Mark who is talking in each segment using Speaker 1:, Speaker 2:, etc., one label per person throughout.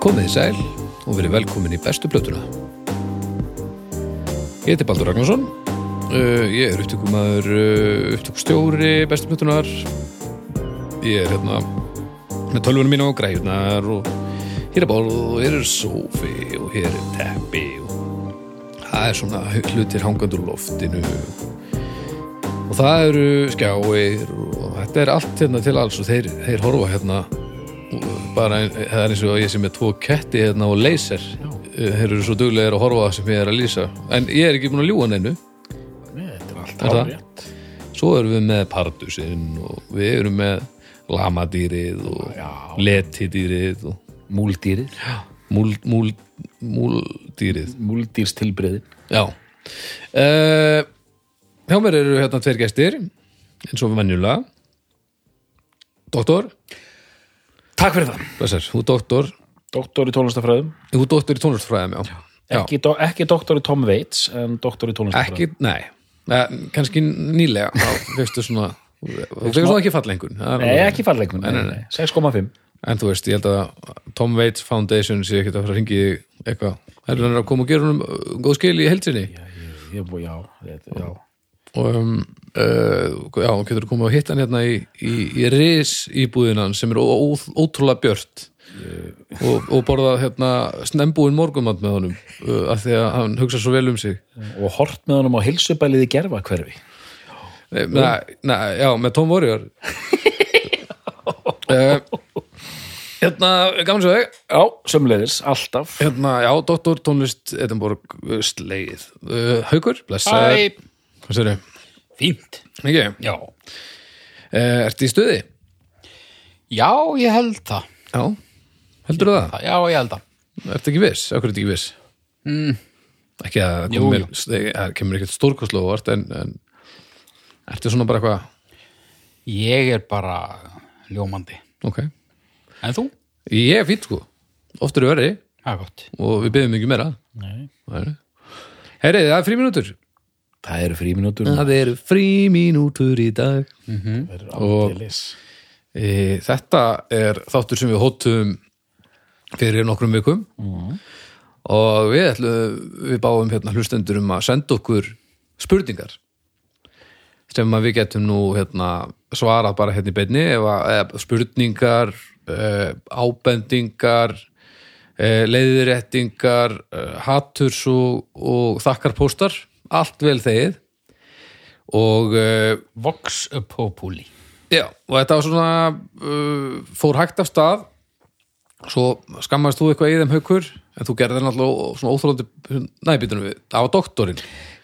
Speaker 1: komið sæl og verið velkomin í bestu plötuna. Ég heiti Baldur Ragnarsson, uh, ég er upptökumæður, uh, upptökustjóri bestu plötunar, ég er hérna með tölvunum mín og græðunar og hér er borð og hér er sófi og hér er teppi og það er svona hlutir hangandur loftinu og það eru skjáir og þetta er allt hérna til alls og þeir, þeir horfa hérna bara ein- það er eins og ég sem er tvo ketti hérna og leyser þeir eru svo duglegir að horfa sem ég er að lýsa en ég er ekki búin að ljúga neinu
Speaker 2: Nei, þetta er
Speaker 1: Er
Speaker 2: alltaf
Speaker 1: það?
Speaker 2: árétt.
Speaker 1: svo erum við með pardusinn og við erum með lamadýrið og
Speaker 2: Já.
Speaker 1: letidýrið og
Speaker 2: Múldýrið.
Speaker 1: múl, múl, múldýrið
Speaker 2: Múldýrstilbreyðin.
Speaker 1: Já uh, Hjá mér eru hérna tveir gestir eins og venjulega Doktor
Speaker 2: Takk fyrir það.
Speaker 1: Blessar, þú er doktor
Speaker 2: Doktor í tónlistafræðum.
Speaker 1: Þú er doktor í tónlistfræðum, já, já.
Speaker 2: Ekki, do, ekki doktor í Tom Waits, en doktor í tónlistafræðum.
Speaker 1: Ekki, nei eh, Kannski nýlega þá fyrstu svona Þú fyrstu svona ekki fallengun
Speaker 2: Nei, ekki falleikun.
Speaker 1: Nei, nei,
Speaker 2: 6,5.
Speaker 1: En þú veist, ég held að Tom Waits Foundation sé ekkert að fara að ringi eitthvað Það er hann að koma og gera honum uh, góð skil í heldsinni
Speaker 2: Ég er búið, já. Þetta, já.
Speaker 1: og um, uh, já, hún getur komið og hitt hann hérna í, í, í ris íbúðinan sem er ó, ó, ótrúlega björt og, og borðað hérna snembúin morgumat með honum uh, af því að hann hugsa svo vel um sig
Speaker 2: Og hort með honum á hilsubælið í gerfa hverfi.
Speaker 1: Nei, nei, nei, já, með Tom Warrior uh, Hérna, gaman svo þig
Speaker 2: Já, sömulegðis, alltaf.
Speaker 1: Hérna, já, Dr. Tónlist Edinborg uh, sleið uh, Haukur, blessaður Hvað sér þau?
Speaker 3: Fínt.
Speaker 1: Ekki,
Speaker 3: Já.
Speaker 1: uh, ertu í stuði?
Speaker 3: Já, ég held það.
Speaker 1: Já, heldur það?
Speaker 3: Já, ég held það.
Speaker 1: Ertu ekki viss? Akkur er þetta ekki viss? Mm. Ekki að það kemur,
Speaker 3: Jú,
Speaker 1: mér- eh, það kemur ekkert stórkoslu óvart en, en ertu svona bara eitthvað
Speaker 3: Ég er bara ljómandi.
Speaker 1: ok,
Speaker 3: En þú?
Speaker 1: ég er fýtt sko oft eru verri
Speaker 3: Það er gott.
Speaker 1: og við byggjum ekki meira
Speaker 2: Nei.
Speaker 1: Herri, það er fríminútur
Speaker 2: Það eru fríminútur.
Speaker 1: Það eru fríminútur í dag
Speaker 2: Það eru aldeilis.
Speaker 1: e, Þetta er þáttur sem við hóttum fyrir nokkrum vikum og við ætlum við báum hérna hlustendur um að senda okkur spurningar sem að við getum nú hérna, svarað bara hérna í beinni ef að, eða spurningar e, ábendingar e, leiðiréttingar e, hatturs og, og þakkarpóstar, allt vel þegið og e,
Speaker 3: Vox Populi.
Speaker 1: Já, og þetta var svona uh, fór hægt af stað svo skammaðist þú eitthvað í þeim haukur en þú gerði náttúrulega svona óþrólandi næbýtunum við, það var doktorinn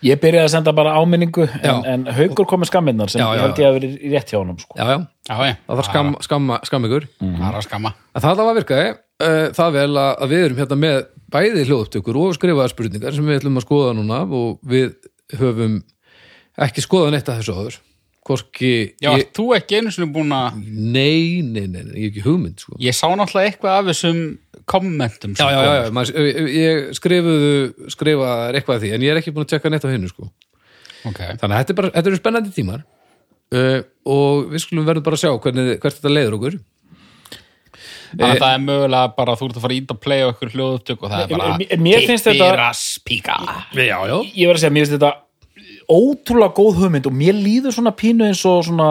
Speaker 2: Ég byrjaði að senda bara áminningu, en,
Speaker 1: Já.
Speaker 2: en haugur komið skamminnar sem
Speaker 1: Já, já,
Speaker 2: ég held ég að verið rétt hjá honum, sko.
Speaker 1: Já, já,
Speaker 3: Já, ég.
Speaker 1: það var skam, skamma, Mhm. skam ykkur
Speaker 3: Það er að skamma.
Speaker 1: En það allavega virkaði uh, það vel að, að við erum hérna með bæði hljóðuptökur og skrifaðar spurningar sem við ætlum að skoða núna og við höfum ekki skoðað neitt af þessu áður Hvorki
Speaker 3: Já,
Speaker 1: ég,
Speaker 3: þú ekki einu sinni búin að...
Speaker 1: nei, nei, nei, nei, ég er ekki hugmynd sko.
Speaker 3: Ég sá náttúrulega eitthvað af þessum kommentum.
Speaker 1: já, já, já, já maður, ég skrifuðu skrifaðar eitthvað að því, en ég er ekki búin að tjekka neitt á hennu sko.
Speaker 3: Ok.
Speaker 1: þannig að þetta, er bara, þetta eru spennandi tímar uh, og við skulum verðum bara að sjá hvernig, hvert þetta leiður okkur
Speaker 3: Þannig að það er mögulega bara að þú ert að fara að íta að playa okkur hljóðupptök og það
Speaker 1: Eh,
Speaker 3: er bara...
Speaker 2: Mér- mér finnst þetta-
Speaker 3: Pittiraspíka.
Speaker 1: já, já,
Speaker 2: ég verð að segja, mér finnst þetta ótrúlega góð hugmynd og mér líður svona pínu eins og svona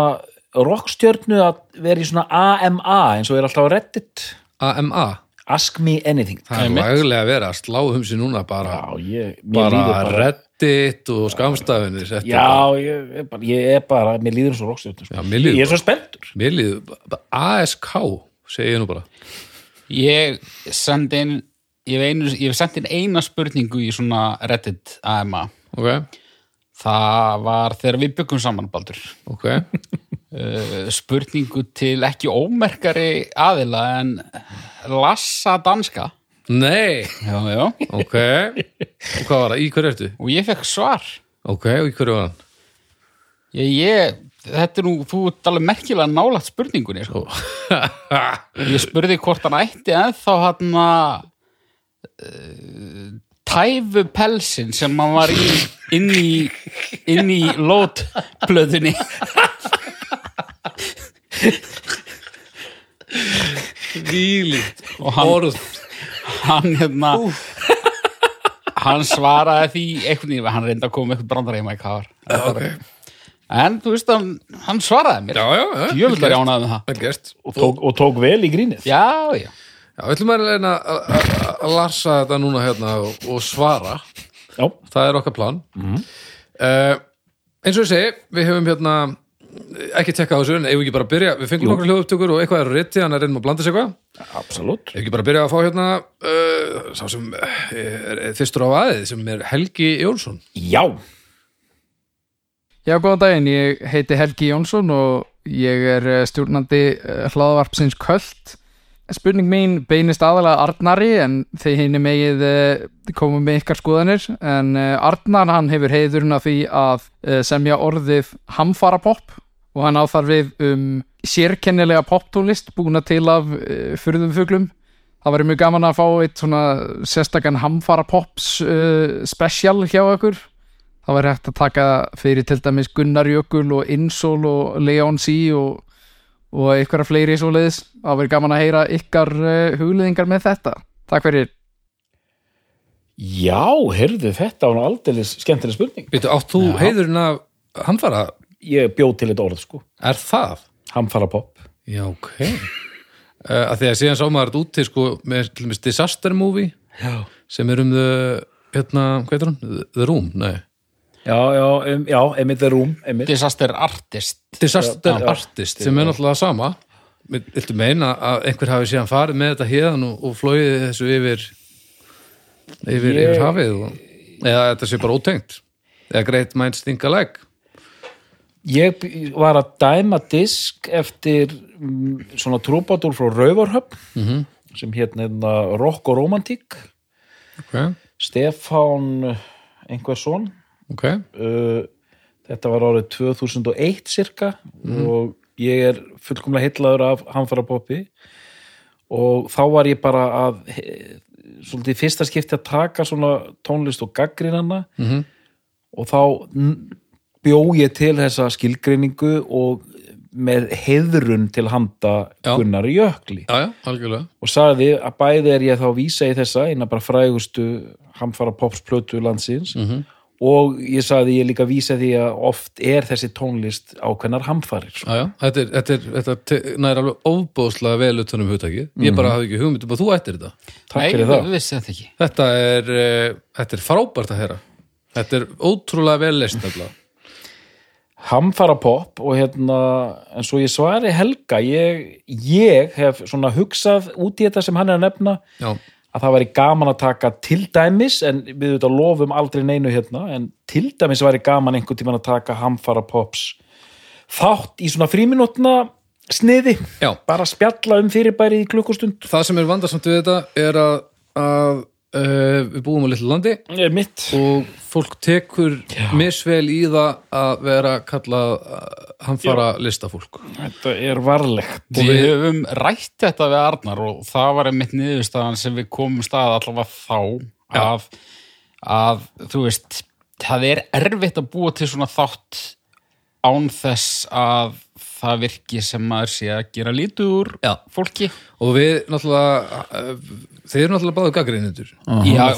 Speaker 2: rockstjörnu að vera í svona AMA eins og er alltaf á reddit
Speaker 1: AMA
Speaker 2: Ask me anything
Speaker 1: það er
Speaker 3: Einmitt.
Speaker 1: laglega að vera að slá um sig núna bara,
Speaker 2: Já, ég, mér
Speaker 1: bara,
Speaker 2: líður bara
Speaker 1: reddit og skamstafinir
Speaker 2: Já, ég, er bara, ég er bara, mér líður eins og rockstjörnu sko.
Speaker 1: Já, mér líður
Speaker 2: Ég er svo spenntur
Speaker 1: mér líður, bara- ASK segi ég nú bara
Speaker 3: Ég sendi inn... Ég hef, einu, ég hef sent inn eina spurningu í svona Reddit AMA.
Speaker 1: ok,
Speaker 3: Það var þegar við byggum saman, Baldur.
Speaker 1: ok
Speaker 3: Uh, spurningu til ekki ómerkari aðila en Lassa danska.
Speaker 1: nei,
Speaker 3: Já, já.
Speaker 1: ok og hvað var það, í hverju ertu?
Speaker 3: Og ég fekk svar.
Speaker 1: ok, og í hverju var hann?
Speaker 3: Ég, ég þetta er nú, þú ert alveg merkilega nálægt spurningunni, sko. Ég spurði hvort hann ætti en þá hann að eh, tæfu pelsin sem hann var í inn í, inn í lótblöðunni.
Speaker 1: Vílíkt
Speaker 3: hann-
Speaker 1: orð
Speaker 3: hann hérna hann svaraði því einhvern veginn, hann reyndi að koma með eitthvað brandar heima í kafar
Speaker 1: okay.
Speaker 3: en þú veist, hann, hann svaraði mér
Speaker 1: Já, já, já, vel
Speaker 3: djöfull
Speaker 1: gert.
Speaker 3: var ég ánægður með það
Speaker 1: vel gert
Speaker 2: og tók, og tók vel í grínið
Speaker 3: já, já,
Speaker 1: Já, við ætlum að reyna að- að að- að larsa þetta núna hérna og, og svara
Speaker 2: Já.
Speaker 1: það er okkar plan mm eins og ég segi, við hefum hérna ekki tekka á þessu, en eigum við ekki bara að byrja við fengum nokkra hljóðupptökur og eitthvað er á riti þannig að reynum að blanda sér eitthvað,
Speaker 2: absolutt
Speaker 1: eigum við ekki bara að byrja að fá hérna uh, sá sem eh, er er fyrstur á aðið, sem er Helgi Jónsson
Speaker 2: já,
Speaker 4: Já, góðan daginn, ég heiti Helgi Jónsson og ég er eh, stjórnandi eh, hlaðvarpsins Köld. Spurning mín beinist aðalega að Arnari en þeir henni megið eh, koma með ykkar skoðanir en eh, Arnar hann hefur heiðurinn af því að eh, semja orðið hamfarapopp og hann á þar við um sérkennilega poptólist búna til af uh, furðumfuglum. Það væri mjög gaman að fá eitt svona sérstakann hamfarapopps uh, special hjá okkur. Það væri hægt að taka fyrir til dæmis Gunnar Jökul og Insól og Leon C og, og einhverja fleiri svo leiðis. Það væri gaman að heyra ykkar uh, hugliðingar með þetta. Takk fyrir.
Speaker 2: já, heyrðu þetta var nú aldeilis skemmtileg spurning
Speaker 1: Veitu, átt þú heiðurinn af hamfara,
Speaker 2: ég bjóð til þetta orð sko,
Speaker 1: er það?
Speaker 2: hamfara pop
Speaker 1: Já, ok uh, að því að síðan sá maður þetta úti sko, með til dæmis disaster movie
Speaker 2: já,
Speaker 1: sem er um the, hérna, hvað er hann? The- The Room, nei
Speaker 2: já, já, um, já emitt er rúm emitt,
Speaker 3: disaster artist
Speaker 1: Disaster
Speaker 2: Já, já.
Speaker 1: Artist sem er náttúrulega sama Viltu meina að einhver hafi síðan farið með þetta hérðan og, og flóið þessu yfir yfir,
Speaker 2: Ég-
Speaker 1: yfir hafið og, eða þetta sé bara ótengt eða Great Minds Think Alike
Speaker 2: ég b- var að dæma disk eftir mm, svona trúbátur frá Rauvarhöfn sem hérna Rock og Romantík
Speaker 1: ok,
Speaker 2: Stefán eh, einhversson
Speaker 1: ok,
Speaker 2: uh, þetta var árið 2001 cirka og ég er fullkomlega heitlaður af hamfarapoppi og þá var ég bara að he- svolítið í fyrsta skipti að taka svona tónlist og gaggrinanna -hmm. og þá n- bjó ég til þessa skilgreiningu og með heiðrun til handa
Speaker 1: Já.
Speaker 2: Gunnar Jökli
Speaker 1: já já, algjörlega
Speaker 2: og sagði að bæði er ég þá að vísa í þessa eina bara frægustu hamfara popsplötu landsins -hmm. og ég sagði ég líka að vísa því að oft er þessi tónlist ákveðnar hamfarir sko.
Speaker 1: já, já. Þetta, er, þetta, er, þetta te- nær alveg óbóðslega vel utanum hugtækið,
Speaker 2: Mhm.
Speaker 1: ég bara hafi ekki hugmynd um að þú ættir þetta
Speaker 2: takk fyrir það
Speaker 3: við vissi þetta ekki
Speaker 1: þetta er, eh, þetta er frábært að heyra þetta er ótrúlega vel leist nefnilega
Speaker 2: hamfara pop og hérna en svo ég svari Helga ég, ég hef svona hugsað út í þetta sem hann er að nefna
Speaker 1: já,
Speaker 2: að það væri gaman að taka til dæmis en við auðvitað lofum aldrei neinu hérna en til dæmis væri gaman einhvern tímann að taka hamfara pops þátt í svona fríminútna sniði
Speaker 1: já
Speaker 2: bara spjalla um fyrirbæri í klukkustund
Speaker 1: það sem er vandarsamt við þetta er að, að uh, við búum á litlu landi
Speaker 2: er mitt
Speaker 1: og fólk tekur misvel í það að vera kallað eh, hamfara listafólk
Speaker 2: þetta er varlegt
Speaker 3: og við höfum rætt þetta við Arnar og það var einmitt niðurstaðan sem við komum stað allavega þá að, að þú veist það er erfitt að búa til svona þátt án þess að það virki sem maður sé að gera lítið úr
Speaker 1: Já.
Speaker 3: fólki
Speaker 1: og við náttúrulega eh, þeir eru náttúrulega báðu gaggrinendur
Speaker 3: Já, og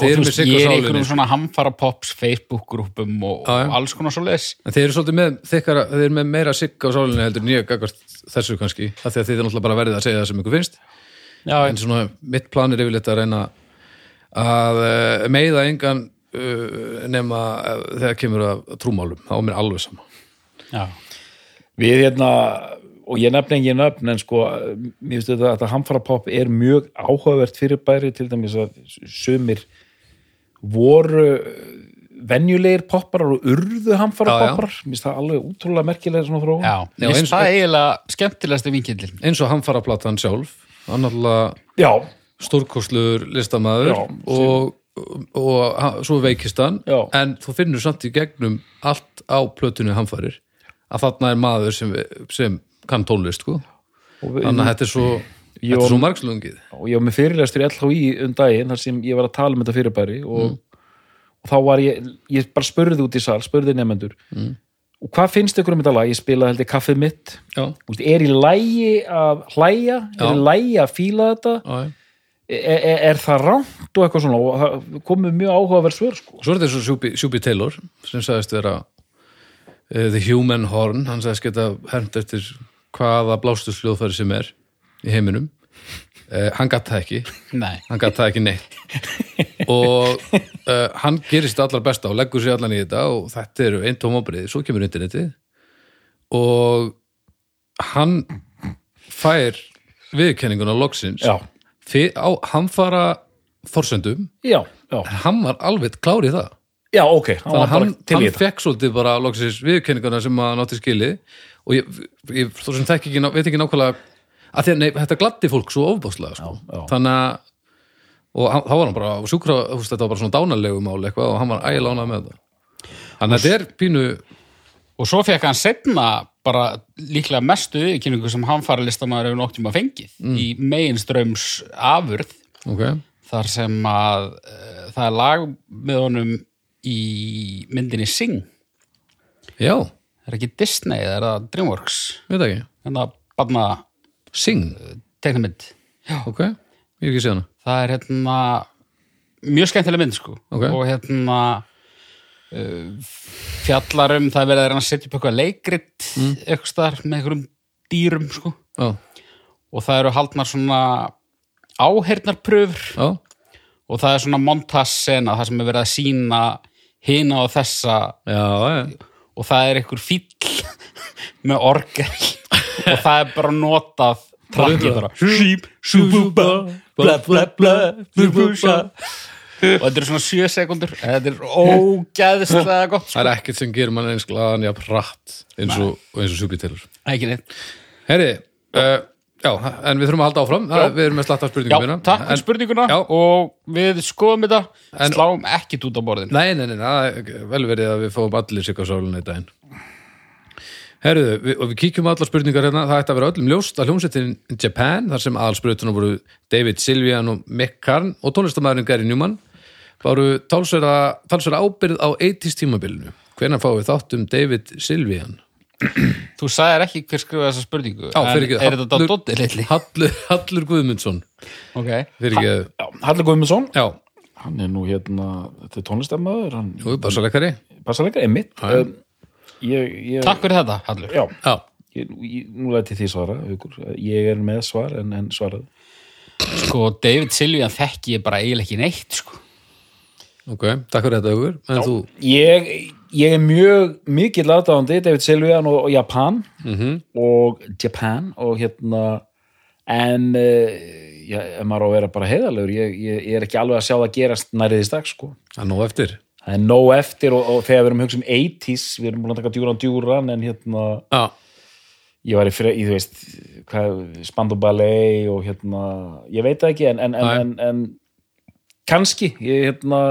Speaker 1: þeir eru
Speaker 3: þú
Speaker 1: með
Speaker 3: veist,
Speaker 1: sikku
Speaker 3: ég er í
Speaker 1: sálinni
Speaker 3: einhverjum svona hamfara pops Facebook-grúpum og
Speaker 1: Já, já.
Speaker 3: alls konar svo leis
Speaker 1: en þeir eru svolítið með, þekkara, þeir eru með meira sikku á sálinni heldur nýja gaggvart þessu kannski af því að þeir eru náttúrulega bara verðið að segja það sem ykkur finnst
Speaker 3: Já,
Speaker 1: en svona mitt plan er yfirleitt að reyna að uh, meiða engan uh, nema uh, þegar kemur að trúmálum þá er mér alveg sama
Speaker 3: já.
Speaker 2: við hérna og ég nefni engin nöfn en sko mér finnst þetta að þetta hamfarapopp er mjög áhugavert fyrirbæri til dæmis að sumir voru venjulegir popparar og urðu hamfarapopparar mér finnst það alveg útrúlega merkilega svona þróun
Speaker 3: sko. já. Mér
Speaker 1: eins-
Speaker 3: finnst það eiginlega skemmtilegasti vinkillin
Speaker 1: eins og hamfaraplatan sjálf hann náttúrulega
Speaker 2: já,
Speaker 1: stórkostluður listamaður
Speaker 2: Já,
Speaker 1: og, og, og ha- svo veikist hann
Speaker 2: Já.
Speaker 1: en þú finnur samt í gegnum allt á plötunni hamfarir að þarna er maður sem, sem kann tónlist sko.
Speaker 2: Og við-
Speaker 1: þannig að þetta er svo, þetta er svo margslungið
Speaker 2: og ég var með fyrirlestur í LHÍ um daginn þar sem ég var að tala um þetta fyrirbæri og, og þá var ég ég bara spurði út í sal, spurði nefnendur mm. og hvað finnst ykkur um þetta lag? Ég spilaði held ég kaffið mitt
Speaker 1: já,
Speaker 2: Úst, er í lægi að hlæja?
Speaker 1: Já.
Speaker 2: er í lægi að fíla þetta?
Speaker 1: já, já.
Speaker 2: er, er- er það rámt og eitthvað svona og það komið mjög áhugaverð svör sko.
Speaker 1: Svo er þetta svo Shubi, Shubi Taylor sem sagðist vera uh, The Human Horn, hann sagðist geta hermt eftir hvaða blástusljóðfæri sem er í heiminum uh, hann gatt það ekki
Speaker 3: Nei,
Speaker 1: hann gatt það ekki neitt og uh, hann gerist allar besta og leggur sér allan í þetta og þetta eru einn tómabrið, svo kemur internetið og hann fær viðkenninguna loksins
Speaker 2: já,
Speaker 1: Fyr, á, hann fara forsendum,
Speaker 2: já, já,
Speaker 1: hann var alveg klár í það
Speaker 2: já, ok hann
Speaker 1: þannig að
Speaker 2: var bara
Speaker 1: hann,
Speaker 2: til í
Speaker 1: hann
Speaker 2: þetta
Speaker 1: fekk svolítið bara loksins viðkenninguna sem að nátti skili og ég, ég þó sem þekki ekki, ná- veit ekki nákvæmlega að því að nei, þetta gladdi fólk svo ofbáslega sko.
Speaker 2: Já, já.
Speaker 1: þannig að og hann, þá var hann bara á sjúkra, þú veist, þetta var bara svona dánarlegu mál eitthvað og hann var ægilega ánægð með það þannig að þetta er pínu
Speaker 3: og svo fekk hann setna bara líklega mestu yfirkynningu sem hann fara listamaður hefur noktum að fengið í meginströms afurð
Speaker 1: ok,
Speaker 3: þar sem að uh, það er lag með honum í myndinni Sing
Speaker 1: já,
Speaker 3: það er ekki Disney, það er það Dreamworks Hérna
Speaker 1: veit ekki
Speaker 3: þannig að barna
Speaker 1: Sing,
Speaker 3: teknamynd
Speaker 1: ok, ég hef ekki séð hana
Speaker 3: það er hérna mjög skemmtileg mynd sko
Speaker 1: Ok.
Speaker 3: og hérna uh, fjallar um það er verið að reyna að setja upp eitthvað leikrit mm. eitthvað starf með einhverjum dýrum sko
Speaker 1: já,
Speaker 3: og það eru haldnar svona áheyrnarpröfur
Speaker 1: já,
Speaker 3: og það er svona montassena það sem er verið að sína hina og þessa
Speaker 1: já, já
Speaker 3: og það er einhver fíll með orgel og það er bara notað trakkið þar
Speaker 2: Sheep, shububba, bla bla bla, bubusha
Speaker 3: og þetta er svona 7 sekundur þetta er ógeðslega gott sko.
Speaker 1: það er ekkert sem gerir mann eins glaðan jafn rætt eins og, og eins og sjúkvítelur
Speaker 3: ekki neitt
Speaker 1: Herri, uh, já, en við þurfum að halda áfram já. Við erum með slatta af
Speaker 3: já,
Speaker 1: spurningum hérna.
Speaker 3: takk fyrir
Speaker 1: en,
Speaker 3: spurninguna
Speaker 1: Já.
Speaker 3: og við skoðum þetta sláum ekki út á borðin
Speaker 1: Nei, nei, nei, nei, það er vel verið að við fáum allir sig á sálinu í daginn Herruðu, við, og við kíkjum á allar spurningar hérna, það ætti að vera öllum ljóst að hljómsettin Japan, þar sem aðalsprautunum voru David Silvian og Mick Karn og tónlistamæðurinn Gary Newman varu talsverða talsverða ábyrð á 80s tímabilinu Hvenær fáum við þátt um David Silvian?
Speaker 3: þú sagðir ekki hver skrifaði þessa spurningu
Speaker 1: Já,
Speaker 3: en
Speaker 1: fyrir ekki,
Speaker 3: er þetta
Speaker 1: Hallur-
Speaker 3: Doddi litli
Speaker 1: Hallur, Hallur Guðmundsson
Speaker 3: okay.
Speaker 1: fyrir ekki,
Speaker 2: Halli Guðmundsson,
Speaker 1: já,
Speaker 2: hann er nú hérna þetta er tónlistamöður, hann
Speaker 1: og uppásalekkari
Speaker 2: passa leikar einmitt um, ég, ég,
Speaker 3: takk fyrir þetta Hallur
Speaker 2: já,
Speaker 1: Já,
Speaker 2: ég, ég, nú læti því svara haukur. ég er með svar en, en svarað
Speaker 3: sko David Silvíðan þekki ég bara eiginlega ekki neitt sko.
Speaker 1: Ok, takk fyrir þetta aukur En þú,
Speaker 2: ég, ég er mjög mikið lataðandi David Silvian og, og Japan
Speaker 1: Mhm.
Speaker 2: og Japan og hérna en uh, já, ef maður á að vera bara heiðalegur ég, ég, ég er ekki alveg að sjá það gerast nærið í stakk sko
Speaker 1: það er nóg eftir
Speaker 2: það er nóg eftir og, og þegar við erum að hugsa um 80s við erum búin að taka djúran djúran en hérna
Speaker 1: Já,
Speaker 2: ég var í fyrir, í, þú veist hvað, spand og ballet og hérna ég veit það ekki en, en, en,
Speaker 1: Nei.
Speaker 2: en, en kannski ég, hérna,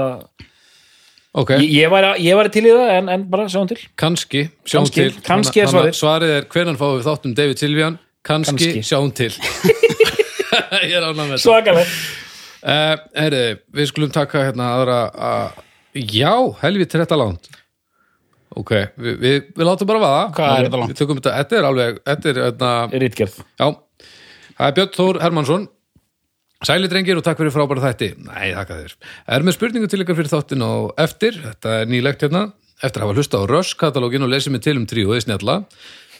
Speaker 1: ok,
Speaker 2: ég, ég, var, ég var til í það en, en bara sjáum til
Speaker 1: kannski, sjáum
Speaker 2: Kannski-
Speaker 1: til
Speaker 2: kannski er
Speaker 1: Þannig- þannig
Speaker 2: svarið.
Speaker 1: að Svarið er hvenan fáum við þáttum David Silvian Kannski,
Speaker 2: Kannski.
Speaker 1: sjáum til Ég er ánægð með þetta
Speaker 2: svakalega
Speaker 1: uh, Heri, við skulum taka hérna aðra að, Já, helviti þetta langt Ok, við, við, við látum bara vaða
Speaker 3: Hvað er þetta langt?
Speaker 1: Við tökum þetta, þetta er alveg, þetta er hérna
Speaker 2: rítgerð
Speaker 1: Já, það er Björn Þór Hermansson Sæli drengir og takk fyrir frábæra þætti Nei, þakka þér Er með spurningu til ykkar fyrir þáttin á eftir Þetta er nýlegt hérna Eftir að hafa hlusta á Rush katalógin og lesið mig til um tríóði snjalla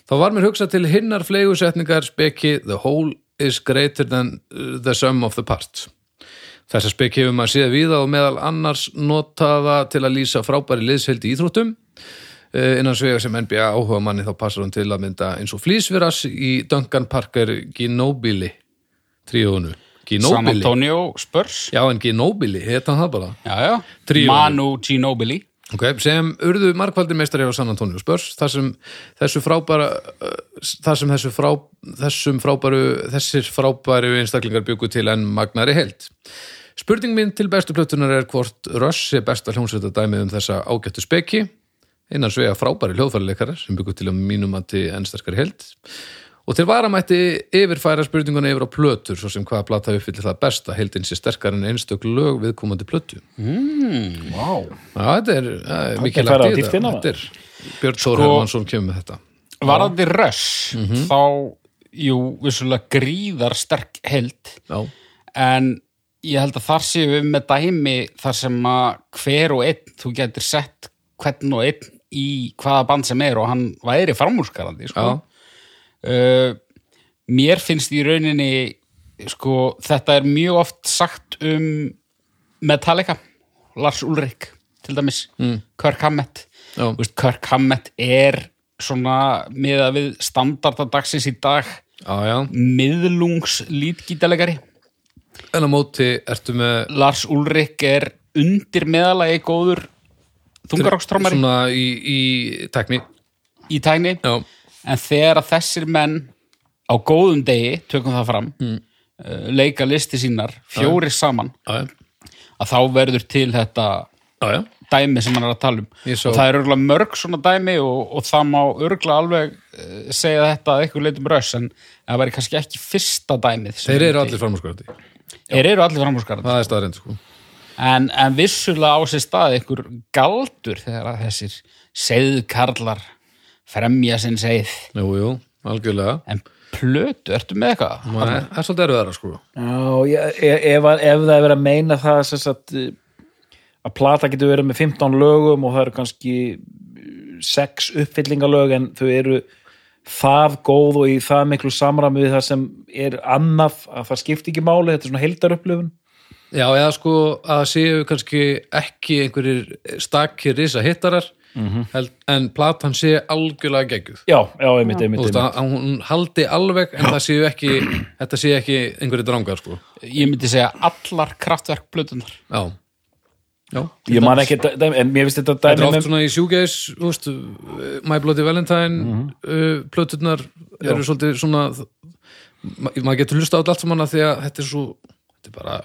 Speaker 1: Þá var mér hugsað til hinnar fleigusetningar speki The whole is greater than uh, the sum of the parts Þessa speki hefur maður séð víða og meðal annars notaða til að lýsa frábæri liðsheildi íþróttum Eh, innan svega sem NBA áhuga manni þá passar hún til að mynda eins og flýsviras í Duncan Parker Ginobili tríónu
Speaker 3: San
Speaker 1: Ginobili,
Speaker 3: Antonio Spurs
Speaker 1: já en Ginobili heita hann það bara
Speaker 3: já, já.
Speaker 1: Tríó.
Speaker 3: Manu Ginobili
Speaker 1: okay, sem urðu margfaldir meistari á San Antonio Spurs þar sem þessu frábæra uh, þar sem þessu frá, þessum frábæru þessir frábæru einstaklingar byggu til en magnari held Spurning minn til bestu plötunar er hvort Rush er besta hljómsveita dæmið um þessa ágættu speki innan svega frábæri hljóðfærileikarar sem byggu til að mínum að til ennstarkari held og til varamætti yfirfæra spurninguna yfir á plötur svo sem hvaða plata uppfyllir það besta heldin sé sterkar en einstök lög viðkomandi plötu
Speaker 2: wow.
Speaker 1: Já, þetta er, það er mikið
Speaker 2: er
Speaker 1: lagt
Speaker 2: farið á
Speaker 1: í þetta.
Speaker 2: dýptina,
Speaker 1: þetta er, Björn Þór Hermansson kemur með þetta.
Speaker 3: varandi röss þá, jú, vissulega gríðar sterk held
Speaker 1: Já,
Speaker 3: en ég held að þar séum við með dæmi þar sem að hver og einn þú getur sett hvern og einn í hvaða band sem er og hann væri framúrskarandi sko. uh, mér finnst í rauninni sko, þetta er mjög oft sagt um Metallica, Lars Ulrik til dæmis, mm. Kirk Hammett
Speaker 1: Já.
Speaker 3: Þú veist, Kirk Hammett er svona miða við standardadagsins í dag
Speaker 1: Já, já.
Speaker 3: miðlungs lítgítalegari
Speaker 1: En á móti ertu með
Speaker 3: Lars Ulrik er undir meðalagi góður þungarokkstrómari
Speaker 1: svona í, í tekni.
Speaker 3: í tækni
Speaker 1: Já,
Speaker 3: en þegar að þessir menn á góðum degi, tökum það fram mm. leika listi sínar fjóri saman,
Speaker 1: já, já.
Speaker 3: að þá verður til þetta
Speaker 1: Já, já.
Speaker 3: dæmi sem hann er að tala um
Speaker 1: Ég sá-
Speaker 3: og það er örgulega mörg svona dæmi og, og það má örgulega alveg eh, segja þetta að eitthvað leitum röss en það væri kannski ekki fyrsta dæmið sem
Speaker 1: Þeir
Speaker 3: er
Speaker 1: eru
Speaker 3: til.
Speaker 1: allir framhúsgröndi.
Speaker 3: þeir eru allir framhúsgarðar
Speaker 1: Það er staðarind, sko.
Speaker 3: en, en vissulega á sér stað einhver galdur þegar að þessir segðkarlar fremja sinn segð
Speaker 1: Jú, jú, algjörlega.
Speaker 3: en plötu, ertu með eitthvað?
Speaker 1: Það er- það er svolítið erfiðara, sko.
Speaker 2: Já, ég- e- ef, að- ef það er verið að meina það sem sagt, eh, að plata getur verið með 15 lögum og það eru kannski 6 uppfyllingalög en þau eru það góð og í það miklu samræmi við það sem er annaf að það skipti ekki máli, þetta er svona heildarupplöfun
Speaker 1: Já, eða sko að séu kannski ekki einhverjir stakir risa hittarar held, en platan sé algjörlega geggjuð.
Speaker 2: Já, já, einmitt,
Speaker 1: Þú
Speaker 2: einmitt,
Speaker 1: veist
Speaker 2: einmitt.
Speaker 1: að að hún haldi alveg en það séu ekki, þetta séu ekki einhverjir drangar, sko.
Speaker 3: Ég myndi segja allar kraftverk plötunar
Speaker 1: Já. Já.
Speaker 2: Ég man ekki, dæ- dæmi- en mér finnst þetta
Speaker 1: Þetta er
Speaker 2: dæmi
Speaker 1: oft
Speaker 2: með,
Speaker 1: svona í sjúgeis, þú veist, My Bloody Valentine,
Speaker 2: Mhm.
Speaker 1: uh, plöturnar eru svolítið svona, ma maður getur hlusta á þetta allt saman að því að þetta er svo, þetta er bara,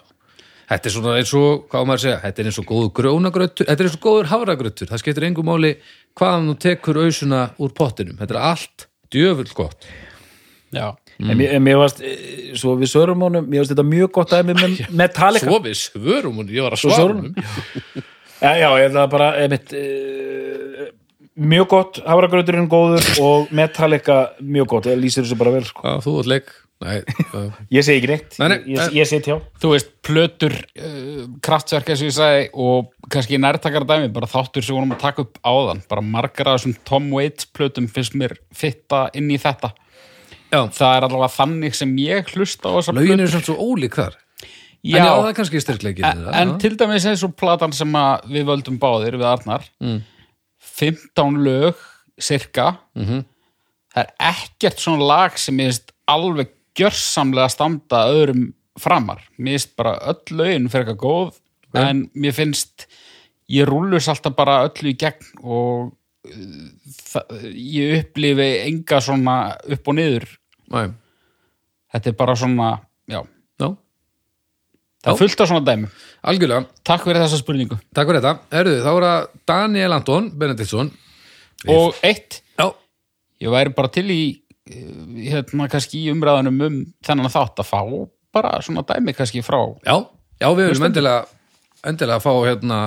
Speaker 1: þetta er svona eins og, hvað á maður að segja, þetta er eins og góður grónagröttur, þetta er eins og góður hafragröttur, það skiptir engu máli hvaðan þú tekur ausuna úr pottinum, þetta er allt djöfull gott.
Speaker 3: Já,
Speaker 2: en mér, en mér varst, eh, svo við sörum honum, mér finnst þetta mjög gott dæmi með Metallica.
Speaker 1: Svo við svörum hún, ég var að
Speaker 2: Svo
Speaker 1: svara
Speaker 2: svörum.
Speaker 1: hún.
Speaker 2: Já, já, ég ætla bara einmitt, uh, mjög gott hafragrauturinn góður og Metallica mjög gott, ég lýsir þessu bara vel sko.
Speaker 1: Já, þú ert leik, nei, uh,
Speaker 2: ég segi ekki neitt,
Speaker 1: Nei, nei,
Speaker 2: ég, ég,
Speaker 1: nei.
Speaker 2: ég segi tjá
Speaker 3: þú veist, plötur uh, kraftverk eins og ég sagði og kannski nærtakara dæmi, bara þáttur sem vorum að taka upp áðan, bara margar af þessum Tom Waits plötum finnst mér fitta inn í þetta
Speaker 1: Já.
Speaker 3: Það er allavega þannig sem ég hlusta á þessar
Speaker 1: lögin eru samt svo ólík þar.
Speaker 3: Já,
Speaker 1: En já, það er kannski styrkleikið.
Speaker 3: en, E, en til dæmis eins og platan sem að við völdum báðir við Arnar 15 lög cirka það er ekkert svona lag sem ég veist alveg gjörsamlega standa öðrum framar, mér finnst bara öll lögin fyrir eitthvað góð en mér finnst ég rúllus alltaf bara öllu í gegn og uh, það, ég upplifi enga svona upp og niður
Speaker 1: Nei,
Speaker 3: þetta er bara svona, já
Speaker 1: já.
Speaker 3: það er fullt af svona dæmi
Speaker 1: Algjörlega,
Speaker 3: Takk fyrir þessa spurningu
Speaker 1: takk fyrir þetta. Herðu, þá er það Daniel Anton Benediktsson.
Speaker 3: og eitt,
Speaker 1: Já,
Speaker 3: ég væri bara til í eh, hérna kannski í umræðanum um þennan þátt að fá bara svona dæmi kannski frá
Speaker 1: já, já við erum endilega, endilega að fá hérna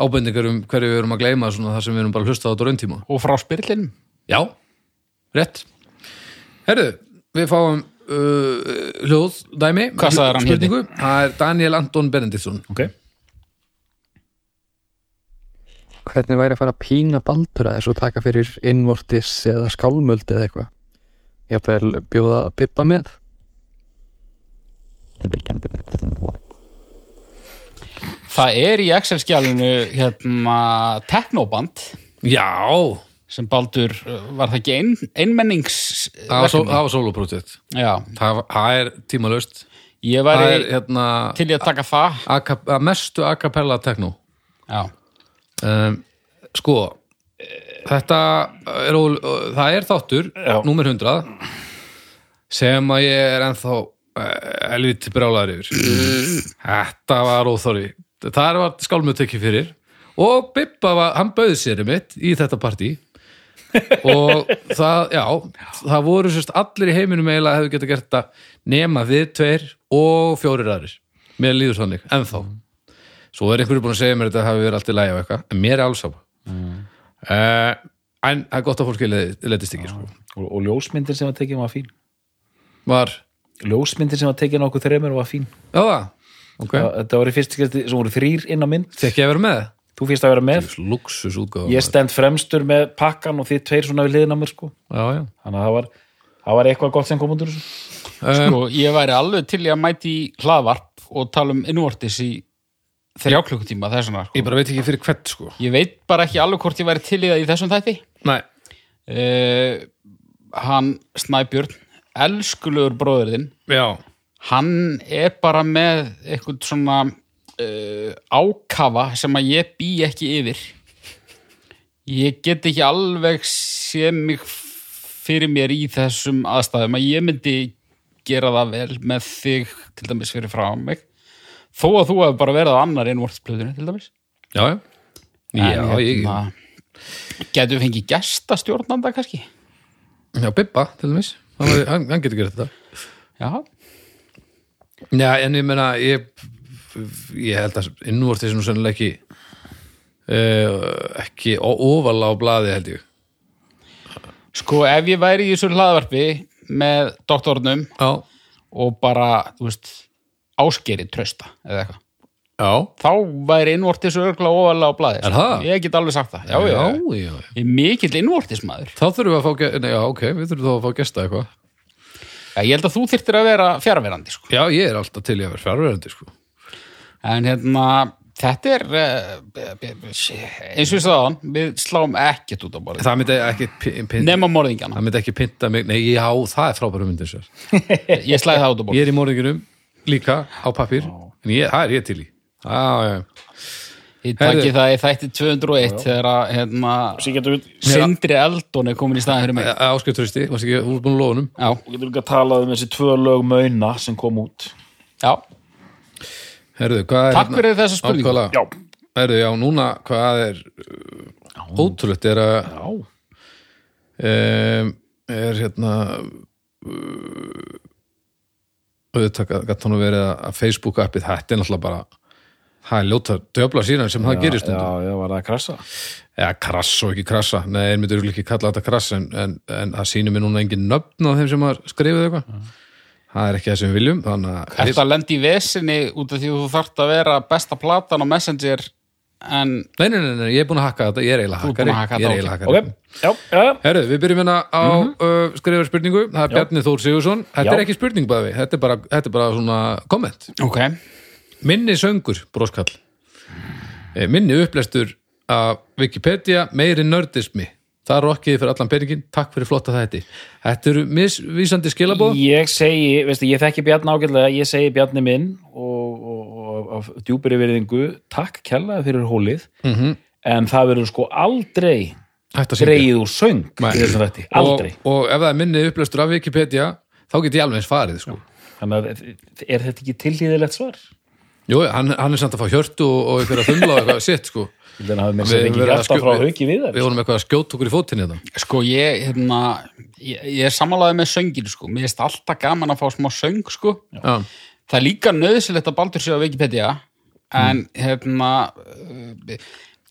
Speaker 1: ábendingar um hverju við erum að gleyma svona það sem við erum bara að hlusta á þetta á rauntíma.
Speaker 3: og frá spyrlinum
Speaker 1: Já, rétt. Herðu, við fáum uh, hljóð dæmi.
Speaker 3: Hvað sagði hann héti?
Speaker 1: Spurningu. Það er Daniel Anton Benediktsson.
Speaker 2: okay.
Speaker 5: hvernig væri að fara að pína baldur að þessu og taka fyrir innvortis eða skálmöldi eða eitthvað jafnvel bjóða að bippa með
Speaker 3: það er í Excel-skjálinu hérna teknoband
Speaker 1: Já,
Speaker 3: sem Baldur, eh, var það ekki ein, einmennings eh,
Speaker 1: það var, só, það var soloprojekt.
Speaker 3: Já,
Speaker 1: Það, var- það er tímalöst.
Speaker 3: ég
Speaker 1: Það
Speaker 3: væri
Speaker 1: er hérna
Speaker 3: til í að taka það
Speaker 1: a cap- að mestu a cappella techno.
Speaker 3: Já,
Speaker 1: um, sko þetta er ól- það er þáttur,
Speaker 2: Já.
Speaker 1: númer 100 sem að ég er ennþá helviti brálaður yfir þetta var óþorri þar var skálmöð tekið fyrir og Bibba, var, hann bauði sér mitt í þetta partí og það, já, það voru sérst allir í heiminum eiginlega hefðu getað gert þetta nema við tveir og fjórir aðrir mér líður þannig, ennþá svo er einhverju búin að segja mér að þetta hafi verið allt í lægi og eitthvað, en mér er alls sama Eh, en það er gott að fólki leið- leiðist ekki, sko
Speaker 2: og, og ljósmyndin sem var tekin var fín
Speaker 1: var,
Speaker 2: ljósmyndin sem var tekin á okkur þreymur var fín
Speaker 1: já það ok,
Speaker 2: okay. þetta var í fyrst skipti sem voru þrýr inn á mynd
Speaker 1: fekk ég að vera með
Speaker 2: þú fyrst að vera með,
Speaker 1: luxus útgáð
Speaker 2: ég stend fremstur með pakkan og þið tveir svona við liðin á mér sko
Speaker 1: já, já.
Speaker 2: þannig að það var, það var eitthvað gott sem kom undur þessu
Speaker 1: Um,
Speaker 3: Sko, ég væri alveg til ég að mæti í hlaðvarp og tala um innvortis í þrjá klukkutíma þessuna.
Speaker 1: ég
Speaker 3: Sko.
Speaker 1: bara veit ekki fyrir hvert sko
Speaker 3: Ég veit bara ekki alveg hvort ég væri til í það í þessum þætti.
Speaker 1: Nei,
Speaker 3: Uh, hann Snæbjörn, elskulegur bróðurðinn,
Speaker 1: já,
Speaker 3: hann er bara með eitthvað svona uh, ákafa sem að ég bý ekki yfir. Ég get ekki alveg sé mig fyrir mér í þessum aðstæðum að ég myndi gera það vel með þig til dæmis fyrir frá mig þó að þú hefur bara verið á annar innvortsplöðinu til dæmis
Speaker 1: já, já. Já, ég,
Speaker 3: Getur við fengið gesta stjórnanda kannski?
Speaker 1: já, Bibba til dæmis hann, væri- hann, hann getur gerð þetta
Speaker 3: Já,
Speaker 1: Já, en ég meina ég, ég held að innvort þessi nú sennilega ekki uh, ekki o- ofalega á blaði held ég
Speaker 3: Sko, ef ég væri í þessu hlaðvarpi með doktornum
Speaker 1: Já,
Speaker 3: og bara, þú veist, áskeri trösta eða eitthvað,
Speaker 1: já,
Speaker 3: þá væri innvortis örgla ofalega á blaði. sko.
Speaker 1: Er það?
Speaker 3: Ég get alveg sagt það. Já, já. já.
Speaker 1: já, já.
Speaker 3: Ég er mikill innvortismæður.
Speaker 1: Þá þurfum við að fá, ge- nei, já, ok, við þurfum þá að fá gesta eitthvað
Speaker 3: Ég held að þú þyrftir að vera fjárverandi, sko.
Speaker 1: Já, ég er alltaf til í að vera fjárverandi sko.
Speaker 3: En hérna, þetta er, eh, eins og við sagðan, við sláum ekkert út á borðið.
Speaker 1: Það myndi ekki pin, pin,
Speaker 3: Nefna morðingjana.
Speaker 1: það myndi ekki pinta mig, nei, já, það er frábæra myndin sér.
Speaker 3: Ég slæði það út á borðið.
Speaker 1: Ég er í morðingunum líka á pappir, en ég, það er ég til í Já, já, já
Speaker 3: Ég
Speaker 1: Heyrðu.
Speaker 3: takki það í þætti 201 þegar að hérna,
Speaker 2: Sér getum við,
Speaker 3: Sindri Eldon er komin í staðin fyrir mig.
Speaker 1: áskipturisti, varst ekki úrbúin lónum
Speaker 3: Já,
Speaker 2: við getum líka að tala um þessi tvö lög mauna sem kom út
Speaker 3: já.
Speaker 1: Herðu, hvað er hérna?
Speaker 3: Takk fyrir þessa spurningu.
Speaker 1: Ákvæðlega.
Speaker 2: já,
Speaker 1: Herðu, já, núna hvað er uh, ótrúlegt er að um, er hérna uh, auðvitað uh, gætt hann að vera að Facebook appið þetta er náttúrulega bara það er ljóta döbla síðan sem það gerist
Speaker 2: já, já, var það að krasa
Speaker 1: krass og ekki krassa, nei, en myndir ekki kalla þetta krass en, en, en það sýnir mér núna engin nöfn á þeim sem að skrifa eitthvað það er ekki það sem við viljum þannig að
Speaker 3: Ertu að lendi í vesinni út af því að þú þarft að vera besta platan á Messenger en
Speaker 1: Nei, nei, nei, nei, ég er búin að hakka þetta, ég er eiginlega
Speaker 3: Þú ert búin
Speaker 1: hakkari
Speaker 3: að hakka
Speaker 1: Ég er
Speaker 3: þetta,
Speaker 1: eiginlega hakkari
Speaker 2: ok, já, já, já,
Speaker 1: Herðu, við byrjum hérna á mm uh, skrifar spurningu Það er Bjarni Þór Sigursson Þetta
Speaker 2: Mhm. Já.
Speaker 1: er ekki spurning bæði, þetta er bara, þetta er bara svona komment
Speaker 3: Ok,
Speaker 1: Minni söngur, broskall Eh, Minni upplestur af Wikipedia, meiri nördismi Það rokkiði fyrir allan peningin, takk fyrir flotta þætti Þetta eru misvísandi skilabóð
Speaker 2: ég segi, veistu, ég þekki Bjarni ágætlega ég segi Bjarni minn og, og, og af djúpiri virðingu takk kellaði fyrir hólið -hmm. en það verður sko aldrei
Speaker 1: Hætt að syngja
Speaker 2: dreigið úr söng
Speaker 1: Nei.
Speaker 2: í þessum þætti,
Speaker 1: og,
Speaker 2: aldrei
Speaker 1: og ef það er minni upplestur af Wikipedia þá get ég alveg eins farið sko.
Speaker 2: þannig að er þetta ekki tilhýðilegt svar?
Speaker 1: Jú, hann, hann er samt að fá hjörtu og, og ykkur að þumla og eitthvað sitt sko.
Speaker 2: Þannig að við með
Speaker 1: Við höfum
Speaker 2: sér ekki
Speaker 1: verið að
Speaker 2: hjarta
Speaker 1: skjó-
Speaker 2: frá
Speaker 1: við-
Speaker 2: hauki við sko.
Speaker 1: Við vorum eitthvað að skjóta okkur í fótinn þetta
Speaker 3: sko ég, hérna, ég, ég er samanlæðið með söngin sko. Mér finnst alltaf gaman að fá smá söng sko.
Speaker 1: Já,
Speaker 3: Það er líka nöðsilegt að Baldur sé á Wikipedia en hérna, uh,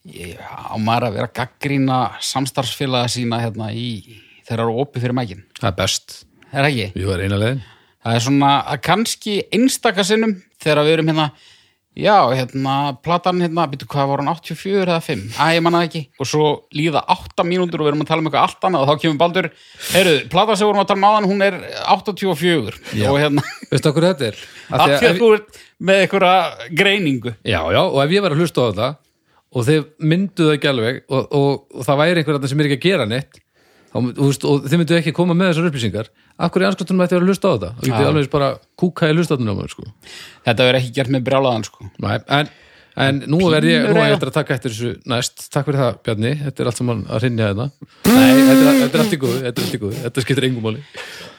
Speaker 3: ég, á maður að vera að gaggrína samstarfsfélaga sína hérna í þeirra eru opið fyrir mækin.
Speaker 1: það er best
Speaker 3: Er það ekki?
Speaker 1: Jú, það er eina leiðin
Speaker 3: Það er svona að kannski einstaka sinnum þegar við erum hérna já, hérna, platan hérna, byrju hvað var hann 84 eða 5? Æ, ég manna það ekki og svo líða 8 mínútur og við erum að tala um eitthvað allt annað og þá kemur Baldur heyrðu, platan sem við vorum að tala um áðan, hún er 84 og hérna,
Speaker 1: Veistu okkur þetta er? Af
Speaker 3: af
Speaker 1: því
Speaker 3: því
Speaker 1: að
Speaker 3: að þú ert með einhverja greiningu
Speaker 1: Já, já, og ef ég var að hlusta á þetta og þið myndu það ekki alveg og, og, og það væri einhver þarna sem er ekki að gera neitt þá, mynd- þú veist, og þið myndu ekki koma með þessar upplýsingar af hverju anskotunum ætti að vera að hlusta á þetta og getið alveg eins bara kúka í hlustatunum á mér, sko.
Speaker 3: þetta verður ekki gert með brjálaðan sko
Speaker 1: Nei, en, en nú verð ég,
Speaker 3: Pínur
Speaker 1: nú er
Speaker 3: eiga.
Speaker 1: ég eftir að taka eftir þessu næst takk fyrir það Bjarni, þetta er allt saman að rinja þetta Nei, þetta er, þetta er allt í góðu þetta er allt í góðu, þetta skiptir engum máli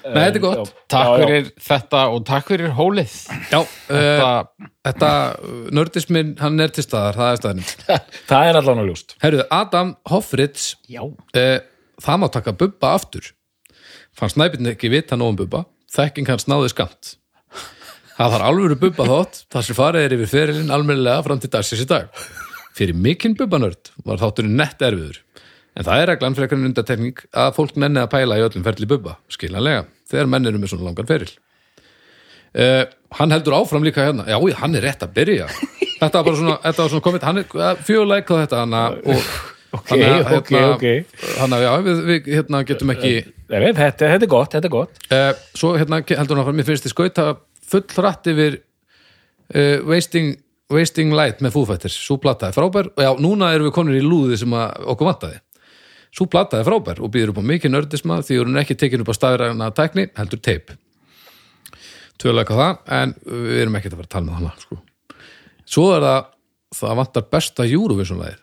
Speaker 1: Nei, þetta er gott,
Speaker 2: Eh,
Speaker 3: Takk
Speaker 2: Já, já.
Speaker 3: fyrir þetta og takk fyrir hólið
Speaker 1: já, já
Speaker 3: Þetta,
Speaker 1: Þetta, uh, nördismin, hann er til staðar, það er staðarinn.
Speaker 2: það er allan að ljóst
Speaker 1: Herruðu, Adam Hoffritz,
Speaker 2: já,
Speaker 1: uh, það má taka Bubba aftur. Fann snæpinn ekki vita nóg um Bubba, þekking hans náði skamt. Það þarf alvöru Bubba þótt, þar sem farið er yfir ferilinn almennilega fram til dagsins í dag. Fyrir mikinn Bubbanörd var þátturinn nett erfiður. En það er reglan frekar en undartekning að fólk nenni að pæla í öllum ferli Bubba, skiljanlega, þegar menn eru með svona langan feril. uh, hann heldur áfram líka hérna já, já, hann er rétt að byrja þetta var bara svona, þetta var svona komið hann er fjöguleik á þetta hana, og,
Speaker 2: Ok, ok, ok.
Speaker 1: hana, já, við, við hérna, getum ekki
Speaker 2: Nei, nei, þetta, þetta er gott, þetta er gott
Speaker 1: uh, svo hérna heldur hann áfram mér finnst þið skauta full rætt yfir uh, wasting, wasting Light með fúfættir, svo plataði frábær og já, núna erum við konur í lúði sem að okkur vantaði svo plataði frábær og býður upp á mikið nördisma því hún er ekki tekin upp á staðræna tækni, heldur teip tveðlega það, en við erum ekkert að fara að tala með hana sko. svo er það það vantar besta Eurovision-læðir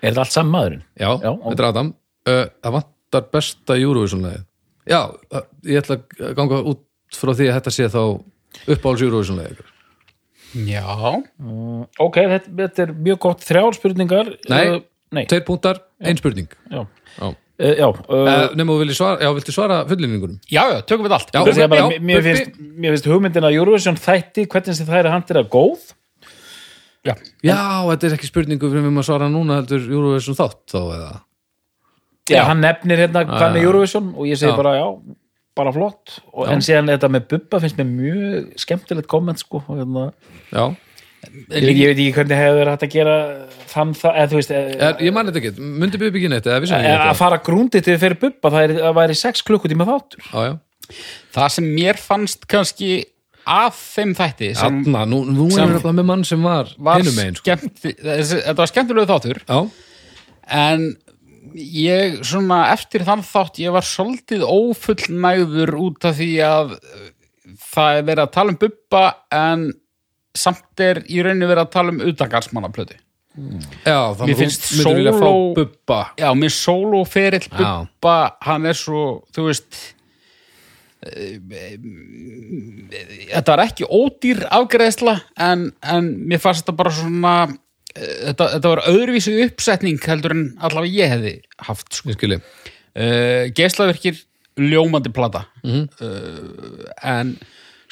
Speaker 2: Er þetta allt saman maðurinn?
Speaker 1: Já,
Speaker 2: Já,
Speaker 1: þetta er Adam uh, Það vantar besta Eurovision-legið Já, uh, ég ætla að ganga út frá því að þetta sé þá uppáhalds Eurovision-legið
Speaker 3: Já,
Speaker 2: Ok, þetta, þetta er mjög gott þrjár spurningar
Speaker 1: Nei.
Speaker 2: uh, nei.
Speaker 1: Tveir punktar, ein spurning
Speaker 2: Já,
Speaker 1: Já, uh,
Speaker 2: uh, já uh,
Speaker 1: nema þú vilji svara, já, viltu svara fullinningunum
Speaker 3: já, já, tökum við allt.
Speaker 1: Já.
Speaker 2: Ég segi bara,
Speaker 1: já,
Speaker 2: mér,
Speaker 1: Bubbi.
Speaker 2: finnst, mér finnst hugmyndin að Eurovision þætti hvernig sem það er að handira góð
Speaker 3: Já.
Speaker 1: Já, þetta er ekki spurningu fyrir mér að svara núna heldur Eurovision þátt þá eða
Speaker 2: já. hann nefnir hérna hvað með Eurovision og ég segi
Speaker 1: Já.
Speaker 2: bara já, bara flott og, en síðan þetta með Bubba finnst mér mjög skemmtilegt komment sko og hérna,
Speaker 1: Já,
Speaker 2: ég, ég veit ekki hvernig hefur hægt að gera þann það eða þú veist eða,
Speaker 1: er, ég man þetta ekki, myndi byrja ekki neitt eða vissi ekki
Speaker 2: eða, að
Speaker 1: neitt
Speaker 2: fara grúndið til fyrir Bubba það, er, það væri 6 klukkutíma þáttur
Speaker 1: Já, já,
Speaker 3: Það sem mér fannst kannski af þeim þætti sem
Speaker 1: Anna, nú, nú
Speaker 3: Sem-
Speaker 1: erum við nefnilega með mann sem var,
Speaker 3: var
Speaker 1: hinum megin sko.
Speaker 3: skemmti, þessi- þetta var skemmtilegu þáttur
Speaker 1: Já,
Speaker 3: en ég svona eftir þann þátt ég var svolítið ófullnægður út af því að uh, það er verið að tala um bubba en samt er í rauninu verið að tala um utangarsmannaplötu
Speaker 1: já, þá
Speaker 3: Mér finnst
Speaker 1: myndir vilja fá
Speaker 3: sóló-
Speaker 1: bubba
Speaker 3: Já, mér solo ferill
Speaker 1: Já.
Speaker 3: bubba hann er svo, þú veist eh, eh, þetta var ekki ódýr afgreðsla en, en mér fannst þetta bara svona eh, þetta, þetta var öðruvísu uppsetning heldur en allavega ég hefði haft sko.
Speaker 1: Ég skilji
Speaker 3: uh, Geislavirkir ljómandi plata
Speaker 2: Mhm.
Speaker 3: uh, en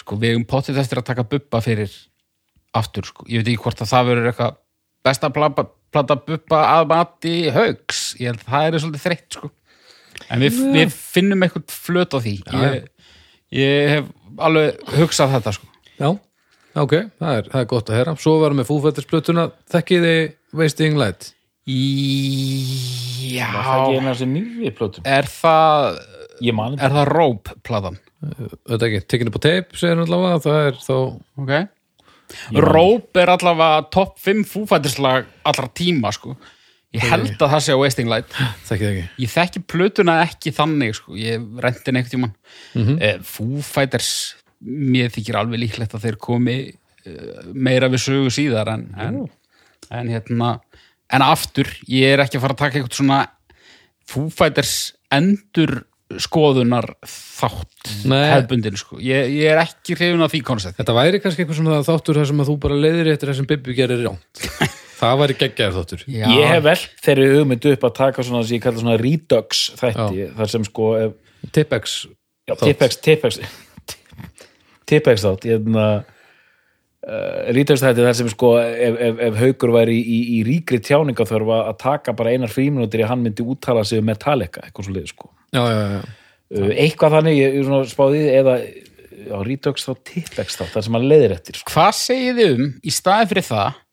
Speaker 3: sko við hefum pottið eftir að taka bubba fyrir aftur sko, ég veit ekki hvort að það verður eitthvað besta plata, plata bubba að mati haugs, ég held að það er svolítið þreytt sko, en við, við finnum eitthvað flöt á því ég, ég hef alveg hugsað þetta sko
Speaker 1: Já, ok, það er, það er gott að heyra Svo varum við fúfættisplötuna Þekkið þið Wasting Light
Speaker 3: Í-
Speaker 2: það er ekki
Speaker 3: Já,
Speaker 2: eina sem nýri plötum
Speaker 3: er það
Speaker 2: ég man
Speaker 3: er það róp platan
Speaker 1: Þetta ekki, tekinu på teip, segir hann allavega Það er þá,
Speaker 3: Ok. Róp er allavega topp 5 fúfættislag allra tíma, sko. Ég held að það sé á Wasting Light.
Speaker 1: þekkið þið ekki
Speaker 3: Ég þekki plötuna ekki þannig, sko. Ég renti henni einhvern tímann. Mm
Speaker 2: Mhm.
Speaker 3: fúfætters, mér þykir alveg líklegt að þeir komi eh, meira við sögu síðar, en, en, en hérna, en aftur, ég er ekki að fara að taka einhvern svona fúfætters endur skoðunar þátt
Speaker 1: Nei.
Speaker 3: hefbundin, sko. Ég, ég er ekki hrifun af því koncept.
Speaker 1: Þetta væri kannski eitthvað svona þáttur þar sem að þú bara leiðir eftir þessum bibbi gerir ránt Það væri geggjaður þáttur
Speaker 2: Ég hef vel þeirri hugmyndu upp að taka svona sem ég kalla svona redux þætti þar sem sko ef,
Speaker 1: Tipex,
Speaker 2: já,
Speaker 1: Þátt.
Speaker 2: tipex, tipex tipex þátt ég hefna uh, redux þætti þar sem sko ef, ef, ef haukur væri í, í ríkri tjáninga þarf að taka bara einar fríminútur í að hann myndi úttala sig um Metallica eitthvað svo leið sko
Speaker 1: já, já, já, já.
Speaker 2: uh, eitthvað þannig, ég, ég svona spáði í því, eða já, redux þátt, tipex þátt þar sem hann leiðir eftir sko
Speaker 3: hvað segið þið um í staði fyrir það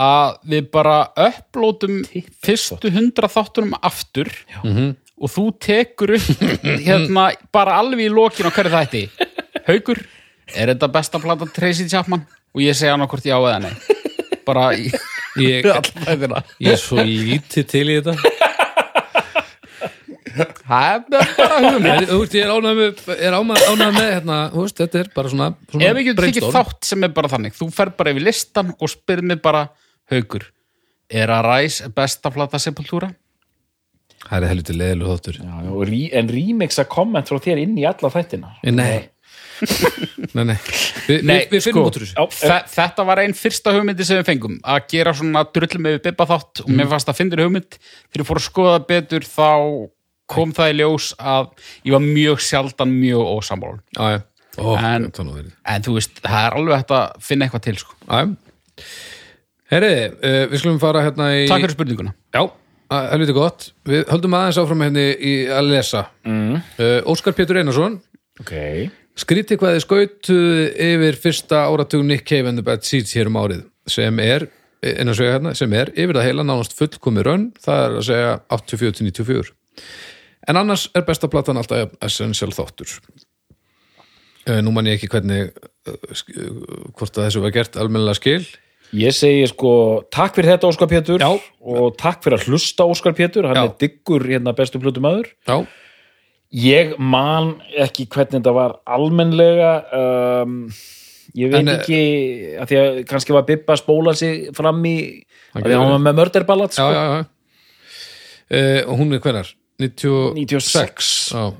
Speaker 3: að við bara upplótum fyrstu hundra þáttunum aftur Já. og þú tekur upp hérna bara alveg í lokin á hverju þætti Haukur, er þetta besta plata Tracy Chapman? Og ég segja hann okkur já eða nei bara í
Speaker 1: Ég,
Speaker 3: alltaf þættina
Speaker 1: ég er svo lítið til í þetta
Speaker 3: Það er bara
Speaker 1: En
Speaker 3: hugmynd
Speaker 1: Þú veist, ég er ánægð með, er ánægð ánægð með hérna, þú veist, þetta er bara svona, svona
Speaker 3: Ef við getum tekið
Speaker 1: brainstorm.
Speaker 3: þátt sem er bara þannig þú fer bara yfir listan og spyrir mig bara Haukur, er að ræs besta plata sepultúra?
Speaker 1: Það er helviti leiðilu þáttur
Speaker 2: já, já, og rí, en remixa komment frá þér inn í alla þættina
Speaker 1: Eh, Nei, nei, nei. Vi,
Speaker 3: Nei,
Speaker 1: við,
Speaker 3: sko.
Speaker 1: við finnum út úr þessu
Speaker 2: Já,
Speaker 3: Þe þetta var einn fyrsta hugmyndi sem við fengum að gera svona drullum með bibba þátt og mér fannst að fyndir hugmynd þegar ég fór að skoða betur þá kom það í ljós að ég var mjög sjaldan mjög ósamból
Speaker 1: Já, já. Ó,
Speaker 3: En-
Speaker 1: þetta nú verið.
Speaker 3: en þú veist, það er alveg hægt að finna eitthvað til sko.
Speaker 1: Já, já. Herriði, uh, við skulum fara hérna í...
Speaker 3: Takk fyrir spurninguna
Speaker 1: Já, að- helviti gott. Við höldum aðeins áfram hérna í að lesa. Mm. Óskar Pétur Eh, Einarsson
Speaker 2: ok
Speaker 1: Skrítið hvað þið skautuð eh, yfir fyrsta áratug Nick Cave and the Bad Seeds hér um árið sem er, en að segja hérna, sem er yfir það heila nánast fullkomi raun það er að segja 84-94 en annars er besta platan alltaf jafn essential þáttur Eh, Nú man ég ekki hvernig eh, sk- eh, hvort að þessu var gert almennilega skil
Speaker 2: Ég segi sko takk fyrir þetta Óskar Pétur
Speaker 1: Já.
Speaker 2: og takk fyrir að hlusta Óskar Pétur hann
Speaker 1: Já.
Speaker 2: er diggur hérna bestu plötu maður
Speaker 1: Já,
Speaker 2: Ég man ekki hvernig þetta var almennlega um, ég veit
Speaker 1: En, eh,
Speaker 2: ekki að því að kannski var Bibba að spóla sig fram í
Speaker 1: Hann
Speaker 2: að því að
Speaker 1: gerði.
Speaker 2: hann var með
Speaker 1: já,
Speaker 2: mörderballat sko.
Speaker 1: já, já. Eh, Og hún er hvernar? 96
Speaker 2: 96.
Speaker 1: Já,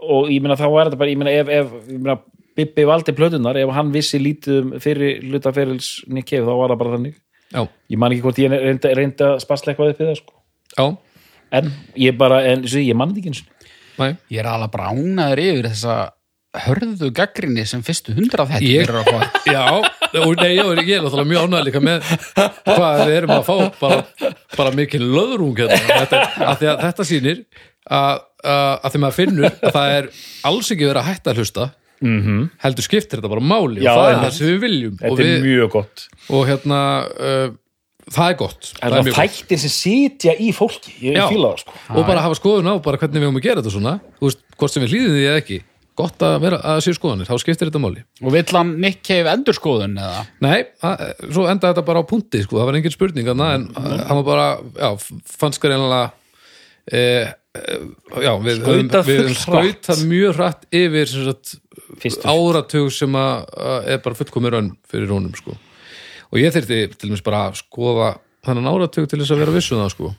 Speaker 2: og ég meina þá var þetta bara ég meina ef, ef ég meina, Bibbi valdi plötunar ef hann vissi lítið um fyrir hlutaferils Nick Cave þá var það bara þannig
Speaker 1: já,
Speaker 2: ég man ekki hvort ég reyndi, reyndi að spasla eitthvað upp við það sko.
Speaker 1: já,
Speaker 2: en ég bara, en, svo, ég man þetta ekki eins og
Speaker 1: næ
Speaker 3: Ég er alveg bránaður yfir þessa hörðu gaggrinni sem fyrstu hundra þetta
Speaker 1: Ég-
Speaker 3: eru að fá.
Speaker 1: Já, og nei, já, ég er náttúrulega mjög ánægð líka með hvað við erum að fá bara, bara mikil löðrung hérna. þetta, að því að þetta sýnir að, að, að því maður finnur að það er alls ekki verið að hætta að hlusta -hmm. heldur skiptir þetta bara máli
Speaker 2: Mhm. Já,
Speaker 1: og það er
Speaker 2: já.
Speaker 1: það sem við viljum og,
Speaker 2: þetta er
Speaker 1: við,
Speaker 2: mjög gott
Speaker 1: og hérna uh, það er gott
Speaker 2: en það þættir sem sitja í fólki ég
Speaker 1: Já.
Speaker 2: fíla það sko
Speaker 1: og bara hafa skoðun á bara hvernig við höfum að gera þetta svona Þú veist, hvort sem við hlýðum því eða ekki gott að vera að séu skoðanir, þá skiptir þetta máli
Speaker 3: Og vill hann Nick Cave endurskoðun eða?
Speaker 1: Nei, að, svo endaði þetta bara á punkti sko, það var engin spurning þarna en mm. hann var bara, já, fannst hver einlega e, e, já, við höfum-
Speaker 2: Skautað
Speaker 1: við höfum
Speaker 2: fullhratt.
Speaker 1: skautað mjög hratt yfir sem sagt,
Speaker 2: Fyrstu.
Speaker 1: áratug sem að, að er bara fullkomur önn fyrir honum sko. og ég þyrfti til dæmis bara að skoða þannan áratug til þess að vera vissu það sko.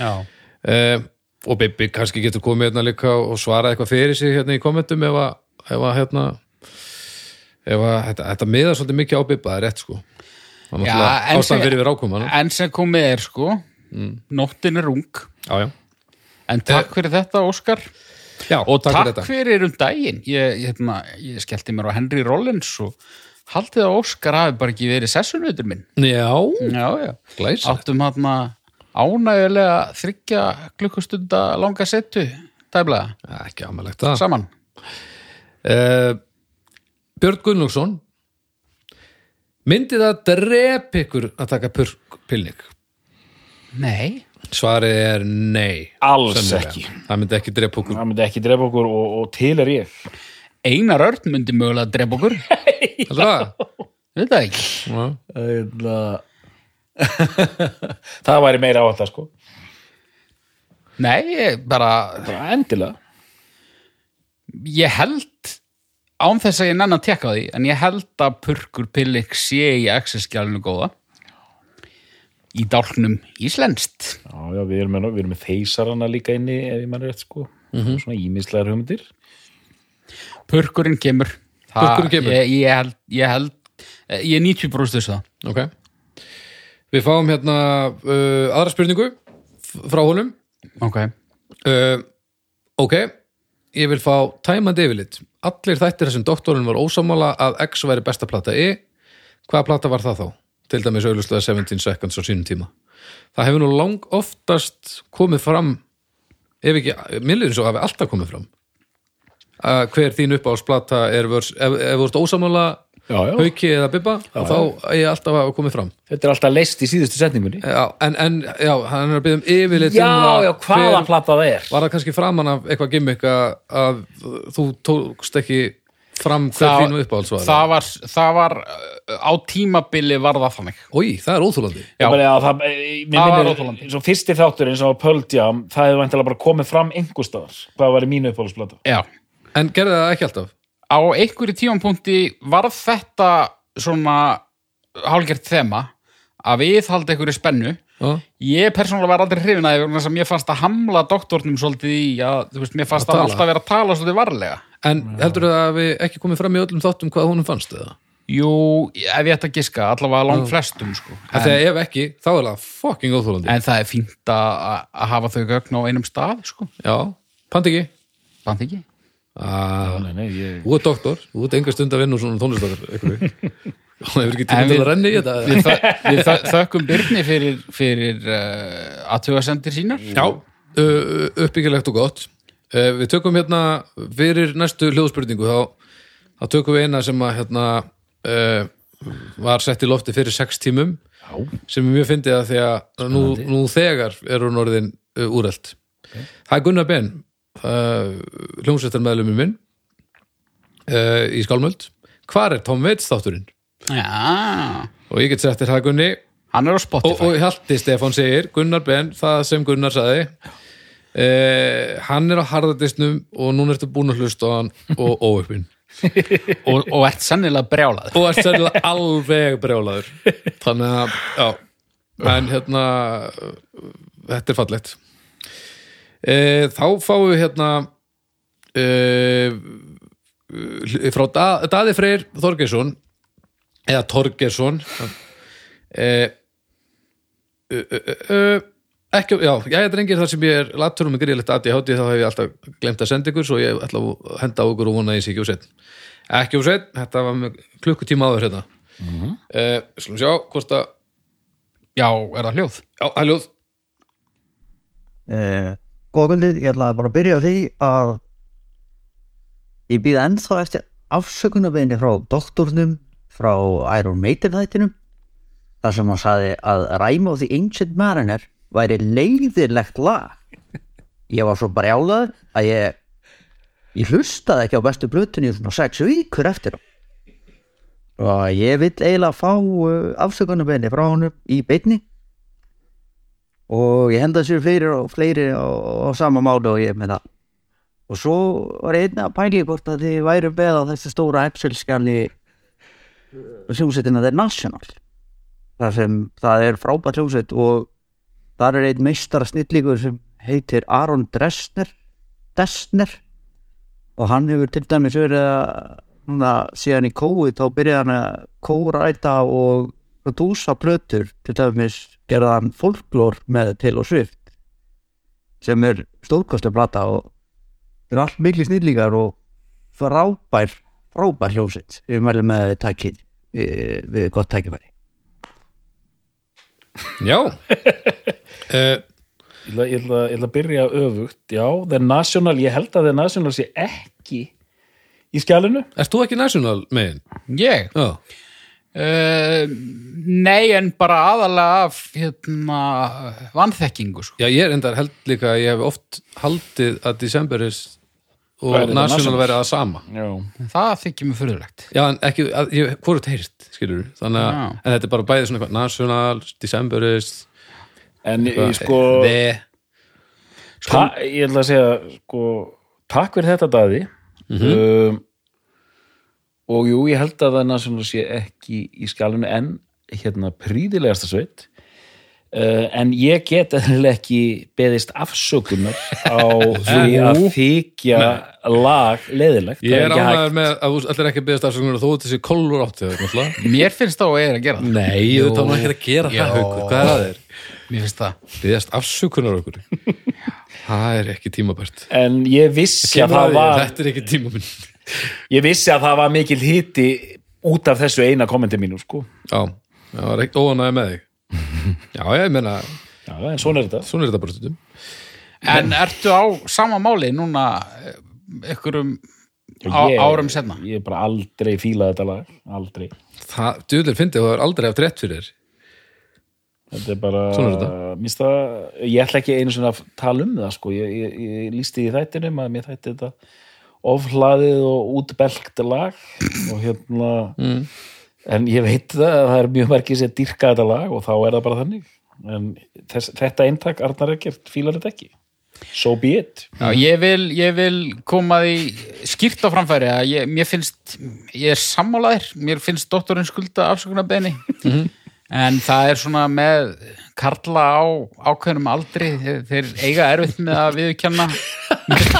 Speaker 3: Já.
Speaker 1: e, og Bibi kannski getur komið hérna líka og svarað eitthvað fyrir sig hérna í kommentum ef að, ef að hérna ef að þetta, þetta miðar svolítið mikið á Bibba, það er rétt sko Það er
Speaker 3: Já,
Speaker 1: náttúrulega
Speaker 3: en
Speaker 1: ástæðan
Speaker 3: sem-
Speaker 1: fyrir við rákum hann
Speaker 3: En sem komið er sko,
Speaker 1: Mm.
Speaker 3: nóttin er ung.
Speaker 1: já, já.
Speaker 3: En takk fyrir þetta, Óskar.
Speaker 1: já,
Speaker 3: Og takk,
Speaker 1: fyrir þetta
Speaker 3: fyrir um daginn. Ég, ég, hérna, ég skellti mér á Henry Rollins og haldið að Óskar hafi bara ekki verið sessunveitur minn.
Speaker 1: Já,
Speaker 3: Já, já.
Speaker 1: glæsa
Speaker 3: Áttum hann ánægulega þryggja klukkustunda langa setu, tæmlega,
Speaker 1: ekki amalegt það
Speaker 3: saman.
Speaker 1: uh, Björn Gunnlaugsson myndi það drep ykkur að taka purkpilning
Speaker 3: Nei.
Speaker 1: svarið er nei
Speaker 2: Alls
Speaker 1: sennilega.
Speaker 2: ekki.
Speaker 1: það myndi ekki drep okkur
Speaker 2: það myndi ekki drefa okkur og, og til er ég
Speaker 3: Einar Örn myndi mögulega að drepa okkur
Speaker 1: heldur það?
Speaker 3: Veit það ekki
Speaker 1: Já.
Speaker 2: það væri meira á þetta sko
Speaker 3: Nei, ég bara,
Speaker 2: bara endilega
Speaker 3: ég held án þess að ég nenn að tekka á því en ég held að Purkur Pillik sé í access-skjálinu góða í dálknum íslenskt
Speaker 2: já, já, við erum með, við erum með þeysarana líka inni ef ég mann rétt sko svona ímislegar hugmyndir
Speaker 3: Purkurinn kemur, Það-
Speaker 1: Purkurinn kemur.
Speaker 3: Ég, ég held, ég held eh, ég er 90 brúst þessu það
Speaker 1: Ok. Við fáum hérna uh, aðra spurningu f- frá honum.
Speaker 3: Ok,
Speaker 1: Uh, ok, ég vil fá tæmandi yfirlit. Allir þættir þessum doktorinn var ósámála að X væri besta plata E. Hvaða plata var það þá? Til dæmis auðvitað 17 seconds á sínum tíma. Það hefur nú lang oftast komið fram, ef ekki, minnliðin svo hafi alltaf komið fram. Uh, hver þín uppáhalsplata er, vers, ef, ef þú ert ósámála,
Speaker 2: já, já.
Speaker 1: hauki eða bibba, þá er ég alltaf að komið fram.
Speaker 2: þetta er alltaf leist í síðustu setningunni
Speaker 1: Já, en, en já, hann er að byggja um yfirleitt um
Speaker 2: já,
Speaker 1: það
Speaker 2: já, hvaðan
Speaker 1: hver-
Speaker 2: platta það er
Speaker 1: Var það kannski framan af eitthvað gimmick að, að þú tókst ekki fram hver
Speaker 3: Það-
Speaker 1: þínu uppáhaldsvar
Speaker 3: það var, það var uh, á tímabili var það þannig
Speaker 1: Í, það er óþúlandi
Speaker 3: Já.
Speaker 2: Bara, já, það, eh, mér
Speaker 3: Það var
Speaker 2: minnir,
Speaker 3: óþolandi.
Speaker 2: eins og fyrsti þátturinn sem var Pöldjám, það hefði vantilega bara komið fram einhverstaðar, hvað var í mínu uppáhaldsplata
Speaker 3: Já,
Speaker 1: En gerði það ekki alltaf?
Speaker 3: á einhverju tímanpunkti var þetta svona hálgert þema að við haldi einhverju spennu
Speaker 1: Já,
Speaker 3: ég persónulega var aldrei hrifin að því að mér fannst að hamla doktornum svolítið í að, þú veist, mér fannst
Speaker 1: Að
Speaker 3: að
Speaker 1: tala.
Speaker 3: alltaf vera að tala svolítið varlega
Speaker 1: En heldur það að við ekki komið fram í öllum þáttum hvað honum fannst eða?
Speaker 3: jú, ef ég ætti að giska, allavega lang flestum sko.
Speaker 1: En,
Speaker 3: en,
Speaker 1: Þegar ef ekki, þá er það fucking óþúlandi
Speaker 3: en það er fínt að, að hafa þau gögn á einum stað sko.
Speaker 1: Já, pant ekki
Speaker 3: band ekki
Speaker 1: Ah,
Speaker 2: nei, nei, ég...
Speaker 1: Þú ert doktor, þú ert einhver stund að vinna úr svona tónlistakar Hún hefur ekki tíma
Speaker 3: En
Speaker 1: til
Speaker 3: við-
Speaker 1: að renni í þetta
Speaker 3: við, þö, við þö, þökkum Byrni fyrir, fyrir uh, aðtugasendir sínar
Speaker 1: Já, Eh, uh, uppbyggilegt og gott uh, Við tökum hérna fyrir næstu hljóðspurningu þá þá tökum við eina sem að hérna, uh, var sett í lofti fyrir sex tímum
Speaker 2: Já.
Speaker 1: sem er mjög fyndið að því að nú,
Speaker 2: Spennandi.
Speaker 1: nú þegar er hún orðin uh, úrelt Það er Gunnar Ben uh, hljómsveitarmeðlumur minn uh, í Skálmöld Hvar er Tom Veits þátturinn?
Speaker 3: Já,
Speaker 1: Og ég get sett þér það Gunni
Speaker 3: hann er á
Speaker 1: og,
Speaker 3: Spotify.
Speaker 1: og Hjalti Stefán segir Gunnar Ben, það sem Gunnar saði eh, hann er á harðardisnum og núna ertu búin að hlusta á hann og óöppin
Speaker 3: og, og ert sennilega brjálaður
Speaker 1: og ert sennilega alveg brjólaður þannig að, já en hérna þetta er fallegt e, þá fáum við hérna e, frá da, Daði Freyr Þorgesson eða Torgesson e, e, e, e, ekki, já, ég er drengir þar sem ég er latur og með gríðilegt aðið hátíð þá hef ég alltaf glemt að senda ykkur svo ég ætla að henda á ykkur og vona að ég sé ekki og sett ekki úr sveit, þetta var með klukkutíma áður hérna mm slum sjá hvort að,
Speaker 3: já, er það hljóð?
Speaker 1: já, það er ljóð
Speaker 6: Uh, Góðkvöldið, ég ætlaði bara að byrja á því að ég býða ennþá eftir afsökunarbeginni frá doktornum frá Iron Maiden þættinum þar sem hann saði að Rime of the Ancient Mariner væri leiðilegt lag ég var svo brjálaður að ég ég hlustaði ekki á bestu blötunni í svona sex vikur eftir á. og ég vill eiginlega fá uh, afsökunarbeginni frá hann í beinni og ég henda sér fleiri og fleiri á, á sama máli og ég með það og svo var ég einnig að pæli hvort að þið væru beð á þessu stóra Excel-skjali hljómsveitina The National þar sem það er frábært hljómsveit og þar er einn meistara snillíkur sem heitir Aron Dresner Dresner og hann hefur til dæmis verið að núna, síðan í kói þá byrjaði hann að kóræta og prodúsa plötur til dæmis gerði hann folklór með til og svift sem er stórkostlega plata og það er allt miklu snillíkar og frábær frábær hljómsveit við mælum með takkið eh, við gott tækifæri
Speaker 1: já uh,
Speaker 2: Ég ætla- ég ætla ég ætla að byrja öfugt. Já, The National, ég held að The National sé ekki í skjælinu.
Speaker 1: ert þú ekki national megin?
Speaker 3: ég?
Speaker 1: já,
Speaker 3: Uh, nei, en bara aðalega af hérna, vanþekkingu sko.
Speaker 1: já ég er endar held líka að ég hef oft haldið að Decemberis og
Speaker 2: Væri það
Speaker 1: national
Speaker 2: National?
Speaker 1: verið að sama
Speaker 2: Já.
Speaker 3: það þykir mér fyrirlegt
Speaker 1: já, en ekki, að, ég, hvort heyrt skilur, þannig að,
Speaker 3: Já.
Speaker 1: en þetta er bara bæðið svona eitthvað national, Decemberis
Speaker 2: En ég, ég sko,
Speaker 1: the,
Speaker 2: ta, ég ætla að segja, sko, takk fyrir þetta daði.
Speaker 1: Mhm.
Speaker 2: um, og jú, ég held að The National sé ekki í skjælinu en hérna príðilegasta sveit. Uh, en ég get eðlilega ekki beðist afsökunar á því að þykja lag leðilegt.
Speaker 1: ég er ánæður með að þú allir ekki að byggðast afsökunar og þú ert þessi kolur áttið
Speaker 3: mér finnst það og ég er að gera það
Speaker 1: nei, þú ert ekki að gera
Speaker 3: Jó.
Speaker 1: það haukur, hvað er að þér?
Speaker 3: mér finnst það
Speaker 1: Biðjast afsökunar okkur Það er ekki tímabært
Speaker 2: En ég vissi að það var...
Speaker 1: Þetta er ekki tímabært
Speaker 2: Ég vissi að það var mikil hiti út af þessu eina kommenti mínu, sko.
Speaker 1: Já, það var ekkert óanæði með þig Já, ég meina,
Speaker 2: Já, en svona er þetta.
Speaker 1: svona er þetta bara stundum
Speaker 3: en ertu á sama máli núna eh, ykkurum á,
Speaker 2: Ég-
Speaker 3: árum senna
Speaker 2: Ég er bara aldrei fílað þetta lag, aldrei.
Speaker 1: Það, djúðlega fyndið, þú er aldrei haft rétt fyrir þér.
Speaker 2: Þetta er bara...
Speaker 1: Svona er þetta.
Speaker 2: Mér finnst það, ég ætla ekki einu svona að tala um það, sko. Ég, ég, ég lísti í þættinum að mér þætti þetta ofhlaðið og útbelgt lag og hérna...
Speaker 1: Mm.
Speaker 2: En ég veit það að það er mjög margir sem dýrka þetta lag og þá er það bara þannig. En þess, þetta eintak, Arnar Ekkert, fílar þetta ekki. So be it.
Speaker 3: Já, ég vil, ég vil koma því skýrt á framfæri að ég, mér finnst ég er sammálaðir, mér finnst doktorinn skulda afsökunarbeini en það er svona með karla á ákveðnum aldri þeir, þeir eiga erfitt með að viðkjanna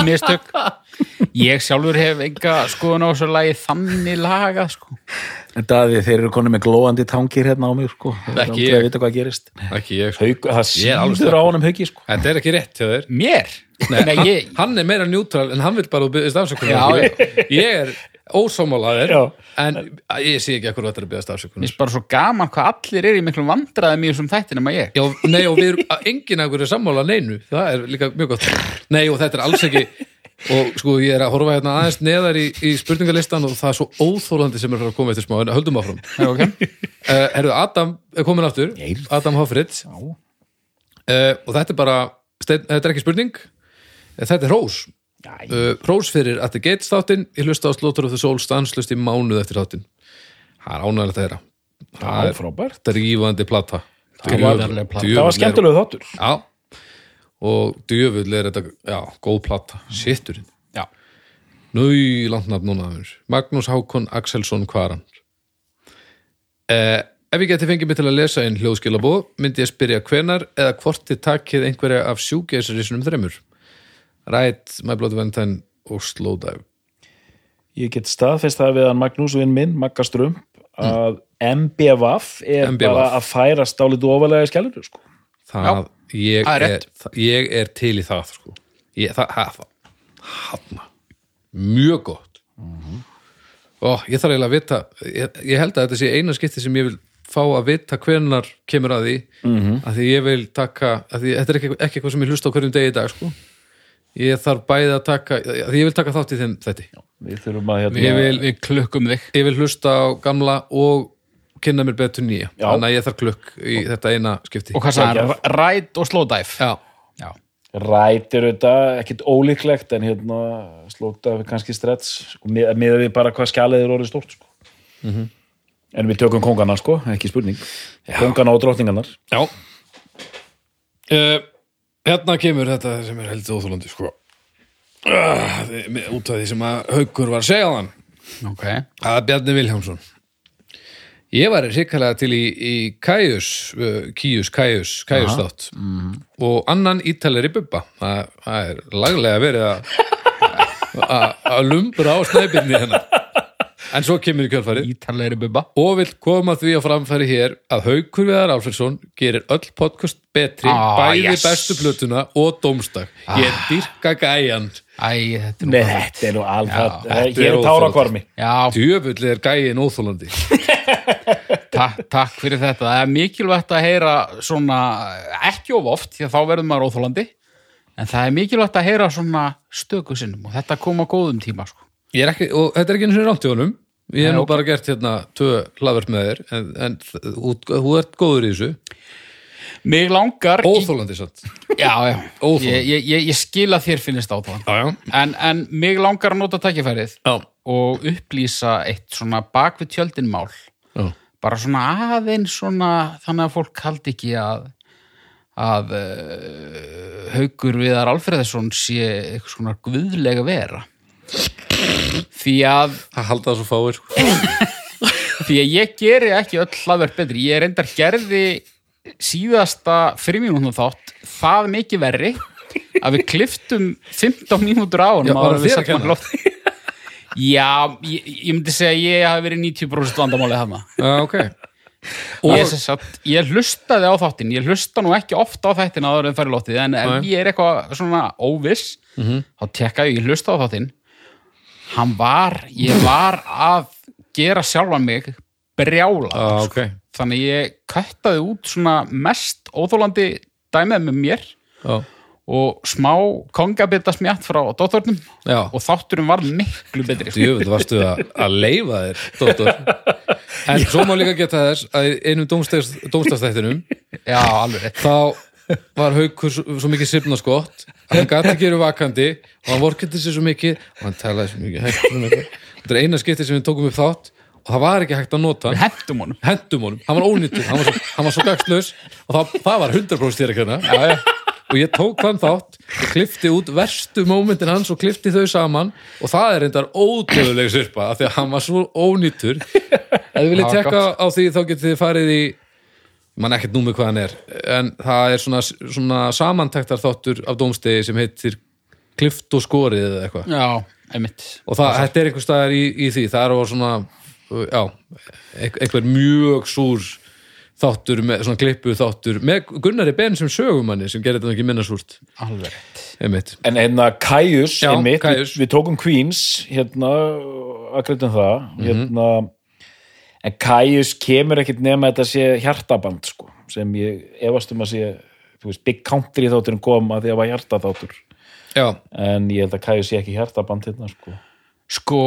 Speaker 3: mistök ég sjálfur hef enga skoðun á þessu lagi þannig laga sko.
Speaker 2: Daði, þeir eru konið með glóandi tangir hérna á mig, sko. Það er
Speaker 1: Ekki
Speaker 2: aldrei
Speaker 1: ég.
Speaker 2: að vita hvað gerist.
Speaker 1: Ekki ég sko.
Speaker 2: Hauk, það
Speaker 1: Ég er alveg
Speaker 2: síður á
Speaker 1: slakur.
Speaker 2: honum hauki, sko.
Speaker 1: Þetta er ekki rétt hjá þér
Speaker 3: mér Nei, ég,
Speaker 1: Hann er meira njútral en hann vil bara að þú biðjast afsökunar
Speaker 3: Já,
Speaker 1: já. Ég er ósámálaðir
Speaker 2: Já.
Speaker 1: En ég sé ekki að hverju þetta er að biðjast
Speaker 3: mér
Speaker 1: afsökunar
Speaker 3: finnst bara svo gaman hvað allir er í miklum vandræðum í þessum þættinum að ég
Speaker 1: Já, nei og við erum að enginn af hverju er sammála neinu, það er líka mjög gott Nei og þetta er alls ekki og sko ég er að horfa hérna aðeins neðar í, í spurningalistan og það er svo óþólandi sem er að fara að koma eftir smá en höldum áfram
Speaker 3: Já, ok.
Speaker 1: uh, Herðu, Adam er komin aftur
Speaker 2: Eyrð.
Speaker 1: Adam Hoffritz uh, og þetta er bara, stein, þetta er ekki spurning eh, þetta er Rós uh, Rós fyrir að þið geit státtin ég hlusta á Slaughter of the Soul stanslust í mánuð eftir þáttin það er ánægilegt að þeirra
Speaker 2: það
Speaker 1: það
Speaker 2: er
Speaker 1: er
Speaker 2: frábært
Speaker 1: drífandi plata
Speaker 3: Það var verðileg plata.
Speaker 1: Djöfull
Speaker 2: það var
Speaker 1: er-
Speaker 2: skemmtilegu þáttur
Speaker 1: Já og djöfull er þetta, já, góð plata sitturinn
Speaker 3: Já.
Speaker 1: Nau landnafn núna aður Magnús Hákon Axelsson Kvaran eh, Ef ég geti fengið mig til að lesa einn hljóðskilabóð myndi ég spyrja hvenar eða hvort þið takkið einhverja af sjúkeisarísunum þremur Rætt, My Blood Valentine og Slowdive
Speaker 2: ég get staðfest það við hann Magnús vinn minn, Magga Strömp
Speaker 1: Mm.
Speaker 2: að MBVF er
Speaker 1: MBVAF.
Speaker 2: bara að færa stálið ofalega í skellur sko.
Speaker 1: Það, ég,
Speaker 3: það er
Speaker 1: er,
Speaker 3: rétt.
Speaker 1: það- ég er til í það sko. ég, það, það, það hafna, mjög gott
Speaker 3: Mhm.
Speaker 1: Ó, ég þarf eiginlega að vita ég, ég held að þetta sé eina skipti sem ég vil fá að vita hvenar kemur að því
Speaker 3: Mhm.
Speaker 1: að því ég vil taka að því, þetta er ekki, ekki eitthvað sem ég hlusta á hverjum degi í dag sko. ég þarf bæði að taka að því ég vil taka þátt í þeim þetta
Speaker 2: við þurfum að hérna
Speaker 1: Ég vil-
Speaker 3: Við klukkum þig.
Speaker 1: ég vil hlusta á gamla og kynna mér betur nýja
Speaker 2: Já.
Speaker 1: þannig að ég þarf klukk í þetta eina skipti
Speaker 3: Og hvað sagði hann? Ræt og slowdive.
Speaker 1: já
Speaker 3: Já.
Speaker 2: rætir þetta, ekkit ólíklegt en hérna slóta við kannski strets sko, með, með við bara hvað skjalið er orðið stórt sko.
Speaker 1: Mhm.
Speaker 2: en við tökum kongana sko, ekki spurning kongana og drottningarnar
Speaker 1: Já uh, Hérna kemur þetta sem er heldur óþólandi sko uh, út af því sem að haukur var að segja á hann
Speaker 3: Ok.
Speaker 1: að Bjarni Vilhjámsson Ég var hrikalega til í, í Kajus, uh, Kíus, Kajus, Kajus þátt og annan ítalari bubba það það er laglega verið að að- að lumbra á snæbirni hennar en svo kemur í kjölfarið
Speaker 3: Ítalegri bubba.
Speaker 1: og vill koma því á framfæri hér að Haukur Viðar Alfredsson gerir öll podcast betri,
Speaker 3: Ah,
Speaker 1: bæði
Speaker 3: yes. Ah.
Speaker 1: bestu plötuna og dómstag. Ég dyrka gæjan.
Speaker 3: Æ, þetta er nú
Speaker 2: Nei,
Speaker 3: bara-
Speaker 2: þetta er nú alveg,
Speaker 1: þetta
Speaker 2: hér
Speaker 1: er
Speaker 2: er tárakvarmi
Speaker 3: Já,
Speaker 1: Djöfull er gæjan óþólandi.
Speaker 3: takk, takk fyrir þetta. Það er mikilvægt að heyra svona, ekki of oft, því að þá verður maður óþólandi, en það er mikilvægt að heyra svona stöku sinnum og þetta kom á góðum tíma, sko.
Speaker 1: Ég er ekki, og þetta er ekki eins og rámt í honum. Ég hef
Speaker 3: Nei,
Speaker 1: nú
Speaker 3: ok.
Speaker 1: bara gert hérna tvö hlaðverk með þér, en, en þú, þú ert góður í þessu.
Speaker 3: Mig langar í
Speaker 1: Óþólandi satt.
Speaker 3: já, já.
Speaker 1: Óþolandi.
Speaker 3: Ég, ég, ég, ég skil að þér finnist átóðan
Speaker 1: Já, já.
Speaker 3: en, en mig langar að nota tækifærið
Speaker 1: Já.
Speaker 3: og upplýsa eitt svona bak við tjöldin mál
Speaker 1: Já.
Speaker 3: bara svona aðeins svona þannig að fólk haldi ekki að að uh, haugur viðar Alfreðsson sé eitthvað svona guðlega vera því að
Speaker 1: Það halda það svo fáir. sko.
Speaker 3: Því að ég geri ekki öll hlaðverk betri. Ég reyndar gerði síðasta fyrir mínútum þátt það mikið verri að við kliftum 15 mínútur á honum
Speaker 1: Já, var
Speaker 3: áður en
Speaker 1: það þér
Speaker 3: við
Speaker 1: að
Speaker 3: settum hann
Speaker 1: kenna?
Speaker 3: loft. Já, ég, ég myndi segja að ég hafi verið 90% vandamálið hana.
Speaker 1: Já, ok.
Speaker 3: Ég, sem sagt, ég hlustaði á þáttinn, ég hlusta nú ekki ofta á þættin áður en færi loftið, en ef
Speaker 1: Nei. Mhm.
Speaker 3: ég er eitthvað svona óviss, þá tekka ég, ég hlusta á þáttinn. Hann var, ég var að gera sjálfan mig brjála.
Speaker 1: Já, Ah, ok.
Speaker 3: þannig ég kættaði út svona mest óþólandi dæmið með mér
Speaker 1: Já.
Speaker 3: og smá kongabita smjátt frá dóttornum
Speaker 1: Já.
Speaker 3: og þátturum var miklu betri sko.
Speaker 1: Djöfull varstu að, að leifa þér, dóttor. En svo má líka geta þess að í einum dómstagstættinum
Speaker 3: Já, alveg rétt.
Speaker 1: þá var Haukur svo, svo mikið sifnaskott að hann gati ekki verið vakandi og hann vorkindi sér svo mikið og hann talaði svo mikið hægt um þetta. Þetta er eina skipti sem við tókum upp þátt og það var ekki hægt að nota
Speaker 3: Við
Speaker 1: hann
Speaker 3: hentum honum
Speaker 1: hendum honum, hann var ónýttur hann var svo, hann var svo gagslaus og það, það var 100% þér ekki hérna og ég tók þann þátt og klifti út verstu mómentin hans og klifti þau saman og það er reyndar ódöðuleg sirpa af því að hann var svo ónýttur ef þið viljið
Speaker 3: Það var
Speaker 1: tekka á því þá getið þið farið í mann ekkert númið hvað hann er en það er svona, svona samantektar þáttur af dómstegi sem heitir klift og skorið eða eitthvað
Speaker 3: Já, einmitt
Speaker 1: og það, þetta er einhver staðar í, í því það er á svona uh, já, ein- einhver mjög súr þáttur, með, svona klippu þáttur með Gunnari Ben sem sögumanni sem gerir þetta nú ekki minna súrt
Speaker 3: Alveg rétt
Speaker 1: einmitt.
Speaker 2: en hérna Kajus,
Speaker 1: Já,
Speaker 2: einmitt,
Speaker 1: Kaius.
Speaker 2: Við, við tókum Queens hérna, að greitum það hérna, en Kajus kemur ekkit nema þetta sé hjartaband sko, sem ég efast um að sé þú veist, Big Country þátturinn kom að því að það var hjartaþáttur
Speaker 1: já,
Speaker 2: en ég held að Kæju sé ekki hjartaband hérna sko.
Speaker 3: sko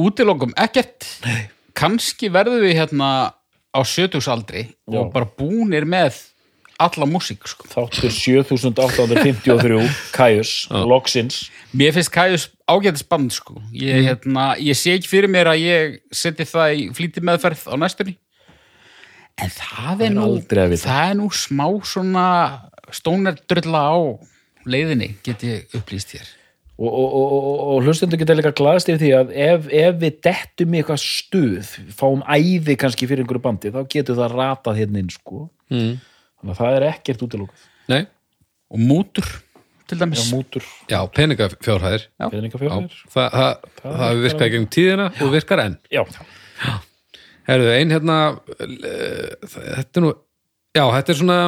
Speaker 3: útilokum ekkert kannski verðum við hérna á 70 aldri og bara búnir með alla músík sko.
Speaker 2: þáttur 7853 Kæjus, loksins
Speaker 3: mér finnst Kæjus ágætis band sko. ég, hérna, ég sé ekki fyrir mér að ég seti það í flýti meðferð á næstunni en það er,
Speaker 2: er
Speaker 3: nú
Speaker 2: aldrei að vita.
Speaker 3: það er nú smá svona stónar drulla á leiðinni get ég upplýst hér
Speaker 2: og, og, og, og, og hlustendur geta líka glaðst yfir því að ef, ef við dettum í eitthvað stuð fáum æði kannski fyrir einhverju bandi þá getur það ratað hérna inn sko.
Speaker 1: mm.
Speaker 2: þannig að það er ekkert útilókuð
Speaker 1: nei
Speaker 3: og mútur til dæmis
Speaker 2: mútur,
Speaker 1: já, peningafjárhæðir já,
Speaker 2: peðningafjörður
Speaker 1: það, það, það, það virkar í gegnum tíðina og virkar enn
Speaker 2: já,
Speaker 1: Herðu, ein hérna eh, þetta er nú já, þetta er svona,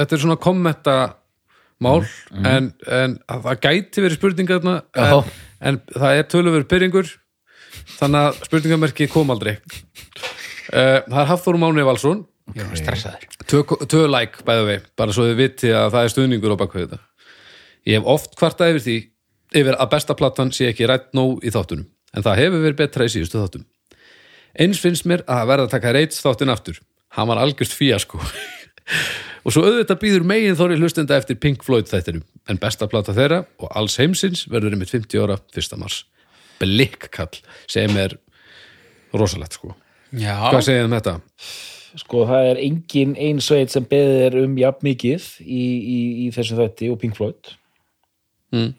Speaker 1: þetta er svona kommenta mál
Speaker 3: Mhm.
Speaker 1: en, en að það gæti verið spurninga þarna en, en það er töluverið byrringur þannig að spurningamerki kom aldrei uh, það er Hafþór Máni Valsson
Speaker 3: ég er stressaður
Speaker 1: Tvö tvö like bæðu við, bara svo þið viti að það er stuðningur á bakveg þetta. Ég hef oft kvartað yfir því yfir að besta platan sé ekki rætt nóg í þáttunum, en það hefur verið betra í síðustu þáttum. Eins finnst mér að það verða að taka reits þáttin aftur. Hann var algjörst fíasko. og svo auðvitað býður megin þóri hlustenda eftir Pink Floyd þættinum, en besta plata þeirra og alls heimsins verður einmitt 50 ára 1. mars. Blikkall sem er rosalegt sko. Hvað
Speaker 3: já,
Speaker 1: segið þið um þetta?
Speaker 2: sko það er engin ein sveit sem beðið er um jafn mikið í, í, í þessu þætti og Pink Floyd
Speaker 1: Mm.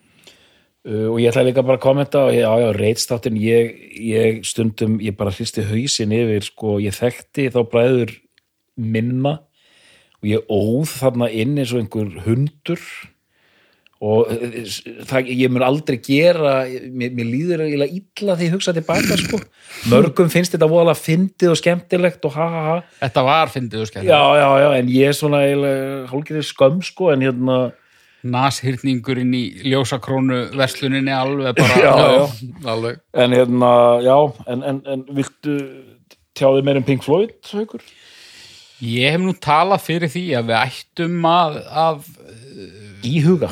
Speaker 2: uh, og ég ætla líka bara að kommenta og ég, já, já, reitstáttin, ég, ég stundum, ég bara hristi hausin yfir sko, ég þekkti þá bræður minna og ég óð þarna inn eins og einhver hundur og eh, s- það, ég mun aldrei gera mér, mér líður eiginlega illa því ég hugsa tilbaka sko, mörgum finnst þetta voðalega fyndið og skemmtilegt og ha ha ha
Speaker 3: þetta var fyndið og skemmt
Speaker 2: já, já, já, en ég er svona eiginlega hálfgerðið skömm sko, en hérna
Speaker 3: nashyrningurinn í ljósakrónu versluninni alveg bara
Speaker 1: Alveg.
Speaker 2: en hérna, já, en, en, en viltu tjáði meir um Pink Floyd haukur?
Speaker 3: Ég hef nú talað fyrir því að við ættum að, að
Speaker 2: Í huga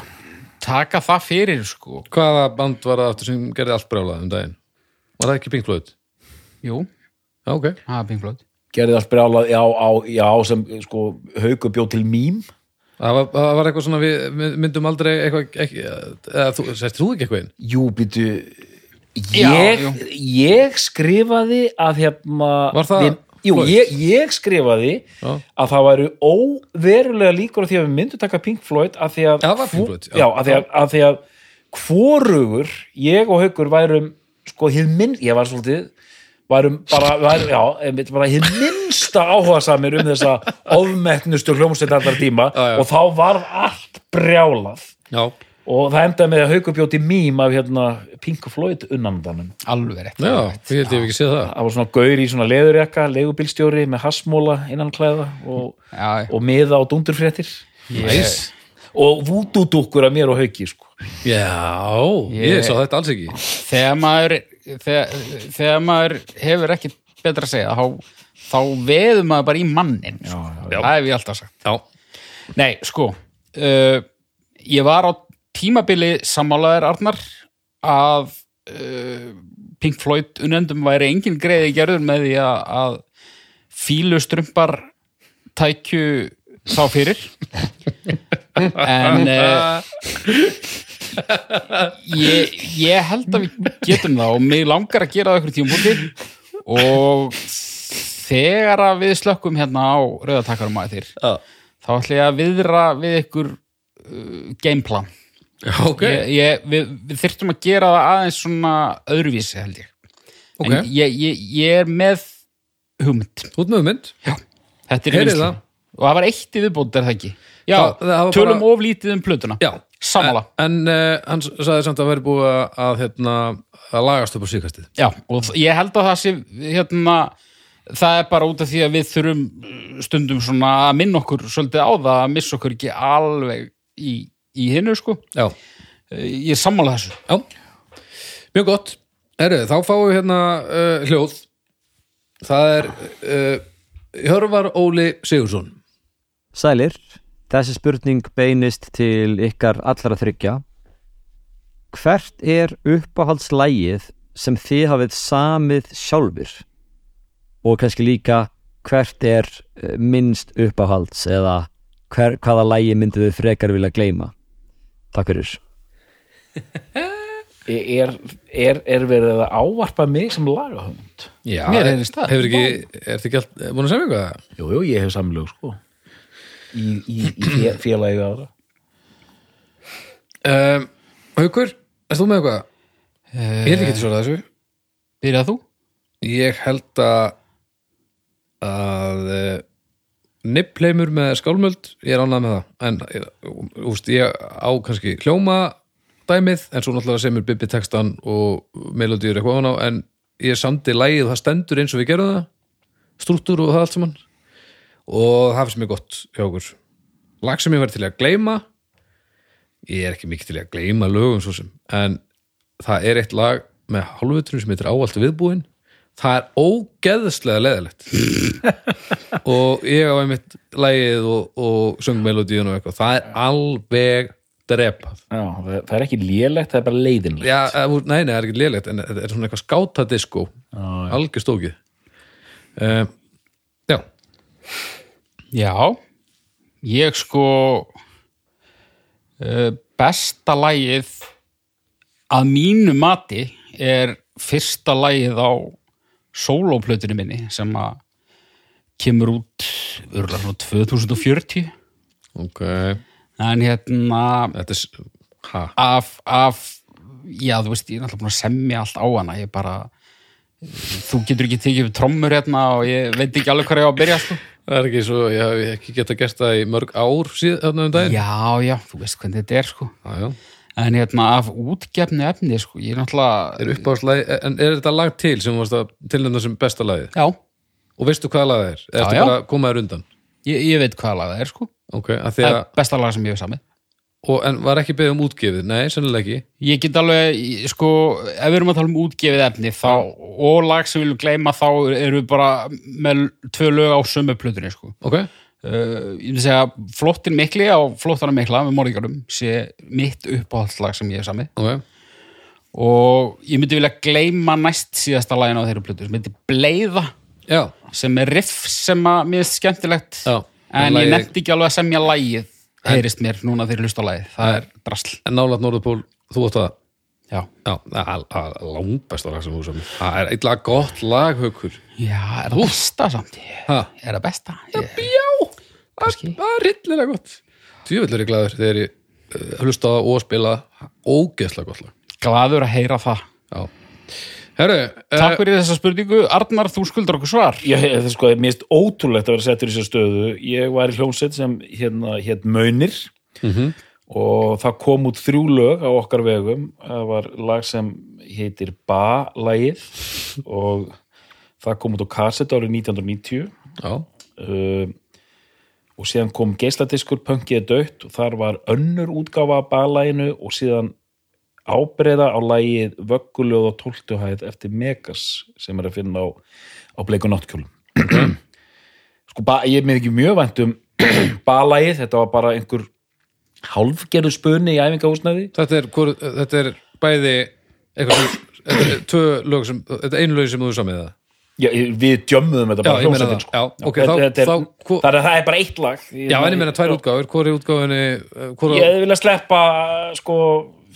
Speaker 3: taka það fyrir sko.
Speaker 1: Hvaða band var það aftur sem gerði allt brjálað um daginn? Var það ekki Pink Floyd?
Speaker 3: Jú,
Speaker 1: Já, ok.
Speaker 3: það er pingflöð.
Speaker 2: gerði allt brjálað, já, á, já, sem sko, haukur bjó til mím
Speaker 1: Það var, það var eitthvað svona, við við myndum aldrei eitthvað, ekki, eða þú, sérst þú ekki eitthvað inn?
Speaker 2: jú, býtu
Speaker 3: Já,
Speaker 2: ég,
Speaker 3: jú.
Speaker 2: ég skrifaði að hérna
Speaker 1: Var það
Speaker 2: við, jú,
Speaker 1: Floyd?
Speaker 2: ég, ég skrifaði
Speaker 1: Já.
Speaker 2: að það væru óverulega líkur á því að við myndum taka Pink Floyd að því að,
Speaker 1: Já, það var Pink
Speaker 2: hvor-
Speaker 1: Floyd, já.
Speaker 2: já, að, því að, að því að hvorugur ég og haukur værum sko hið minn, ég var svolítið værum bara, var, já, einmitt, bara hið minnsta áhuga samir um þessa ofmettnustu hljómsveit allar tíma
Speaker 1: Já, já.
Speaker 2: og þá var allt brjálað
Speaker 1: Já.
Speaker 2: og það endaði með að haukur bjóti mím af hérna Pink Floyd unnandanum
Speaker 3: Alveg rétt.
Speaker 1: Já,
Speaker 3: alveg rétt.
Speaker 1: ég held ég hef ekki séð það.
Speaker 2: það var svona gaur í svona leðurjaka, leigubílstjóri með hassmóla innan klæða og,
Speaker 3: Já,
Speaker 2: og miða á dundurfréttir
Speaker 3: ég,
Speaker 1: Næs.
Speaker 2: og vúdúdúkkur af mér og hauki sko.
Speaker 1: Já,
Speaker 3: Ég-
Speaker 1: ég sá þetta alls ekki.
Speaker 3: Þegar, maður, þegar, þegar maður hefur ekki betra að segja, þá, þá veður maður bara í mannin. Sko.
Speaker 1: já.
Speaker 3: Það hef ég alltaf sagt.
Speaker 1: Já.
Speaker 3: Nei, sko, uh, ég var á tímabili sammálaðir Arnar að uh, Pink Floyd unendum væri engin greiði gerður með því að, að fílustrumpar tækju þá fyrir en uh, ég, ég held að við getum það og mig langar að gera það ykkur tímabúti og þegar að við slökkum hérna á rauðatakarum að þér
Speaker 1: Já.
Speaker 3: þá ætla ég að viðra við ykkur uh, gameplan
Speaker 1: Já, ok.
Speaker 3: ég, ég, við, við þyrftum að gera það aðeins svona öðruvísi held ég
Speaker 1: ok.
Speaker 3: en ég, ég, ég er með hugmynd
Speaker 1: Þú ert með mynd?
Speaker 3: þetta er í
Speaker 1: Heyrið
Speaker 3: vinnslu.
Speaker 1: það.
Speaker 3: og það var eitt í viðbúnd er það ekki já,
Speaker 1: Það- það var
Speaker 3: tölum
Speaker 1: bara-
Speaker 3: of lítið um plötuna
Speaker 1: Já.
Speaker 3: sammála,
Speaker 1: En, en uh, hann sagði samt að verið búið að, að, hérna, að lagast upp á síkastið.
Speaker 3: já, og þ- ég held að það sé hérna það er bara út af því að við þurfum uh, stundum svona að minna okkur svolítið á það að missa okkur ekki alveg í, í hinu sko
Speaker 1: Já.
Speaker 3: Eh, ég er sammála þessu
Speaker 1: Já. Mjög gott. Herru, þá fáum við hérna uh, hljóð. Það er uh, Hjörvar Óli Sigursson.
Speaker 6: Sælir, þessi spurning beinist til ykkar allra þryggja
Speaker 7: hvert er uppáhaldslægið sem þið hafið samið sjálfur og kannski líka hvert er eh, minnst uppáhalds eða hver, hvaða lægi myndið þið frekar vilja gleyma takk fyrir
Speaker 2: er, er, er verið að ávarpa mig sem lagahönd
Speaker 1: Já,
Speaker 3: Mér heyrðist það.
Speaker 1: Hefur ekki, er þetta ekki allt, búin að segja eitthvað?
Speaker 2: jú, jú, ég hef samlög sko í, í, í fé- félagi við aðra
Speaker 1: Um, Haukur, erst þú með eitthvað? Ég held ekki að svara þessu.
Speaker 3: Byrjað þú?
Speaker 1: Ég held að að eh, nippleimur með skálmöld, ég er ánægð með það en eh, úst, ég á kannski hljóma dæmið, en svo náttúrulega semur Bibi textan og melodíur eitthvað án á, en ég samdi lægið, það stendur eins og við gerum það struktúr og það allt saman og það finnst mér gott hjá okkur lag sem ég verið til að gleyma ég er ekki mikið til að gleyma lögum svo sem, en það er eitt lag með hálfutunum sem heitir áallt viðbúin það er ógeðslega leðilegt og ég á einmitt lagið og, og söngmelodíun og eitthvað, það er alveg drepað
Speaker 2: Já, það, það er ekki lélegt, það er bara leiðinlegt
Speaker 1: Já, eða, þú- nei, nei, það er ekki lélegt en þetta er svona eitthvað skátadiskó algjör stókið uh, Já,
Speaker 3: Já ég sko uh, besta lægið að mínu mati er fyrsta lægið á sólóplötunni minni sem að kemur út örgulega svona 2040
Speaker 1: ok
Speaker 3: en hérna
Speaker 1: Þetta er, s- ha,
Speaker 3: af, af já, þú veist, ég er náttúrulega búin að semja allt á hana ég bara þú getur ekki tekið upp trommur hérna og ég veit ekki alveg hvað ég á að byrja sko.
Speaker 1: það er ekki svo ég hef ekki geta gert það í mörg ár síðan þarna um daginn
Speaker 3: já, já, þú veist hvernig þetta er sko.
Speaker 1: Já, já.
Speaker 3: en hérna, af útgefni efni sko, ég er náttúrulega
Speaker 1: Er uppáðslæg, en er þetta lag til sem þú varst að tilnefna sem besta lagið?
Speaker 3: já,
Speaker 1: Og veistu hvaða lag það er? Eða
Speaker 3: Já,
Speaker 1: ertu
Speaker 3: já.
Speaker 1: bara að koma þér undan?
Speaker 3: ég, ég veit hvaða lag það er sko.
Speaker 1: Ok, að því
Speaker 3: það
Speaker 1: að,
Speaker 3: er besta lag sem ég hef samið
Speaker 1: og, en var ekki beðið um útgefið? Nei, sennilega ekki.
Speaker 3: ég get alveg, ég- sko, ef við erum að tala um útgefið efni þá, og lag sem við viljum gleyma þá erum við bara með tvö lög á sömu plötunni sko.
Speaker 1: Ok,
Speaker 3: uh, ég vil segja flottin mikli á flottan mikla með morðingarum sé mitt uppáhaldslag sem ég er samið
Speaker 1: ok.
Speaker 3: og ég myndi vilja gleyma næst síðasta lagin á þeirra plötu sem myndi Bleiða
Speaker 1: Já,
Speaker 3: sem er riff sem að mér er skemmtilegt
Speaker 1: Já, en
Speaker 3: en
Speaker 1: lagið-
Speaker 3: ég nefndi ekki alveg að semja lagið heyrist mér núna þegar ég hlusta á lagið það er drasl
Speaker 1: en nálaðt Norðupól, þú átt það.
Speaker 3: já,
Speaker 1: Já, það er langbesta lag sem þú sem. Það er eitthvað gott lag, haukur.
Speaker 3: já er það besta samt ég
Speaker 1: Ha,
Speaker 3: er það besta ég,
Speaker 1: já,
Speaker 3: Kannski.
Speaker 1: það er rillilega gott. Tjöfullur er glæður þegar ég uh, hlusta á og spila ógeðslega gott lag.
Speaker 3: gladur að heyra það
Speaker 1: Já. Herru, eh,
Speaker 3: takk fyrir þessa spurningu, Arnar þú skuldar okkur svar
Speaker 2: Ég, það er sko, það er mist ótrúlegt að vera settur í þessu stöðu. Ég var í hljómsveit sem hérna, hérna Mönir og það kom út þrjú lög á okkar vegum. Það var lag sem heitir Ba-lagið og það kom út á kassett árið 1990
Speaker 1: já,
Speaker 2: uh, og síðan kom geisladiskur Punkið er dött og þar var önnur útgáfa af balaginu og síðan ábreyða á lagið Vögguljóð og tóltuhæð eftir Megas sem er að finna á, á bleiku náttkjólum sko, ba, ég er mér ekki mjög vænt um balagið, þetta var bara einhver hálfgerðu spuni í æfingahúsnaði
Speaker 1: þetta er, hvor, þetta er bæði eitthvað sem, þetta er tvö lög sem, þetta er einu lög sem þú um samið það.
Speaker 2: Já, ég- við djömmuðum þetta
Speaker 1: Já,
Speaker 2: bara
Speaker 1: ég meina
Speaker 2: hljómsveitin, sko.
Speaker 1: það. Já, ok,
Speaker 2: Þetta-
Speaker 1: þá-
Speaker 2: þetta er,
Speaker 1: þá- hvor-
Speaker 2: það, er, það er bara eitt lag
Speaker 1: Já, en ég meina tvær útgáfur, hvori útgáfunni, hvori...
Speaker 2: Ég hefði viljað sleppa sko,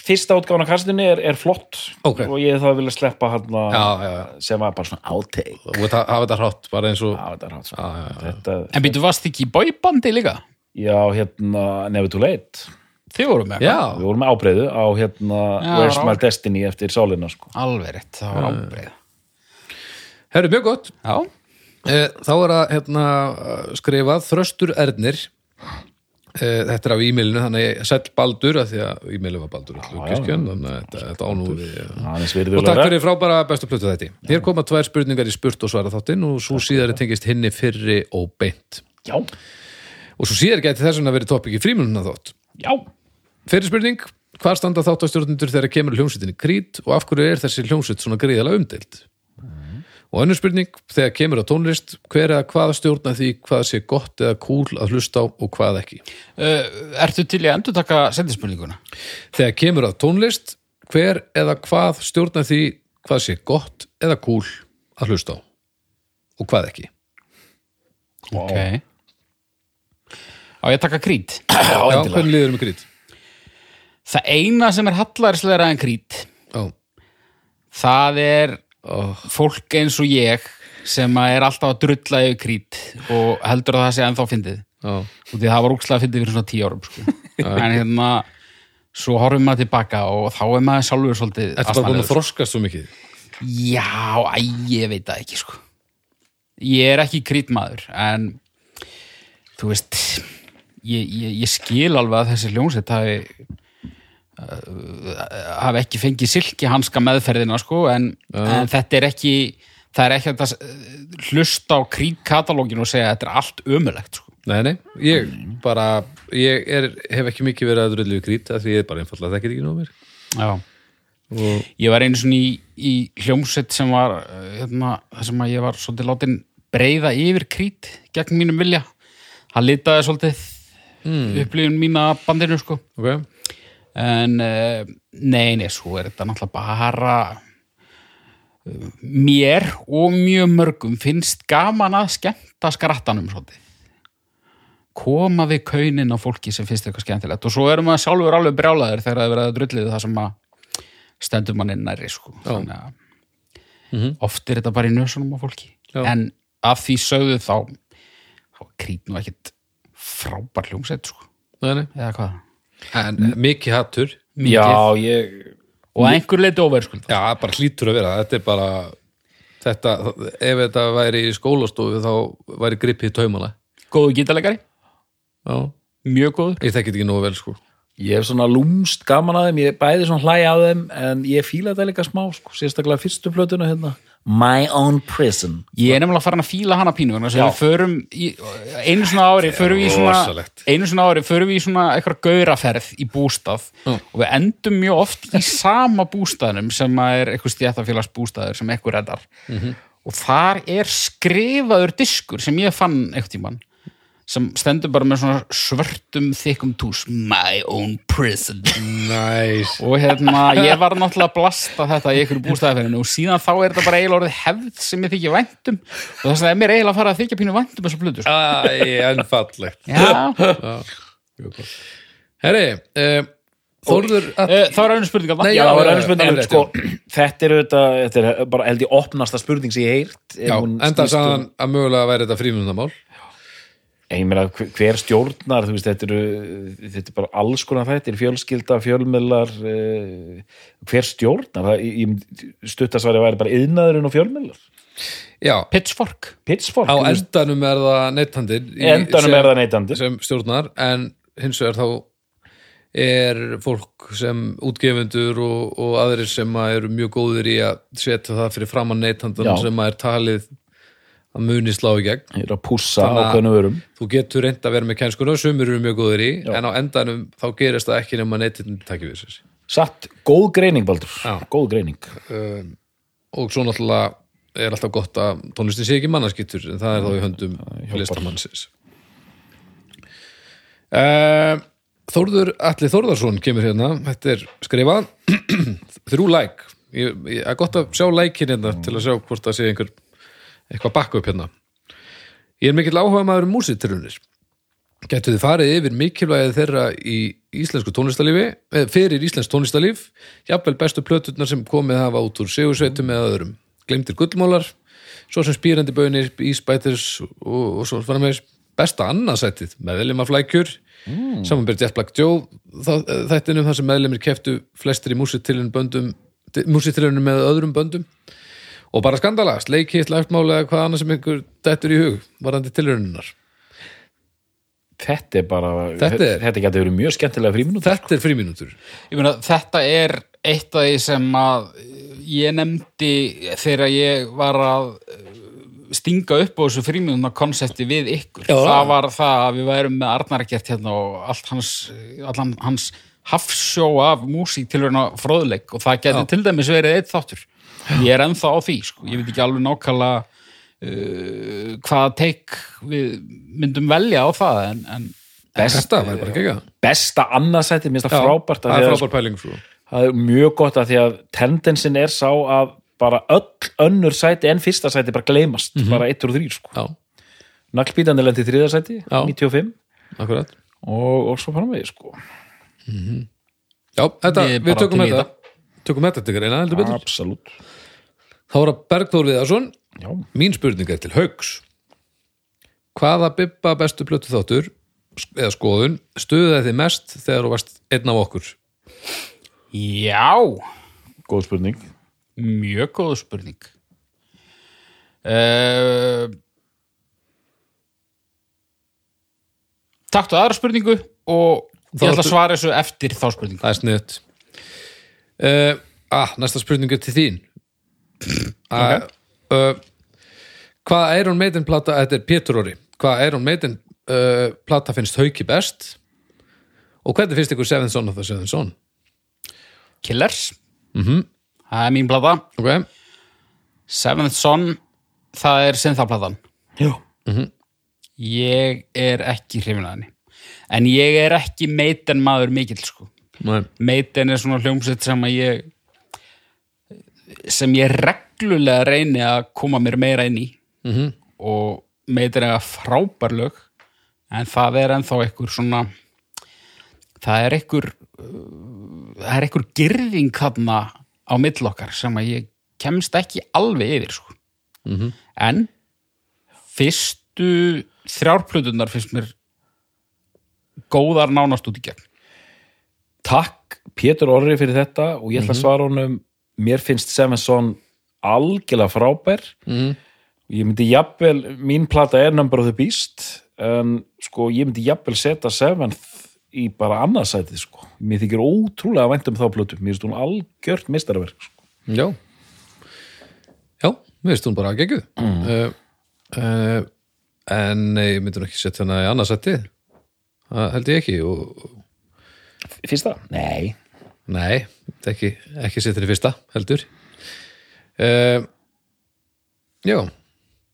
Speaker 2: fyrsta útgáðan á kastinni er, er flott
Speaker 1: Ok.
Speaker 2: og ég hefði þá viljað sleppa hann
Speaker 1: Já, já, já.
Speaker 2: sem var bara svona outtake
Speaker 1: Þú veit að hafa þetta hrátt, bara eins og...
Speaker 2: Já, þetta er hann sko.
Speaker 1: Já, já, já.
Speaker 2: Þetta,
Speaker 3: en býtu varst ekki í bóibandi líka
Speaker 2: já, hérna Never Too Late
Speaker 3: þið voru með
Speaker 1: Já,
Speaker 2: Við vorum með ábreyðu á hérna
Speaker 3: Já,
Speaker 2: Where's My
Speaker 3: rák.
Speaker 2: Destiny eftir sálina sko.
Speaker 3: Alveg rétt, það var
Speaker 1: Eh.
Speaker 3: ábreið.
Speaker 1: herru, mjög gott.
Speaker 3: Já.
Speaker 1: Eh, Þá er að hérna, skrifað Þröstur Ernir. Eh, Þetta er af e-mailinu, þannig að ég sett Baldur, af því að e-mailinu var Baldur, allur kirkjön, þannig að þetta- þetta ánúi við... Já. Og
Speaker 2: Aðeins
Speaker 1: takk
Speaker 2: virðulegra.
Speaker 1: fyrir frábæra bestu plötu þetta. Hér koma tvær spurningar í spurt og svara þáttinn og svo síðari tengist hinni fyrri og beint.
Speaker 2: Já,
Speaker 1: Og svo síðar gæti þess vegna verið toppik í frímununa þátt.
Speaker 2: já
Speaker 1: Fyrir spurning, hvar standa þáttastjórnundur þegar kemur hljómsveitinni krít og af hverju er þessi hljómsveit svona gríðalega umdeild? Og önnur spurning, þegar kemur á tónlist, hver eða hvað stjórna því hvað sé gott eða cool að hlusta á og hvað ekki?
Speaker 3: Eh, Uh, ertu til í að endur taka sendispurninguna?
Speaker 1: Þegar kemur að tónlist, hver eða hvað stjórnar því hvað sé gott eða kúl að hlusta á og hvað ekki
Speaker 3: ok á ég að taka krít
Speaker 1: Já, hvernig liður með grít?
Speaker 3: það eina sem er hallarsleira en krít
Speaker 1: Já,
Speaker 3: það er fólk eins og ég sem að er alltaf að drulla yfir krít og heldur að það sé ennþá fyndið
Speaker 1: já,
Speaker 3: og því það var úkslega fyndið fyrir svona tíu árum sko. en hérna svo horfum maður tilbaka og þá er maður sjálfur svolítið
Speaker 1: Þetta bara búin að
Speaker 3: asnalegur,
Speaker 1: þroskast svo mikið
Speaker 3: sko. já, æ, ég veit það ekki sko. ég er ekki krítmaður en þú veist ég, ég, ég skil alveg að þessi hljónsett hafi uh, hafi ekki fengið silki hanska meðferðina sko en, en þetta er ekki það er ekki hægt að uh, hlusta á krítkatalógin og segja að þetta er allt ömulegt sko.
Speaker 1: Nei, nei, ég bara ég er, hef ekki mikið verið að drullu við grít af því ég er bara einfallega að þekkir ekki nóg mér
Speaker 3: Já. Ég var einu svona í, í hljómsveit sem var eh, hérna, það sem að ég var svolítið látin breyða yfir krít gegn mínum vilja. Það litaði svolítið upplifun mína af bandinu sko.
Speaker 1: Ok,
Speaker 3: En eh, nei, nei, svo er þetta náttúrulega bara eh, mér og mjög mörgum finnst gaman að skemmta skrattanum svolítið koma við kaunin á fólki sem finnst eitthvað skemmtilegt og svo erum maður sjálfur alveg brjálaðir þegar það er verið að drullið það sem að stendur manni næri sko. þannig að oft er þetta bara í nösunum á fólki
Speaker 1: Já.
Speaker 3: en af því sögðu þá þá er krít nú ekkit frábær hljómsett sko.
Speaker 1: nei, nei
Speaker 3: eða hvað
Speaker 1: En mikið hattur
Speaker 2: Já, ég
Speaker 3: og að einhver leiti óverðskuld
Speaker 1: Já, bara hlýtur að vera, þetta er bara þetta, ef þetta væri í skólastofu þá væri gripið í taumana
Speaker 3: góðu gítalegari,
Speaker 1: Já,
Speaker 3: mjög góður
Speaker 1: ég þekkit ekki nógu vel sko
Speaker 2: Ég hef svona lúmst gaman að þeim, ég bæði svona hlæja að þeim en ég fíla þetta líka smá, sko, sérstaklega fyrstu plötuna hérna. My Own Prison.
Speaker 3: ég er nefnilega að fara að fíla hana pínu vegna þess að
Speaker 2: Já.
Speaker 3: við förum í, einu svona ári förum við í svona,
Speaker 1: rosalegt.
Speaker 3: einu svona ári förum við í svona eitthvað gauraferð í bústað og við endum mjög oft í sama bústaðnum sem að er eitthvað stjættafélags bústaður sem eitthvað reddar og þar er skrifaður diskur sem ég fann eitthvað tíman sem stendur bara með svona svörtum þykkum tús My Own Prison
Speaker 1: Næs
Speaker 3: og hérna, ég var náttúrulega að blasta þetta í ykkur bústæðaferðinu og síðan þá er þetta bara eiginlega orðið hefð sem ég þykja væntum um. og þess að það er mér eiginlega að fara að þykja pínu væntum þessu blödu, sko.
Speaker 1: Æ, en fallegt
Speaker 3: Já,
Speaker 1: Herri, uh, Þórður að...
Speaker 3: Eh, það var einu spurning að
Speaker 1: Nei,
Speaker 2: Já, það var
Speaker 1: já,
Speaker 2: önnur spurning,
Speaker 1: já,
Speaker 2: en
Speaker 1: já,
Speaker 2: sko, þetta er auðvitað, þetta er bara held ég opnasta spurning sem ég heyrt. ef
Speaker 1: Já,
Speaker 2: hún
Speaker 1: enda
Speaker 2: snýst um-
Speaker 1: sagðan að mögulega væri þetta frímyndamál
Speaker 2: En Ég meina, hver- hver stjórnar, þú veist, þetta eru, þetta er bara alls konar þetta, fjölskylda, fjölmiðlar, eh, hver stjórnar, það, ég- ég stuttasværi væri bara yðnaðurinn og fjölmiðlar.
Speaker 1: Já,
Speaker 3: Pitchfork
Speaker 2: Pitchfork,
Speaker 1: á
Speaker 2: þú veist,
Speaker 1: endanum er það neittandir
Speaker 2: í endanum er það neytandi.
Speaker 1: sem stjórnar en hins vegar þá er fólk sem útgefundur og, og aðrir sem að eru mjög góður í að setja það fyrir framann neytandan
Speaker 2: Já.
Speaker 1: sem að er talið að muni slá í gegn
Speaker 2: Ég er að pússa
Speaker 1: Þannig að-
Speaker 2: á hvernig verum.
Speaker 1: þú getur reynd að vera með kænskuna sumur eru mjög góður í, en á endanum þá gerist það ekki nema neytandan takki við sér
Speaker 2: Satt, góð greining, Baldur,
Speaker 1: Já.
Speaker 2: góð greining.
Speaker 1: og svo náttúrulega er alltaf gott að tónlistin sé ekki mannaskittur en það er þá í höndum listamannsins uh, Þórður Alli Þórðarsson kemur hérna, þetta er skrifað þrjú læk ég, ég, það er gott að sjá lækin hérna til að sjá hvort það sé einhver eitthvað bakku upp hérna Ég er mikill áhuga maður um músitrunir Gætu þið farið yfir mikilvægið þeirra í íslensku tónlistalífi eh, fyrir íslensk tónlistalíf jafnvel bestu plöturnar sem komið hafa út úr segursveitum eða öðrum glemdir gullmólar, svo sem spýrandi bönir ísbæters og, og svo framvegis besta annarsætið með veljum af flækjur mm. samanbyrð Jet Black Joe þá- eh, þættinum þar sem meðlemir keftu flestir í músitilunum böndum músitilunum með öðrum böndum og bara skandala, sleikið, lagtmála eða hvað annað sem einhver dettur í hug varandi tilrauninnar.
Speaker 2: Þetta er bara,
Speaker 1: Þetta er-
Speaker 2: þetta gæti verið mjög skemmtilega fríminúti.
Speaker 1: Þetta er frímínútur.
Speaker 3: Ég meina, þetta er eitt af því sem að ég nefndi þegar ég var að eh, stinga upp á þessu frímjöndna konsepti við ykkur.
Speaker 1: Já.
Speaker 3: Það var það að við værum með Arnar ekkert hérna og allt hans, allan hans hafsjó af músík til verðina fróðleik og það geti til dæmis verið eitt þáttur. Ég er ennþá á því, sko. Ég veit ekki alveg nákvæmlega uh, hvaða teik við myndum velja á það en, en
Speaker 1: Besta, það er bara ekki ekki það.
Speaker 2: Besta annarsætið, mér finnst það frábært að
Speaker 1: Það er
Speaker 2: því að-
Speaker 1: frábær pæling, sko. frú.
Speaker 2: það það er mjög gott að því að tendensin er sá að bara öll önnur sæti en fyrsta sæti bara gleymast,
Speaker 1: Mhm.
Speaker 2: bara 1 og 3 sko.
Speaker 1: Já,
Speaker 2: naglbítandi lendi í þriða sæti,
Speaker 1: Já.
Speaker 2: 95
Speaker 1: akkurat
Speaker 2: og, og svo framvegi sko.
Speaker 1: Já, þetta,
Speaker 3: Ég er
Speaker 1: við,
Speaker 3: bara
Speaker 1: tökum
Speaker 3: til í
Speaker 1: þetta Tökum þetta til greina, heldur betur
Speaker 2: absolutt
Speaker 1: Þá er að Bergþór Viðarsson
Speaker 2: Já.
Speaker 1: Mín spurning er til haugs Hvaða bibba bestu plötu þáttur eða skoðun stuðaði þið mest þegar þú varst einn af okkur
Speaker 3: Já,
Speaker 2: góð spurning
Speaker 3: mjög góð spurning. Uh, taktu aðra spurningu og
Speaker 1: Þá
Speaker 3: ég ætla
Speaker 1: áttu-
Speaker 3: að svara þessu eftir þá spurningu.
Speaker 1: Það er sniðt uh, ah, Næsta spurning er til þín okay. uh, Hvaða Iron Maiden plata Þetta er Pétur Orri Hvaða Iron Maiden uh, plata finnst hauki best og hvernig finnst ykkur Seven Son of the Seven Son
Speaker 3: Killers, það er mín blada.
Speaker 1: ok,
Speaker 3: Seventh Son, það er sinnþaplatan.
Speaker 2: Já.
Speaker 3: Ég er ekki hrifin að henni. En ég er ekki meiten maður mikill, sko.
Speaker 1: Nei.
Speaker 3: Meiten er svona hljómsveit sem að ég sem ég reglulega reyni að koma mér meira inn í -hmm. og Meiten er frábærlög en það er ennþá einhver svona það er einhver uh, það er einhver girðing þarna á milli okkar sem að ég kemst ekki alveg yfir sko. -hmm. en fyrstu þrjárplutunar finnst mér góðar nánast út í gegn
Speaker 2: takk Pétur Orri fyrir þetta og ég ætla að
Speaker 1: Mhm.
Speaker 2: svara honum mér finnst Sevenson algjörlega frábær
Speaker 1: Mhm.
Speaker 2: ég myndi jafnvel mín plata er Number of the Beast en sko ég myndi jafnvel setja Seventh í bara annarsætið sko mér þykir ótrúlega vænt um þá plötu mér finnst hún algjört mistarverk sko.
Speaker 1: Já Já, mér finnst hún bara að geggu uh, uh, En nei, ég myndi nú ekki setja hana í annarsætti Það held ég ekki og,
Speaker 2: fyrsta? Nei
Speaker 1: Nei, þetta ekki, ekki setja henni fyrsta heldur uh, Já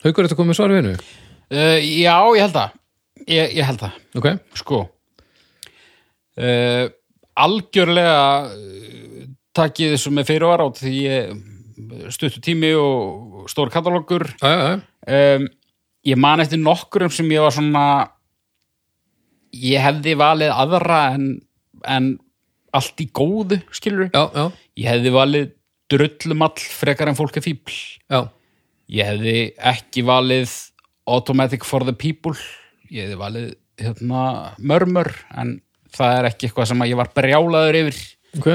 Speaker 1: Haukur þetta komið svar við hennu
Speaker 3: Uh, já, ég held það. Ég, ég held það,
Speaker 1: Ok,
Speaker 3: sko. Uh, algjörlega uh, takið þessu með fyrirvara át því ég stuttu tími og stór katalókur.
Speaker 1: já, já, já
Speaker 3: Um, ég man eftir nokkurum sem ég var svona, ég hefði valið aðra en, en allt í góðu, skilur.
Speaker 1: Já, já,
Speaker 3: Ég hefði valið drullumall frekar en fólk er fíbl.
Speaker 1: já,
Speaker 3: Ég hefði ekki valið Automatic for the People ég hefði valið hérna, mörmör en það er ekki eitthvað sem að ég var brjálaður yfir
Speaker 1: ok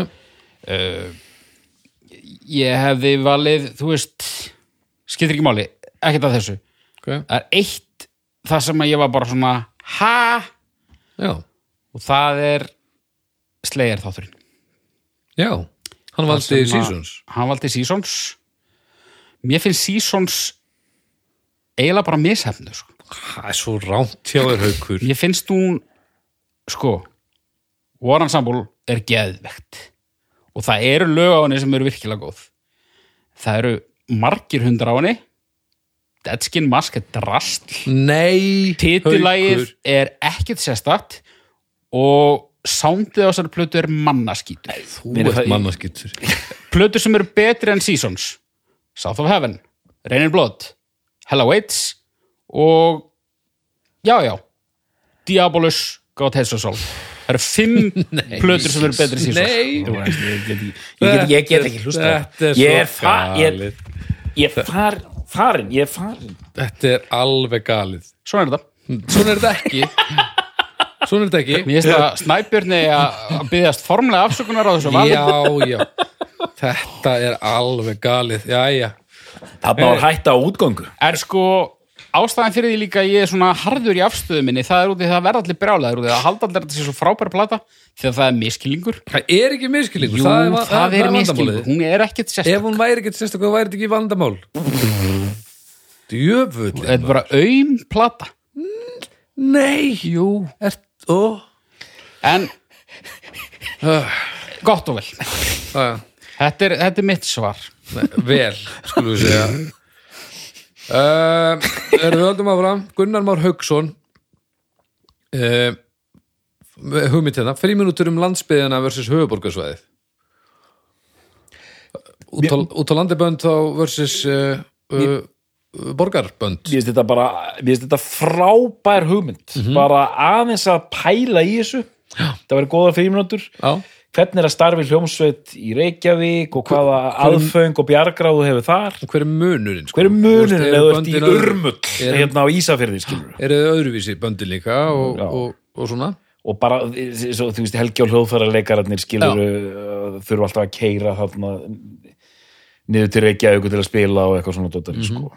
Speaker 3: ég hefði valið, þú veist skiptir ekki máli, ekkert að þessu
Speaker 1: Ok,
Speaker 3: það er eitt það sem að ég var bara svona ha
Speaker 1: já,
Speaker 3: og það er slegir þátturinn
Speaker 1: já Hann valdi
Speaker 3: sem að-
Speaker 1: Seasons
Speaker 3: hann valdi Seasons mér finnst Seasons eiginlega bara mishefnu sko
Speaker 1: Það er svo rámt hjá þér haukur
Speaker 3: Mér finnst hún sko, Warren Sambúl er geðvegt og það eru lög á henni sem eru virkilega góð það eru margir hundar á henni Dead Skin Mask er drastl
Speaker 1: Nei,
Speaker 3: titillægið
Speaker 1: Haukur.
Speaker 3: er ekkert sérstakt og soundið á þessari plötu er mannaskítur
Speaker 1: Þú
Speaker 2: Mér er
Speaker 1: ert
Speaker 2: það-
Speaker 1: mannaskittur
Speaker 3: plötur sem eru betri en Seasons South of Heaven, Rain in Blood Hell Awaits og já já Diabolus, God Hates Us All það eru fimm plötur sem eru betri en Seasons
Speaker 1: Nei,
Speaker 2: ég get, ég get ekki hlusta á
Speaker 1: Þetta er
Speaker 2: það. ég er
Speaker 1: svo
Speaker 2: fa- ég er-
Speaker 1: galið.
Speaker 2: ég er far, farin ég er farin
Speaker 1: Þetta er alveg galið
Speaker 3: svona er þetta
Speaker 1: Svona er þetta ekki Svona er þetta ekki
Speaker 3: Mér finnst að Snæbjörni að byggðast formlega afsökunar á þessu vali
Speaker 1: Já, já Þetta er alveg galið Já, já
Speaker 2: þarna var hætta á útgöngu
Speaker 3: er sko ástæðan fyrir því líka að ég er svona harður í afstöðu minni það er út í það að verða allir brjálaður út í það að halda allir þetta sé svo frábæra plata þegar það er miskillingur
Speaker 1: Það er ekki miskilningur
Speaker 3: Jú,
Speaker 1: það er, va-
Speaker 3: það er
Speaker 1: vandamálið.
Speaker 3: miskillingur, hún er ekkert sérstaklega
Speaker 1: Ef hún væri ekki sérstaklega, þá væri þetta ekki vandamál Djöfull
Speaker 3: Þetta er bara auðm plata
Speaker 1: Nei, jú Ert, ó
Speaker 3: En uh, Gott og vel
Speaker 1: Æja
Speaker 3: Þetta er, þetta er mitt svar
Speaker 1: Nei, vel, skulum við segja uh, erum við öldum áfram Gunnar Már Hauksson eh, uh, hugmynd hérna frí mínútur um landsbyðina versus höfuborgarsvæðið út á, út á landibönd þá versus uh, uh, borgarbönd
Speaker 2: Mér finnst þetta bara, mér finnst þetta frábær hugmynd
Speaker 1: Mhm.
Speaker 2: bara aðeins að pæla í þessu þetta verið góða fríminútur
Speaker 1: Já,
Speaker 2: hvernig er að starfi hljómsveit í Reykjavík og hvaða aðföng og bjargráðu hefur þar
Speaker 1: og hver er munurinn? Sko?
Speaker 2: hver er munurinn
Speaker 1: Þú
Speaker 2: eða þú
Speaker 1: veist, eru
Speaker 2: ert í
Speaker 1: böndin öðru-
Speaker 2: urmull
Speaker 1: eru-
Speaker 2: hérna á Ísafirði skilur
Speaker 1: Eru þau öðruvísi böndin líka og,
Speaker 2: Já.
Speaker 1: og, og svona?
Speaker 2: og bara, svo, þú veist, helgi og hljóðfærarleikararnir skilur uh, þurfa alltaf að keira þarna niður til Reykjavík til að spila og eitthvað svona dóttar sko.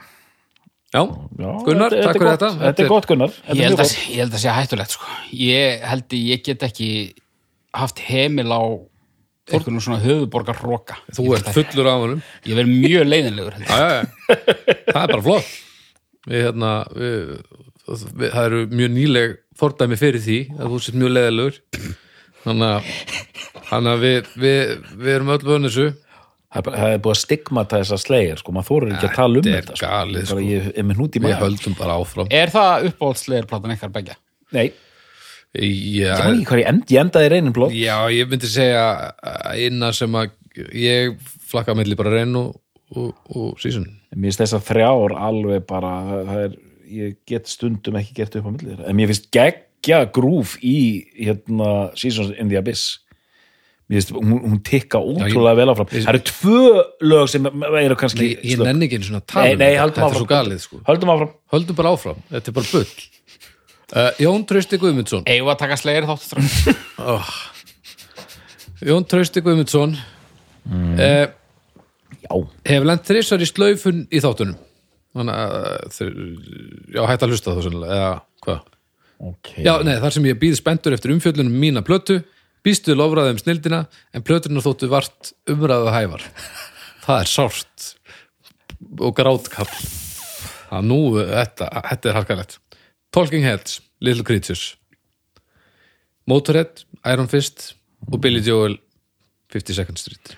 Speaker 1: Já,
Speaker 2: Já,
Speaker 1: Mhm. Gunnar,
Speaker 2: þetta-
Speaker 1: takk
Speaker 2: þetta er
Speaker 1: fyrir
Speaker 2: gott.
Speaker 1: þetta.
Speaker 2: Þetta er gott Gunnar Þetta er
Speaker 3: ég
Speaker 2: mjög
Speaker 3: held, að,
Speaker 2: gott.
Speaker 3: ég held að sé hættulegt sko. ég held að ég get ekki haft heimil á einhvern svona höfuborgar roka
Speaker 1: þú ert fullur af honum
Speaker 3: ég verð mjög leiðinlegur held
Speaker 1: Já, já,
Speaker 3: ég.
Speaker 1: já. það er bara flott við, hérna, við, við, það eru mjög nýleg fordæmi fyrir því að þú sett mjög leðilegur þannig að, þannig að við, við, við erum öll vöðn þessu
Speaker 2: Það er bara- það er búið að stigmata þessa slegir sko, maður þórir ekki að tala um
Speaker 1: þetta er
Speaker 2: þetta
Speaker 1: galið,
Speaker 2: sko.
Speaker 1: sko.
Speaker 2: Bara ég er með hnút í
Speaker 1: við
Speaker 2: maður
Speaker 1: höldum bara áfram
Speaker 3: er það uppáhaldslegarplatan ykkar begja?
Speaker 2: Nei, ég
Speaker 1: já,
Speaker 2: man ekki hvað ég end, ég endaði reynin blótt
Speaker 1: já, ég myndi segja að inna sem að ég flakka melli bara reyn og, og, og sísun
Speaker 2: Mér finnst þess að þrjár alveg bara það, það er, ég get stundum ekki gert upp á millir en mér finnst geggja grúf í hérna Seasons in the Abyss Mér finnst, hún, hún tikka ótrúlega vel áfram Það eru tvö lög sem eru kannski
Speaker 1: ég, ég
Speaker 2: slök.
Speaker 1: nenni ekki einu svona að tala
Speaker 2: Nei,
Speaker 1: um
Speaker 2: nei,
Speaker 1: þetta.
Speaker 2: höldum
Speaker 1: þetta er
Speaker 2: áfram
Speaker 1: svo galið sko
Speaker 2: Höldum áfram
Speaker 1: höldum bara áfram, þetta er bara bull uh, Jón Trausti Guðmundsson
Speaker 3: eigum við að taka slegir þátt strákar?
Speaker 1: Oh. Jón Trausti Guðmundsson mm.
Speaker 2: Já,
Speaker 1: hef lent þrisvar í slaufun í þáttunum þannig að þeir, já, hætt að hlusta þá sennilega eða hvað,
Speaker 2: ok
Speaker 1: já, nei, þar sem ég býð spendur eftir umfjöllunum um mína plötu býstu lofraði um snildina en plötunar þóttu vart umræðu hæfar það er sárt og grátkall það nú, þetta, þetta er harkalegt Talking Heads, Little Creatures Motorhead, Iron Fist og Billy Joel 52nd Street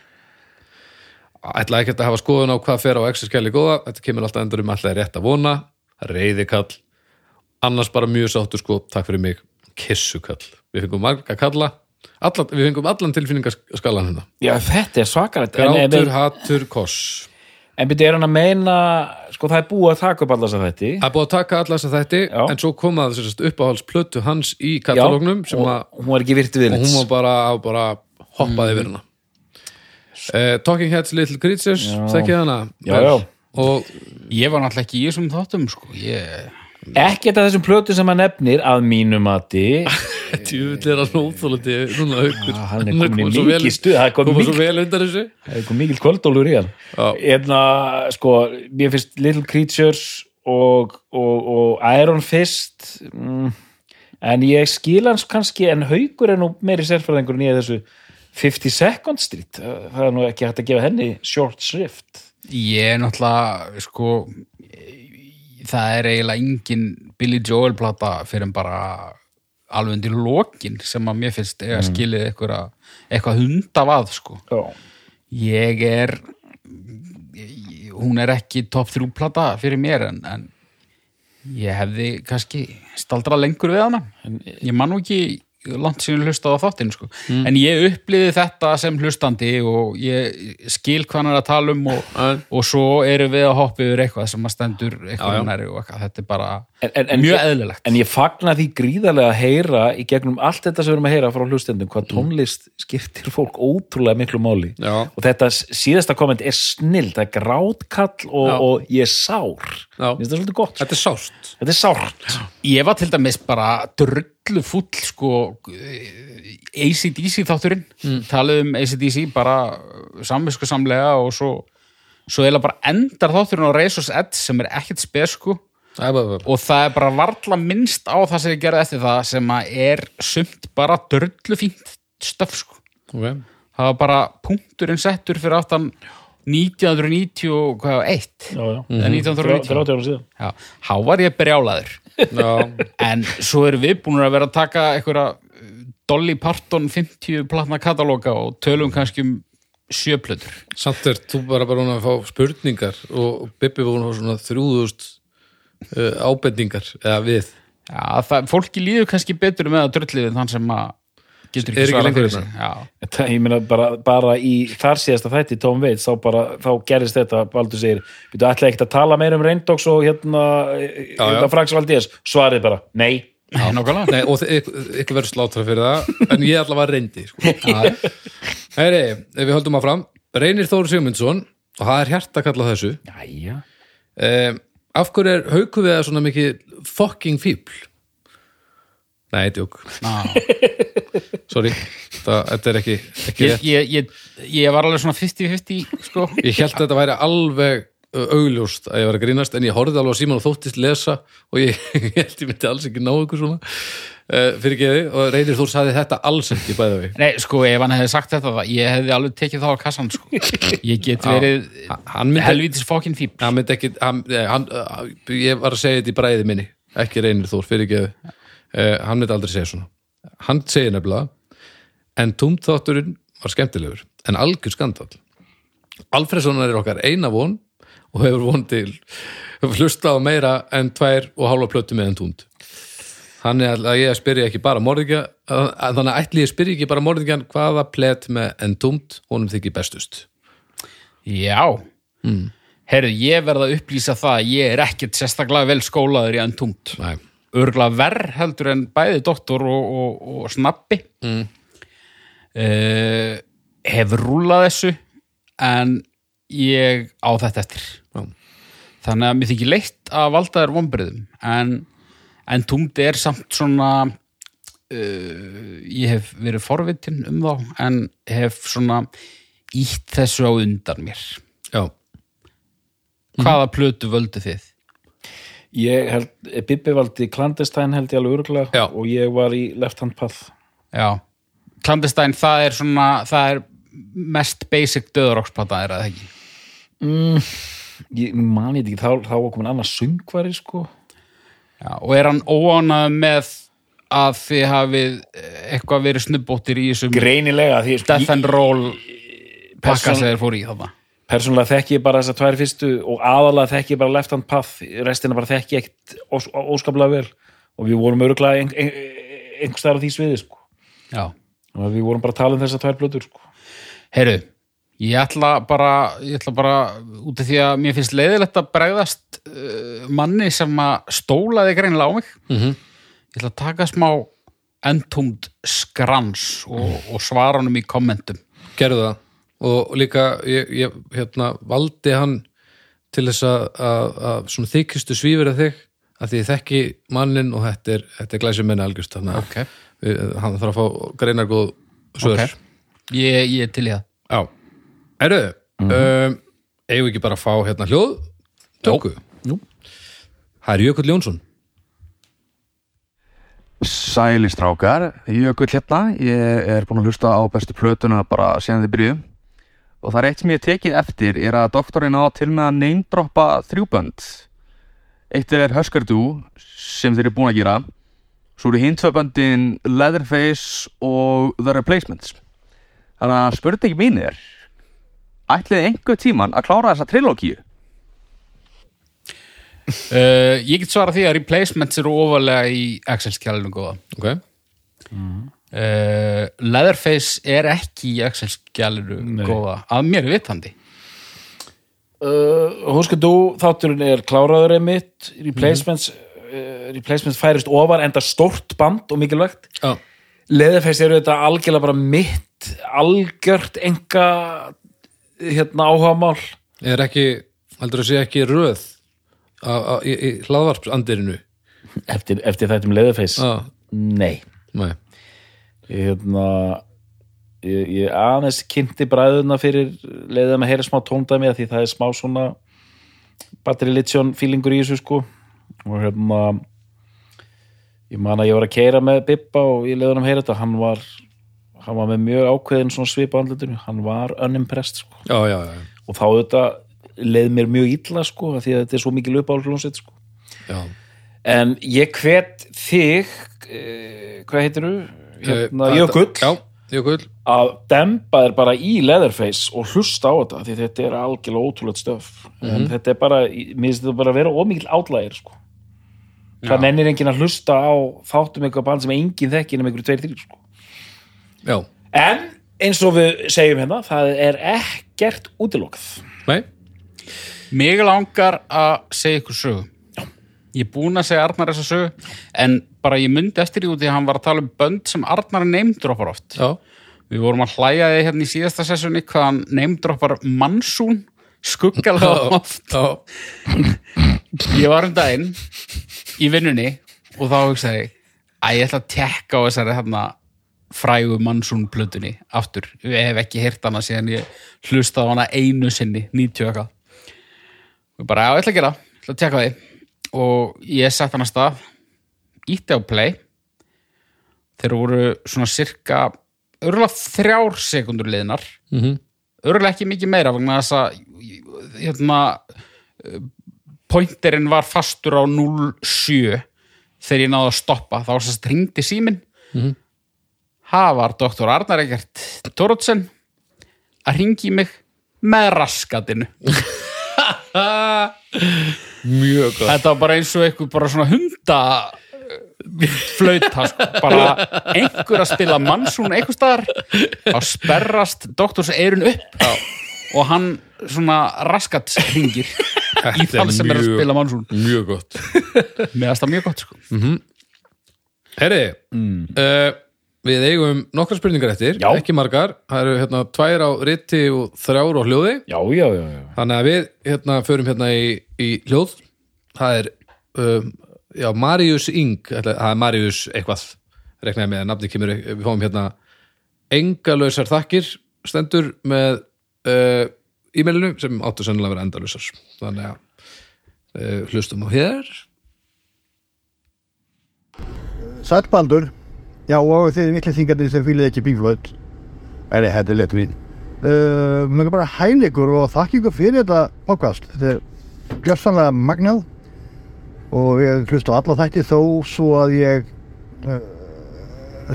Speaker 1: ætla ekki að hafa skoðun á hvað fer á exerskæli góða, þetta kemur alltaf endur um alltaf rétt að vona, reyðikall annars bara mjög sáttur sko takk fyrir mig, kissukall við fengum marga kalla allan, við fengum allan tilfinningaskalan hérna
Speaker 2: Já, þetta er svakarætt en, en,
Speaker 1: grátur,
Speaker 2: en,
Speaker 1: hattur, koss
Speaker 2: en byrja er hann að meina sko það er búið að taka upp allas að þetta
Speaker 1: það er búið að taka alla þess að þætti
Speaker 2: Já.
Speaker 1: en svo kom að þessast uppáhaldsplötu hans í katalógnum sem
Speaker 2: og,
Speaker 1: að
Speaker 2: hún var ekki virtu
Speaker 1: og hún
Speaker 2: viðlits
Speaker 1: var bara, bara hoppaði yfir hana uh, Talking Heads Little Creatures þekkið hana
Speaker 2: Mm. Já,
Speaker 1: Vel.
Speaker 2: já.
Speaker 1: og
Speaker 3: ég var náttúrulega ekki í þessum þáttum sko. ég...
Speaker 2: Ekkert af þessum plötu sem hann nefnir að mínu mati
Speaker 1: djúvill er hann óþólandi núna haukur
Speaker 2: Já, Ah, hann er kominn í
Speaker 1: svo
Speaker 2: mikið
Speaker 1: vel-
Speaker 2: stuð, það er kominn
Speaker 1: kom svo
Speaker 2: mikið-
Speaker 1: vel undan þessu
Speaker 2: Það er eitthvað mikil kvöldólur í hann Eðna, sko, mér finnst Little Creatures og, og, og Iron Fist mm, en ég skil hans kannski en haugur er nú meiri sérfæðingur en ég í þessu 50 Second Street það er nú ekki hægt að gefa henni short shrift
Speaker 3: ég er náttúrulega sko ég- það er eiginlega engin Billy Joel plata fyrir en bara alveg undir lokin sem að mér finnst eiga skilið eitthvað, eitthvað hundavað sko.
Speaker 2: Já,
Speaker 3: ég er ég- hún er ekki top 3 plata fyrir mér en, en ég hefði kannski staldrað lengur við hana ég man nú ekki langt sinni hlustað á þáttinn sko.
Speaker 2: Mm.
Speaker 3: en ég upplýði þetta sem hlustandi og ég skil hvað hann er að tala um og, og svo erum við að hoppa yfir eitthvað sem að stendur eitthvað næri og eitthvað, þetta er bara
Speaker 2: En- en- en-
Speaker 3: mjög eðlilegt
Speaker 2: en ég fagna því gríðarlega að heyra í gegnum allt þetta sem við erum að heyra frá hlustendum hvað tónlist skiptir fólk ótrúlega miklu máli
Speaker 1: Mm. já,
Speaker 2: og þetta s- síðasta komment er snill það er grátkall og,
Speaker 1: Já.
Speaker 2: og ég er sár
Speaker 1: Já.
Speaker 2: Mér finnst það svolítið gott sko.
Speaker 1: þetta er sást
Speaker 2: þetta er sárt
Speaker 3: Ég var til dæmis bara drullu full sko eh, ACDC þátturinn mm. talið um ACDC bara eh, samvisku samlega og svo svo eiginlega bara endar þátturinn á Resus Edge sem er ekkert spes sko
Speaker 1: Það er bara-
Speaker 3: og það er bara varla minnst á það sem ég gerði eftir það sem að er sumt bara drullu fínt stöf sko
Speaker 1: ok.
Speaker 3: það var bara punkturinn settur fyrir aftan
Speaker 1: Mm.
Speaker 2: já, já.
Speaker 3: 1991 eða 1990
Speaker 2: ára síðan
Speaker 3: Já, há var ég brjálaður
Speaker 1: Já,
Speaker 3: en svo erum við búin að vera að taka einhverja uh, Dolly Parton 50 platna katalóga og tölum kannski um sjöplötur
Speaker 1: samt er þú bara bara hún að fá spurningar og Bibbi búin að fá svona 3000 uh, ábendingar eða við
Speaker 3: Já, það, fólki líður kannski betur með að drulli við þann sem að
Speaker 1: Er
Speaker 3: getur ekki
Speaker 1: ekki
Speaker 3: svarað
Speaker 1: lengur hérna?
Speaker 3: fyrir sig Já.
Speaker 2: Þetta, ég meina bara, bara í þar síðasta þætti Tom Waits, þá bara, þá gerist þetta Baldur segir, við þú ætla ekkert að tala meira um Reyndox og hérna,
Speaker 1: Já, já.
Speaker 2: hérna Franks Valdés, svarið bara, nei
Speaker 3: Nákvæmlega
Speaker 1: Nei, og ykkur verður slátra fyrir það en ég allavega reyndi sko. Heyri, ef við höldum að fram Reynir Þór Sigmundsson og það er hjarta að kalla þessu
Speaker 2: Jæja,
Speaker 1: um, af hverju er hauku við svona mikið fucking fíbl nei, djók
Speaker 3: Ná.
Speaker 1: sorry, það, þetta er ekki, ekki
Speaker 3: ég,
Speaker 1: ég,
Speaker 3: ég, ég, ég var alveg svona 50-50 sko.
Speaker 1: ég held að þetta væri alveg uh, augljóst að ég var að grínast en ég horfði alveg á síman og þóttist lesa og ég, ég held ég myndi alls ekki ná ykkur svona uh, fyrir geði og Reynir Þór saði þetta alls ekki bæði við
Speaker 3: Nei, sko, ef hann hefði sagt þetta það, ég hefði alveg tekið þá á kassan sko. ég get verið
Speaker 1: hann myndi,
Speaker 3: helvítis fókin fíp
Speaker 1: hann myndi ekki hann, eh, hann, eh, ég var að segja þetta í bræði minni ekki reynir Þór, fyrir ekki Eh, hann myndi aldrei segja svona hann segir nefnilega en tómþátturinn var skemmtilegur en algjör skandal Alfredssonar er okkar eina von og hefur von til hefur hlustað á meira en tvær og hálfa plötu með en tómt hann er að ég spyrja ekki bara morðingja að- að- þannig að ætli ég spyrja ekki bara morðingjan hvaða plett með en tómt honum þykir bestust
Speaker 3: Já
Speaker 1: Hmm.
Speaker 3: Herru, ég verð að upplýsa það að ég er ekkert sérstaklega vel skólaður í antumt
Speaker 1: Nei.
Speaker 3: örgla verð heldur en bæði doktor og, og, og snappi mm. hef rúlað þessu en ég á þetta eftir
Speaker 1: Já.
Speaker 3: þannig að mér þykir leitt að valda þér vonbröðum en, en tungd er samt svona uh, ég hef verið forvitin um þá en hef svona ítt þessu á undan mér
Speaker 1: já, Mhm.
Speaker 3: hvaða plötu völdu þið?
Speaker 2: ég held, Bibbi valdi Clandestine held ég alveg örgulega
Speaker 1: Já.
Speaker 2: og ég var í Left Hand Path
Speaker 3: Já, Clandestine það er svona, það er mest basic döðurokksplata er það ekki
Speaker 2: ég mani þetta ekki, þá, þá var komin annars söngvari sko,
Speaker 3: Já, og er hann óánað með að þið hafið eh, eitthvað verið snubbóttir í þessum
Speaker 2: greinilega því, sko,
Speaker 3: death and roll pakka
Speaker 2: Persón-
Speaker 3: sem þeir fóru í þarna
Speaker 2: persónulega þekki ég bara þessar tvær fyrstu og aðalega þekki ég bara Left Hand Path restina bara þekki ég ekkit ós, óskaplega vel og við vorum örgulega ein, ein, einhvers staðar á því sviði sko
Speaker 3: Já,
Speaker 2: Þannig að við vorum bara að tala um þessar tvær blötur sko.
Speaker 3: heyrðu ég ætla bara, ég ætla bara út af því að mér finnst leiðilegt að bregðast uh, manni sem að stólaði greinilega á mig
Speaker 1: Mhm.
Speaker 3: ég ætla að taka smá entúnd skrans og, og svara honum í kommentum
Speaker 1: gerðu það og líka ég, ég hérna, valdi hann til þess að, að, að svona þykistu svífur að þig að því ég þekki mannin og þetta er, þetta er glæsir menni algjörst þannig
Speaker 3: Ok.
Speaker 1: að við- hann þarf að fá greinar góð svör
Speaker 3: Ok. ég, ég er til í það
Speaker 1: Já, eru um, eigum við ekki bara að fá hérna hljóð tökku
Speaker 2: Jú.
Speaker 1: Það er Jökull Jónsson
Speaker 8: Sælistrákar, Jökull hérna, ég er búin að hlusta á bestu plötuna bara síðan þið byrjuðum og það er eitt sem ég hef tekið eftir er að doktorinn á til með að neymdroppa þrjúbönd Eitt er Huskardú sem þeir eru búin að gera svo eru hinn tvö böndin Leatherface og The Replacements Þannig að spurði ekki mínir Ætliði einhver tíman að klára þessa trilógíu?
Speaker 3: Uh, ég get svarað því að replacements eru ofalega í Excel-skjælinu góða.
Speaker 1: okay.
Speaker 3: Uh, Leatherface er ekki í Excel-skjælinu góða, að mér vitandi.
Speaker 2: uh, Húska dú, þátturinn er kláraður einmitt, replacements uh, replacements færist ofar enda stórt band og mikilvægt
Speaker 1: Já,
Speaker 2: leðafæst eru þetta algjörlega bara mitt algjört enga hérna áhugamál
Speaker 1: er ekki heldur að sé ekki röð að, að, í, í hlaðvarpsandirinu
Speaker 2: eftir, eftir þetta um leðafæst
Speaker 1: Já,
Speaker 2: nei
Speaker 1: nei
Speaker 2: ég, hérna ég, ég aðeins kynnti bræðuna fyrir leiðið að maður heyra smá tóndæmi að því það er smá svona battery litjón feelingur í þessu sko og hérna ég man að ég var að keira með Bibba og ég leiði hann að heyra þetta hann var, hann var með mjög ákveðin svona svipa andlutinu, hann var unimpressed sko
Speaker 1: Já, já, já,
Speaker 2: og þá auðvitað leið mér mjög illa sko af því að þetta er svo mikil uppáhljónsett sko
Speaker 1: já.
Speaker 2: en ég hvet þig eh, hvað heitir þú? Hérna,
Speaker 1: Eh,
Speaker 2: Jökull
Speaker 1: Já, Jökull
Speaker 2: að dempa þér bara í Leatherface og hlusta á þetta því þetta er algjörlega ótrúlega stöf en þetta er bara, mér finnst þetta bara að vera ómikil átlægir sko það nennir enginn að hlusta á þáttum eitthvað band sem enginn þekkir nema einhverju tveir þrýr sko
Speaker 1: já,
Speaker 2: en eins og við segjum hérna það er ekkert útilokað
Speaker 1: nei
Speaker 3: Mig langar að segja ykkur sögu. Ég er búinn að segja Arnar þessa sögu, en bara ég myndi eftir því út í að hann var að tala um bönd sem Arnar neymdroppar oft.
Speaker 1: já,
Speaker 3: Við vorum að hlæja því hérna í síðasta sessunni hvað hann neymdroppar Mansún skuggalega oft.
Speaker 1: já,
Speaker 3: Ég var um daginn í vinnunni og þá hugsaði ég að ég ætla að tekka á þessari hérna frægu Mansún plötunni aftur. Ég hef ekki heyrt hana síðan ég hlustaði á hana einu sinni, 90 eitthvað. og bara, já, ég ætla að gera, ég ætla að tjekka því og ég sett hann að stað ítti á play þeir voru svona cirka örgulega þrjár sekundur liðnar mm
Speaker 1: Mhm.
Speaker 3: örgulega ekki mikið meira vegna þess að hérna eh, pointerinn var fastur á 07 þegar ég náði að stoppa þá sem stringdi síminn það var doktor Arnar Egert Tórótsen að ringi mig með raskatinu
Speaker 1: mjög gott
Speaker 3: Þetta var bara eins og eitthvað bara svona hunda eh, flauta sko. bara einhver að spila mannsún einhver staðar þá sperrast doktors eirun upp já. og hann svona raskat hringir í
Speaker 1: Þetta
Speaker 3: það sem er að
Speaker 1: mjög-
Speaker 3: spila mannsún
Speaker 1: mjög gott
Speaker 3: með það mjög gott sko.
Speaker 1: Herri, uh, við eigum nokkra spurningar eftir,
Speaker 2: Já.
Speaker 1: ekki margar það eru hérna tvær á riti og þrjár á hljóði
Speaker 2: já, já, já, já.
Speaker 1: þannig að við hérna förum hérna í, í hljóð það er um, já, Marius Ing ætla- það er Marius eitthvað reknaði með að nafni kemur, við fáum hérna engalausar þakkir stendur með uh, e-mailinu sem áttu sennilega að vera endalausar þannig að uh, hlustum á hér
Speaker 9: Sætbaldur, já og þið vittlýsingarnir sem fýlið ekki bíflöð er ég hætti létt vín uh, Mér er bara að hæn ykkur og þakka ykkur fyrir þetta podcast þetta er gjössanlega magnað og ég hlusta á alla þætti þó svo að ég uh,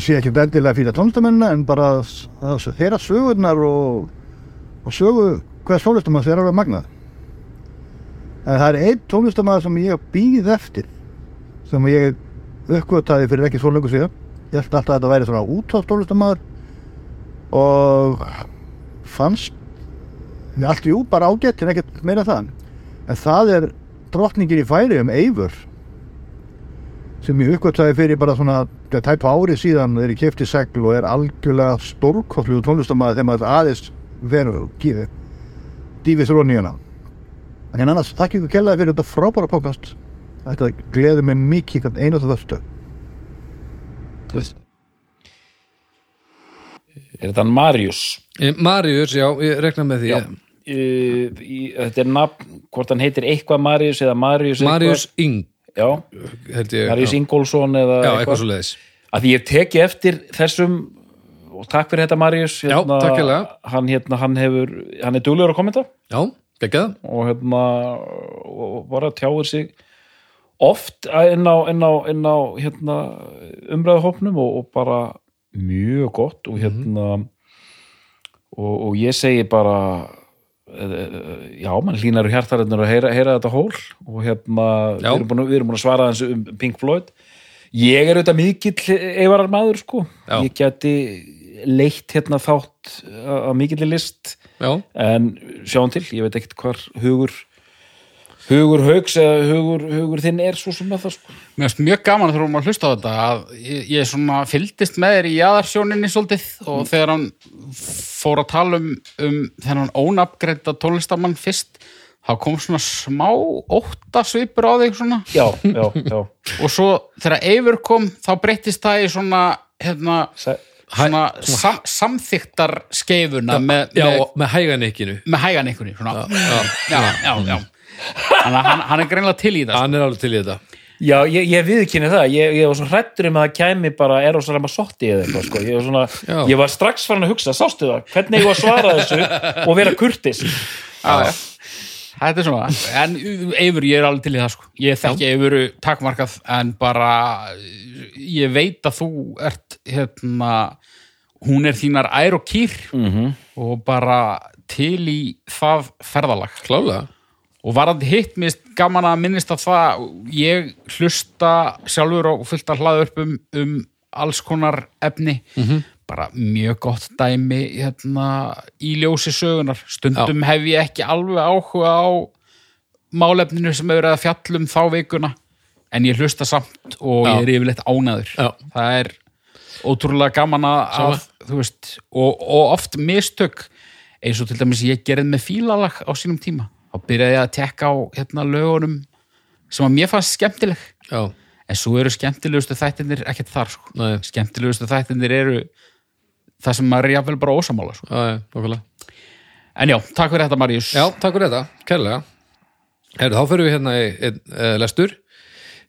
Speaker 9: sé ekki vendilega fyrir tónstamennina en bara s- þess- þeirra sögurnar og, og sögu hver tónlistamann þeirra er magnað en það er einn tónlistamann sem ég býð eftir sem ég uppgötaði fyrir ekki svo lengur síðan ég held alltaf að þetta væri svona útastólistamaður og fannst við allt í út bara ágætt en ekkert meira en það en það er drottningin í færi um Eivur sem ég uppgötaði fyrir bara svona ja, tæpa ári síðan þegar ég kefti segl og er algjörlega stórkostlu tónlistamaður þegar maður aðeins verður gífi dífið þrjóð nýjana hérna. en annars þakk ykkur kellaði fyrir þetta frábæra podcast Þetta gleður mig mikið hvern einu og það vörstu.
Speaker 2: er þetta hann Marius
Speaker 1: Eh, Marius, já, ég reknaði með því eh,
Speaker 2: Já. Uh, í, þetta er nafn, hvort hann heitir eitthvað Marius eða Marius eitthvað.
Speaker 1: Marius Ing
Speaker 2: já,
Speaker 1: held ég,
Speaker 2: Marius
Speaker 1: já,
Speaker 2: Ingólfsson eða
Speaker 1: já, eitthvað svo leiðis
Speaker 2: að því ég teki eftir þessum og takk fyrir þetta Marius
Speaker 1: Já, takk hérlega.
Speaker 2: hann, hérna, hann, hefur, hann er duglegur að kommenta
Speaker 1: já, geggjað,
Speaker 2: og hérna og bara tjáir sig oft eh, inn á, inn á, inn á hérna, umræðahópnum og, og bara mjög gott
Speaker 1: Mhm.
Speaker 2: og hérna og, og ég segi bara eh, eh, já, mann hlýnar og hjartarinnur að heyra, heyra þetta hól og hérna, við
Speaker 1: Já.
Speaker 2: erum, búin, að- við erum búin að svara þessu um Pink Floyd ég er auðvitað mikill eifarar maður sko
Speaker 1: Já.
Speaker 2: ég geti leitt hérna þátt að að mikilli list
Speaker 1: já,
Speaker 2: en sjáum til, ég veit ekkert hvar hugur hugur haugs eða hugur, hugur þinn er svo sem að það sko
Speaker 3: Mér finnst mjög gaman þegar hún var að hlusta á þetta að ég, ég svona fylgdist með þér í jaðarsjóninni svolítið og þegar hann fór að tala um, um þegar hann ónafgreita tólistamann fyrst þá kom svona smá óttasvipur á þig svona
Speaker 2: já, já, já,
Speaker 3: og svo þegar Eivur kom þá breyttist það í svona hérna
Speaker 2: Sæ,
Speaker 3: svona sam, samþyktar skeifuna með,
Speaker 1: já,
Speaker 3: með,
Speaker 1: með hægan ekkinu
Speaker 3: með hægan einhverju svona. Já, já, já, já. Þannig að Hann, hann er greinlega til í það
Speaker 1: hann er alveg til í þetta
Speaker 2: já, ég, ég viðkynni það ég, ég var svo hrættur um að það kæmi bara er á svo ræma sotti eða eitthvað sko ég var, svona,
Speaker 1: Já.
Speaker 2: ég var strax farin að hugsa, sástu það hvernig ég var að svara þessu og vera kurtis
Speaker 3: já, já. Þetta er svona, en Eifur, ég er alveg til í það sko. Ég þekki Eifuru takmarkað en bara ég veit að þú ert hérna, hún er þínar ær og kýr -hmm. og bara til í það ferðalag.
Speaker 1: klálega,
Speaker 3: Og varandi hitt, mér finnst gaman að minnist að það, ég
Speaker 1: Mhm.
Speaker 3: hlusta sjálfur og fullt að hlaða upp um, um alls konar efni, -hmm. bara mjög gott dæmi hérna, í ljósi sögunar stundum hef ég ekki alveg áhuga á málefninu sem hefur verið að fjallum þá vikuna en ég hlusta samt og
Speaker 1: Já.
Speaker 3: ég er yfirleitt ánæður
Speaker 1: Já.
Speaker 3: það er ótrúlega gaman að,
Speaker 1: Sama.
Speaker 3: að þú veist, og, og oft mistök eins og til dæmis ég gerði með fílalag á sínum tíma þá byrjaði ég að tekka á hérna, lögunum sem að mér fannst skemmtileg
Speaker 1: já,
Speaker 3: en svo eru skemmtilegustu þættinir ekkert þar sko.
Speaker 1: Nei.
Speaker 3: skemmtilegustu þættinir eru það sem maður er jafnvel bara ósamála sko.
Speaker 1: já, já, nokkulega
Speaker 3: en já, takk fyrir þetta Maríus
Speaker 1: Já, takk fyrir þetta, kærlega Herðu, þá fyrir við hérna í einn uh, lestur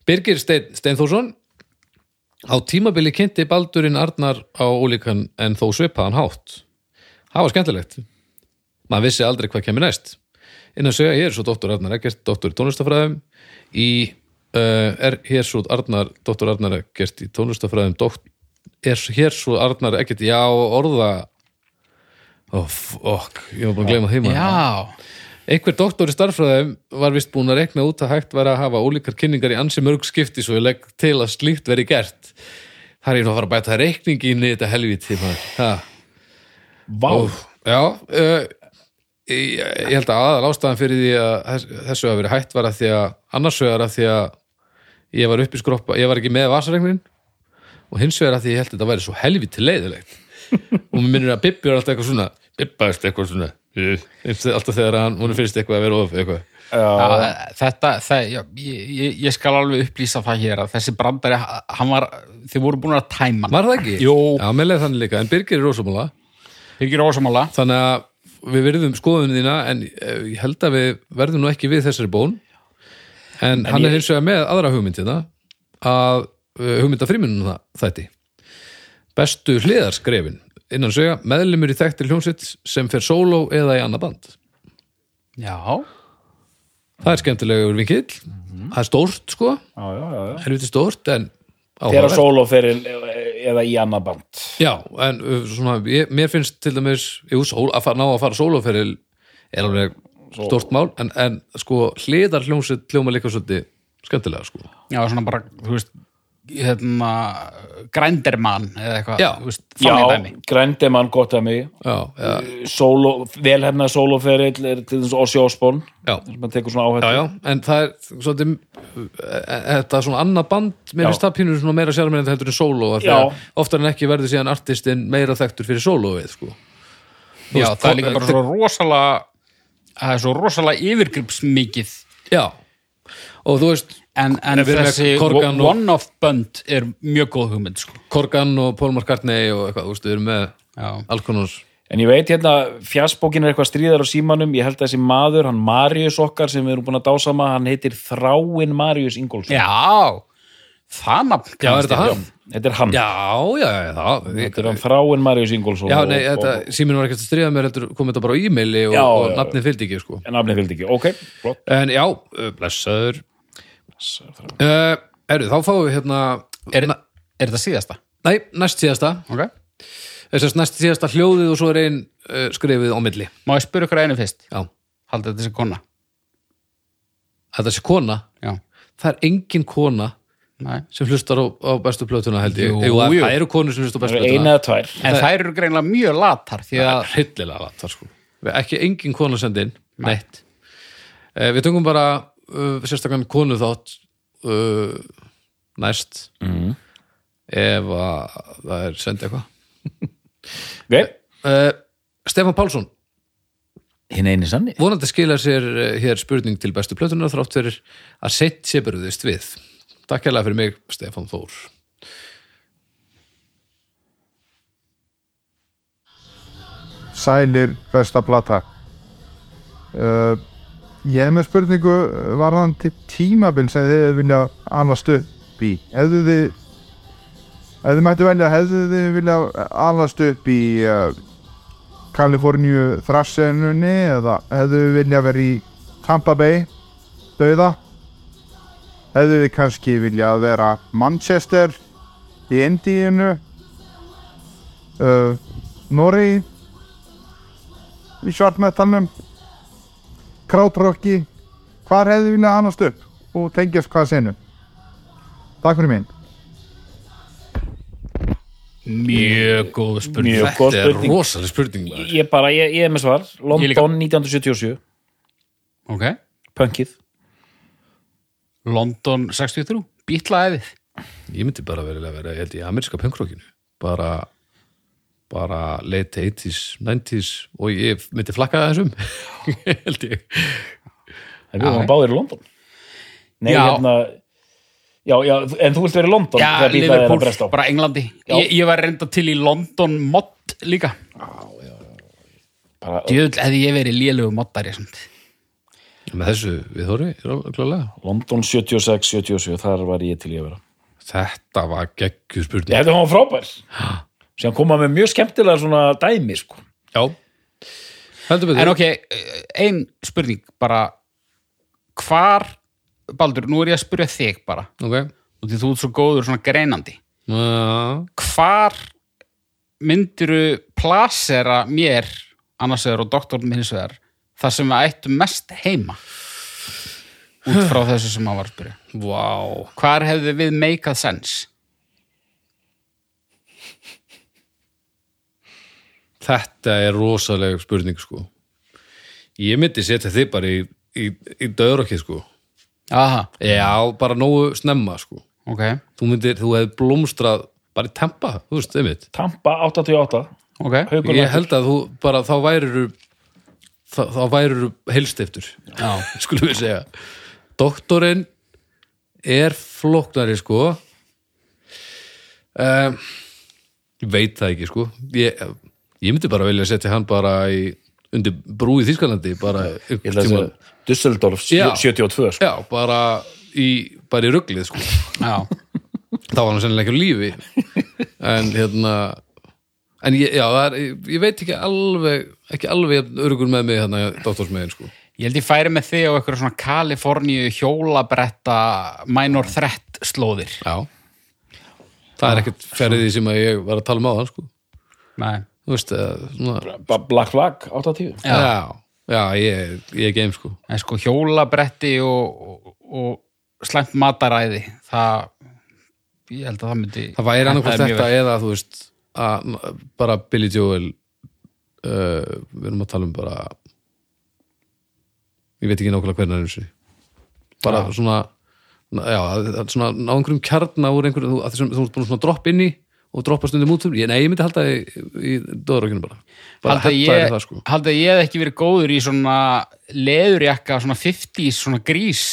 Speaker 1: Birgir Stein, Steinþórsson Á tímabili kynnti Baldurinn Arnar á ólíkan en þó svipaðan hátt Það var skemmtilegt Maður vissi aldrei hvað kemur næst Innan segja, ég er svo dóttur Arnar Ekkert, dóttur í tónlistafræðum Í, uh, er hér svo Arnar dóttur Arnar Ekkert í tónlistafræðum dótt, Er hér svo Arnar Ekkert, já, orða Ó, fokk, ég var bara að gleyma því maður.
Speaker 3: já,
Speaker 1: Einhver doktor í starffræðum var vist búin að rekna út að hægt væri að hafa ólíkar kynningar í ansi mörg skipti svo ég legg til að slíkt veri gert. Það er ég nú að fara að bæta reikningi inn í þetta helviti. maður. Ha.
Speaker 3: vá
Speaker 1: Ó, Já, uh, ég, ég held að aðal ástæðan fyrir því að þess- þessu hafi verið hægt var að því að annars vegar að því að ég var upp í skroppa, ég var ekki með vasareiknin og hins vegar að því ég held að þetta væri svo helviti leiðilegt og mér minnir að Bibbi er alltaf eitthvað svona Bibbaðist eitthvað svona eh, alltaf þegar hann, hún finnst eitthvað að vera of eitthvað
Speaker 3: já, þetta, það, já, ég, ég- ég skal alveg upplýsa það hér að þessi brandari, hann var þið voru búin að tæma hann
Speaker 1: Var það ekki?
Speaker 3: Jú.
Speaker 1: Já, mér leið þannig líka, en Birgir er rosamála
Speaker 3: ekki ósamála
Speaker 1: þannig að við verðum skoðunum þína en eh, ég held að við verðum nú ekki við þessari bón en, hann er hins vegar með aðra hugmyndina að eh, hugmynda frímunum þætti bestu hliðarskrefin innan segja meðlumur í þekktir hljómsitt sem fer sóló eða í annað band
Speaker 3: já,
Speaker 1: það er skemmtilegur vinkill það er stórt sko,
Speaker 2: já, já, já, já.
Speaker 1: helviti stórt en
Speaker 2: þegar
Speaker 1: áhugavert.
Speaker 2: sóloferil eða í annað band
Speaker 1: Já, en uh, svona, ég, mér finnst til dæmis, jú, sól, að fara, ná að fara sóloferil er alveg stort mál, en, en sko hliðar hljómsveit hljóma líka svolítið skemmtilega, sko.
Speaker 3: já, svona bara, þú veist hérna, grændermann eða eitthvað,
Speaker 1: Já.
Speaker 3: þú veist, þannig
Speaker 2: já,
Speaker 3: dæmi
Speaker 2: grændi mann gott að mig
Speaker 1: Já, já,
Speaker 2: Solo, velhefna sóloferil er til þess Ossi Osborn
Speaker 1: já,
Speaker 2: mann tekur svona áhættu
Speaker 1: já, já, en það er svolítið, uh, þetta svona annað band, mér
Speaker 2: Já.
Speaker 1: finnst það pínur svona meira sjármennið heldur en sóló, af því
Speaker 2: Já.
Speaker 1: að oftar en ekki verður síðan artistinn meira þekktur fyrir sólóið, sko. Þú
Speaker 3: Já,
Speaker 1: veist,
Speaker 3: það er
Speaker 1: kom-
Speaker 3: líka bara svo rosalega það er svo rosalega yfirgripsmikið
Speaker 1: Já, og þú veist,
Speaker 3: en, en
Speaker 1: En við erum með
Speaker 3: þessi
Speaker 1: Korgan og-
Speaker 3: one-off band er mjög góð hugmynd sko.
Speaker 1: Korgan og Paul McCartney og eitthvað, þú veist, við erum með
Speaker 3: Já.
Speaker 1: alls konar
Speaker 2: En ég veit hérna, fjassbókin er eitthvað stríðar á símanum, ég held að þessi maður, hann Marius okkar sem við erum búin að dásama, hann heitir Þráin Marius Ingólfsson.
Speaker 3: Já, það nafn
Speaker 1: Já, er
Speaker 3: kannast
Speaker 1: þetta
Speaker 3: ég.
Speaker 1: hann?
Speaker 2: Þetta er hann.
Speaker 1: Já, já, já, það
Speaker 2: Þetta er hann Þráin Marius Ingólfsson.
Speaker 1: Já,
Speaker 2: og-
Speaker 1: nei, þetta,
Speaker 2: og-
Speaker 1: síminn var ekkert að stríða mér heldur kom þetta bara á e-maili og,
Speaker 2: Já,
Speaker 1: og
Speaker 2: já, já.
Speaker 1: nafnið fylgdi ekki, sko
Speaker 2: En nafnið fylgdi ekki, ok, flott.
Speaker 1: En já, uh, blessaður uh, Eru, þá fáum við hérna
Speaker 3: er, er þetta síðasta?
Speaker 1: Nei, næst síðasta
Speaker 3: Okay.
Speaker 1: Þess að næst síðasta hljóðið og svo er ein uh, skrifið á milli
Speaker 3: Má ég spyrja ykkur að einu fyrst?
Speaker 1: Já,
Speaker 3: Haldið þetta sér kona?
Speaker 1: þetta sé kona
Speaker 3: Já,
Speaker 1: Það er engin kona
Speaker 3: nei
Speaker 1: sem hlustar á, á bestu plötuna held ég
Speaker 3: Jú,
Speaker 1: að-
Speaker 3: jú.
Speaker 1: Það eru konur sem hlustar á
Speaker 2: Það
Speaker 1: bestu
Speaker 2: er
Speaker 1: plötuna
Speaker 2: eina eða tvær.
Speaker 3: En þær eru greinlega mjög latar því
Speaker 1: Það
Speaker 3: að
Speaker 1: er hryllilega langt þar sko Ekki engin kona sendi inn, neitt Eh, Við tökum bara uh, sérstakann konu þátt uh, næst mm. ef að það er sendið eitthvað
Speaker 2: Ok,
Speaker 1: uh, Stefán Pálsson
Speaker 2: hinn eini sanni.
Speaker 1: vonandi skila sér uh, hér spurning til bestu plötunar þrátt fyrir að sett sé burðist við Takk hérlega fyrir mig, Stefán Þór
Speaker 9: sælir besta plata uh, ég hef með spurningu varðandi tímabil sem þið vilja annast upp í hefðu þið ef þið mættu velja, hefðu þið vilja annast upp í uh, Kaliforníu þrassenunni eða hefðu þið vilja verið í Tampa Bay dauða hefðu þið kannski vilja vera Manchester í Indíinu uh, Noregi í svartmetalnum krátrokki hvar hefði viljað annast upp og tengjast hvað senu takk fyrir minn
Speaker 1: Mjög góð spurning
Speaker 2: Mjög góð
Speaker 1: Þetta
Speaker 2: spurning.
Speaker 1: er rosalega spurning maður.
Speaker 2: Ég bara, ég, ég er með svar
Speaker 3: Ég líka.
Speaker 2: London 1977,
Speaker 3: ok,
Speaker 2: punkið
Speaker 3: London 63 bítlaðið,
Speaker 1: Ég myndi bara verið að vera, ég held í ameríska pönkrókinu bara bara late 80s, 90s og ég myndi flakka þessum held ég
Speaker 2: Það er við báðir í London Nei,
Speaker 3: Já.
Speaker 2: hérna Já, já, en þú vilt vera í London
Speaker 3: já,
Speaker 2: þegar bílaðið er að
Speaker 3: Liverpool
Speaker 2: bresta á
Speaker 3: bara Englandi,
Speaker 2: Já.
Speaker 3: ég, ég var reynda til í London mod líka
Speaker 2: bara,
Speaker 3: djöðl hefði ég verið lélegu moddari samt.
Speaker 1: með þessu við þóri, klálega
Speaker 2: London 76, 77, þar var ég til ég að vera
Speaker 1: Þetta var geggjur
Speaker 2: Ég
Speaker 1: spurning
Speaker 2: hefði hann var frábær Síðan koma með mjög skemmtilega svona dæmi sko.
Speaker 1: Já, heldur við
Speaker 3: en ok, ein spurning bara hvar, Baldur, nú er ég að spyrja þig bara,
Speaker 1: okay.
Speaker 3: og því þú ert svo góður svona greinandi,
Speaker 1: Já.
Speaker 3: hvar myndiru plasera mér annars vegar og doktorn minns vegar þar sem við ættum mest heima út frá þessu sem að var að spyrja
Speaker 1: Vá,
Speaker 3: hvar hefði við make a sense
Speaker 1: þetta er rosalega spurning sko Ég myndi setja þið bara í, í, í döðrokkið sko
Speaker 3: aha,
Speaker 1: Já, bara nógu snemma sko
Speaker 3: ok,
Speaker 1: Þú myndir, þú hefði blómstrað bara í tempa, þú veist, einmitt
Speaker 2: Tampa 88
Speaker 3: ok
Speaker 2: Haukur
Speaker 1: Ég held að þú bara þá væriru þá, þá væriru heilstiftur
Speaker 3: Já.
Speaker 1: skulum við segja Doktorinn er flóknari sko um, ég veit það ekki sko ég, ég myndi bara velja að setja hann bara í, undir brú í Þískalandi bara
Speaker 2: Ég held að
Speaker 1: tíma,
Speaker 2: segja Düsseldorf
Speaker 1: Já.
Speaker 2: 72 sko.
Speaker 1: já, bara í, bara í ruglið sko
Speaker 3: já,
Speaker 1: þá var hann sennilega ekki á lífi en hérna en ég, já, það er, ég, ég veit ekki alveg ekki alveg örugur með mig hérna doktorsmeðin sko
Speaker 3: ég held ég færi með þig á eitthvað svona Kaliforníu hjólabretta minor threat slóðir
Speaker 1: já. það er ekkert færið því sem að ég var að tala um á það sko
Speaker 3: nei,
Speaker 1: þú veist að svona,
Speaker 2: Ba- Black Flag 80
Speaker 1: já. já, ég, ég er game sko
Speaker 3: en sko hjólabretti og, og, og slæmt mataræði það ég held að það myndi
Speaker 1: það væri annarkvæmt
Speaker 3: hentaði mjög
Speaker 1: þetta
Speaker 3: vel.
Speaker 1: eða þú veist að, bara Billy Joel uh, við erum að tala um bara ég veit ekki nákvæmlega hvernig hann er einu sinni. bara svona já, að- svona ná einhverjum kjarna úr einhverjum, þú, að þessum, þú ert búin að svona dropp inn í og droppa stundum út úr, ég, nei, ég myndi halda í, í döðrökinu bara, bara
Speaker 3: Haldið að
Speaker 1: hella
Speaker 3: ég,
Speaker 1: yfir það sko
Speaker 3: haldið að ég hef ekki verið góður í svona leðurjakka, svona 50s, svona grís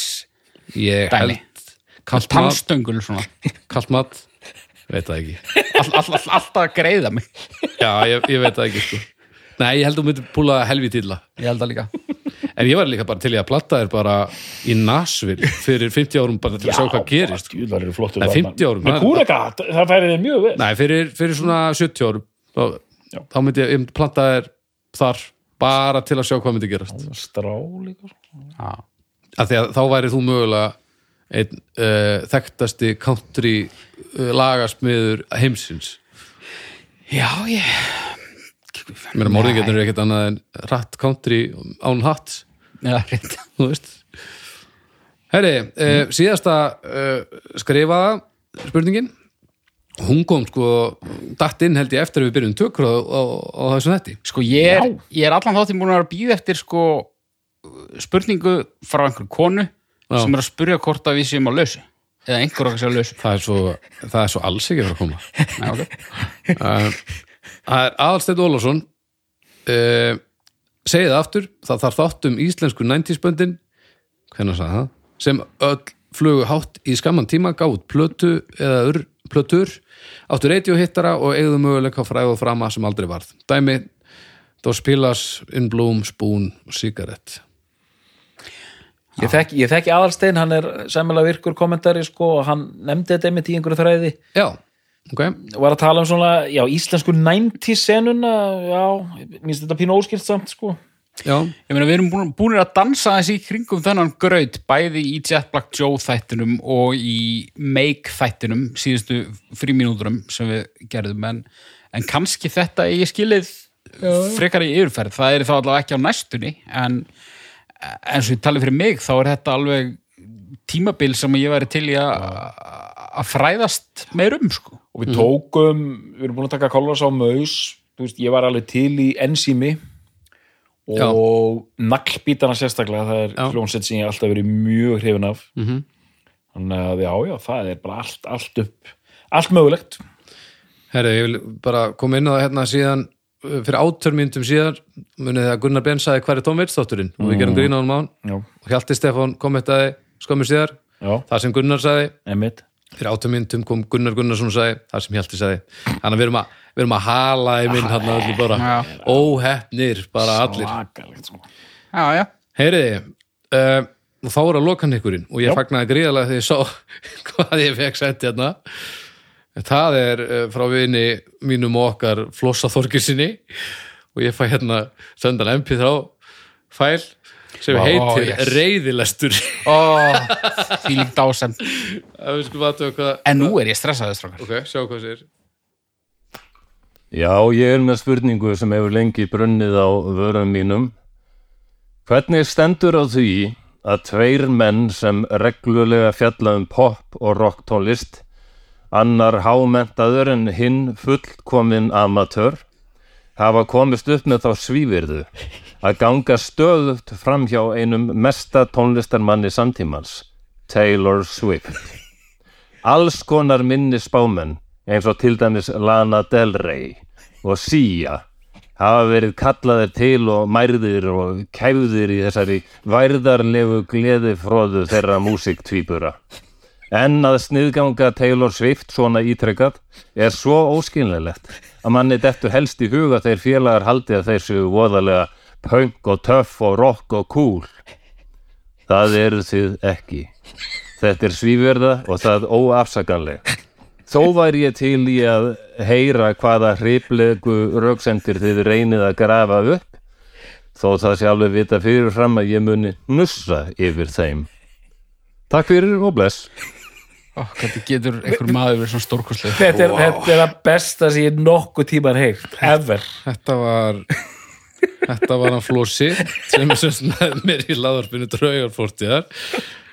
Speaker 1: ég
Speaker 3: dæmi,
Speaker 1: held kalt mat,
Speaker 3: tannstöngul svona,
Speaker 1: kalt mat veit það ekki
Speaker 3: all, all, all, alltaf að greiða mig
Speaker 1: Já, ég, ég veit það ekki sko Nei, ég held að þú myndir púla helvið illa
Speaker 3: ég held að líka
Speaker 1: En ég var líka bara til í að platta þér bara í Nashville fyrir 50 árum bara til að sjá hvað gerist sko.
Speaker 2: Júlar eru flottur
Speaker 1: Nei,
Speaker 2: þarna.
Speaker 1: 50 árum,
Speaker 2: Með
Speaker 1: það er-
Speaker 2: Kúreka, það færi þið mjög vel
Speaker 1: Nei, fyrir, fyrir svona 70 árum þá,
Speaker 2: Já.
Speaker 1: þá myndi ég, ég myndi platta þér þar bara til að sjá hvað myndi gerast
Speaker 2: Strá líka sko.
Speaker 3: já,
Speaker 1: Af því að þá væri þú mögulega einn uh, þekktasti country uh, lagasmiður heimsins
Speaker 3: já ég
Speaker 1: Ég meina, morðingetnir eru ekkert annað en rætt country án hatt
Speaker 3: já, reynd.
Speaker 1: þú veist Herri, eh, síðasta eh, skrifaða spurningin hún kom sko datt inn held ég eftir að við byrjum tökur á, á, á þessum þetti
Speaker 3: sko ég er, ég er allan þáttum búin að vera að býða eftir sko spurningu frá einhver konu sem er að spurja hvort að við séum á lausu eða einhver okkar sé á lausu
Speaker 1: það er svo, það er svo alls ekki að fara að koma
Speaker 3: Nei, okay.
Speaker 1: Eh, það er Aðalsteinn Ólafsson uh, segið það aftur það þarf þátt um íslensku 90s böndin hvernig sagði það sem öll flugu hátt í skamman tíma gátt plötu eða ur, plötur áttu radiohittara og eigðu möguleika á fræð og frama sem aldrei varð dæmi, þá spilas in bloom, spoon og cigarette
Speaker 2: Ég þekki, ég þekki aðalstein, hann er sæmilega virkur kommentari sko, og hann nefndi þetta einmitt í einhverju þræði
Speaker 1: já, ok,
Speaker 2: og var að tala um svona, já, íslensku 90 senuna, já, minnst þetta pínu óskilt samt, sko
Speaker 1: já
Speaker 3: Ég meina, við erum búin, búin að dansa þessi í kringum þennan graut, bæði í Jet Black Joe þættinum og í Make þættinum, síðustu frímínúturum sem við gerðum, en, en kannski þetta eigi skilið frekar í yfirferð, það er þá allavega ekki á næstunni, en eins og ég tali fyrir mig, þá er þetta alveg tímabil sem ég væri til í að að fræðast meirum, sko.
Speaker 2: og við tókum, við erum búin að taka kollas á maus, þú veist, ég var alveg til í ensými og
Speaker 1: Já.
Speaker 2: naglbítana sérstaklega, það er
Speaker 1: Já.
Speaker 2: hljónsett sem ég hef alltaf verið mjög hrifin af
Speaker 1: Mhm.
Speaker 2: þannig að já, já, það er bara allt, allt upp, allt mögulegt
Speaker 1: Herri, ég vil bara koma inn á það hérna síðan uh, fyrir átörmyndum síðan munið það að Gunnar Ben sagði hver er Tom Waits þátturinn og við gerum grín á hann mán
Speaker 2: Já.
Speaker 1: og Hjalti Stefán kommentaði skömmu síðar
Speaker 2: Já,
Speaker 1: það sem Gunnar sagði
Speaker 2: einmitt
Speaker 1: fyrir átörmyndum kom Gunnar Gunnarsson og sagði það sem Hjalti sagði þannig að við erum að, við erum að hala í minn hann öllu bara óhefnir bara allir
Speaker 2: Svakalegt sko
Speaker 3: já, já,
Speaker 1: Heyriði, uh, og þá er að lokan ykkurinn og ég
Speaker 2: Já.
Speaker 1: fagnaði gríðarlega þegar ég sá hvað ég fekk sett hérna það er uh, frá vini mínum og okkar Flossa Þorgirsinni og ég fæ hérna sendan MP3 fæl sem
Speaker 3: Vá,
Speaker 1: heitir
Speaker 3: yes.
Speaker 1: reyðilestur
Speaker 3: ó, því líkt ásend
Speaker 1: að við skulum aðtöða hvað
Speaker 3: en nú er ég stressaði strókar
Speaker 1: ok, sjá hvað sér
Speaker 10: Já, ég er með spurningu sem hefur lengi brunnið á vörðum mínum. Hvernig stendur á því að tveir menn sem reglulega fjalla um pop og rocktónlist, annar hámentaður en hinn fullkominn amatör, hafa komist upp með þá svívirðu að ganga stöðugt fram hjá einum mesta tónlistarmanni samtímans, Taylor Swift. Alls konar minni spámenn eins og til dæmis Lana Del Rey og Sia hafa verið kallaðir til og mærðir og kæfðir í þessari værðarlegu gleðifróðu þeirra músiktvípura. En að sniðganga Taylor Swift svona ítrekkað er svo óskilnilegt að manni dettu helst í huga þeir félagar haldi að þeir séu voðalega punk og töff og rock og cool. Það eru þið ekki. Þetta er svíverða og það óafsakanleg. Þó væri ég til í að heyra hvaða hriplegu rauksendir þið reynið að grafa upp, þó það sé alveg vita fyrirfram að ég muni nussa yfir þeim. Takk fyrir og bless.
Speaker 3: ó, hvernig getur einhver maður verið svona stórkurslu
Speaker 2: Þetta er, þetta er það besta sem ég nokkuð tíman heilt, ever
Speaker 1: þetta var þetta var hann Flossi sem er sem snæði mér í laðarpinu draugarfortiðar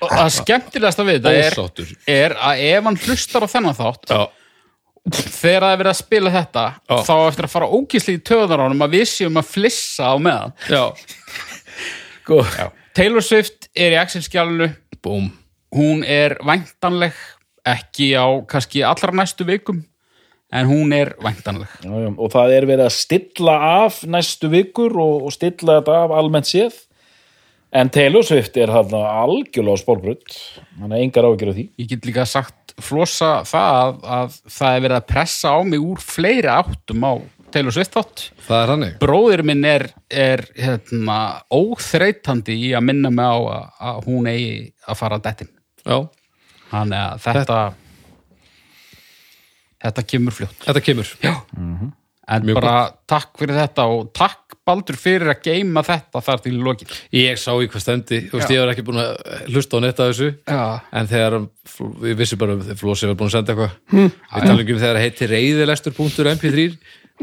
Speaker 3: og það skemmtilegast að við þetta er
Speaker 1: ósáttur
Speaker 3: er að ef hann hlustar á þennan þátt
Speaker 1: Já.
Speaker 3: þegar það er verið að spila þetta
Speaker 1: Já.
Speaker 3: þá á eftir að fara ógísli í töðunar á honum að við séum að flissa á meðan
Speaker 1: já,
Speaker 2: sko.
Speaker 3: Taylor Swift er í Excel-skjálunu
Speaker 1: búm
Speaker 3: hún er væntanleg ekki á kannski allra næstu vikum en hún er væntanleg
Speaker 2: Já, já, og það er verið að stilla af næstu vikur og, og stilla þetta af almennt séð en Taylor Swift er hann algjörlega spórbrutt hann er engar áhyggjur af því
Speaker 3: ég get líka sagt flosa það að það er verið að pressa á mig úr fleiri áttum á Taylor Swift þátt
Speaker 1: það er hannig
Speaker 3: bróðir minn er, er hérna, óþreytandi í að minna mig á að, að hún eigi að fara að dettin
Speaker 1: já,
Speaker 3: þannig að þetta þetta kemur fljótt
Speaker 1: þetta kemur já
Speaker 3: en
Speaker 1: Mjög
Speaker 3: bara takk fyrir þetta og takk Baldur fyrir að geima þetta þar til lokin
Speaker 1: ég sá í hvað stendi, þú veist,
Speaker 3: Já.
Speaker 1: ég var ekki búin að hlusta á netta þessu,
Speaker 3: Já.
Speaker 1: en þegar fl- ég vissi bara um þegar Flósi var búin að senda eitthvað hm. við talum ekki um þegar það heitir reyðilestur.mp3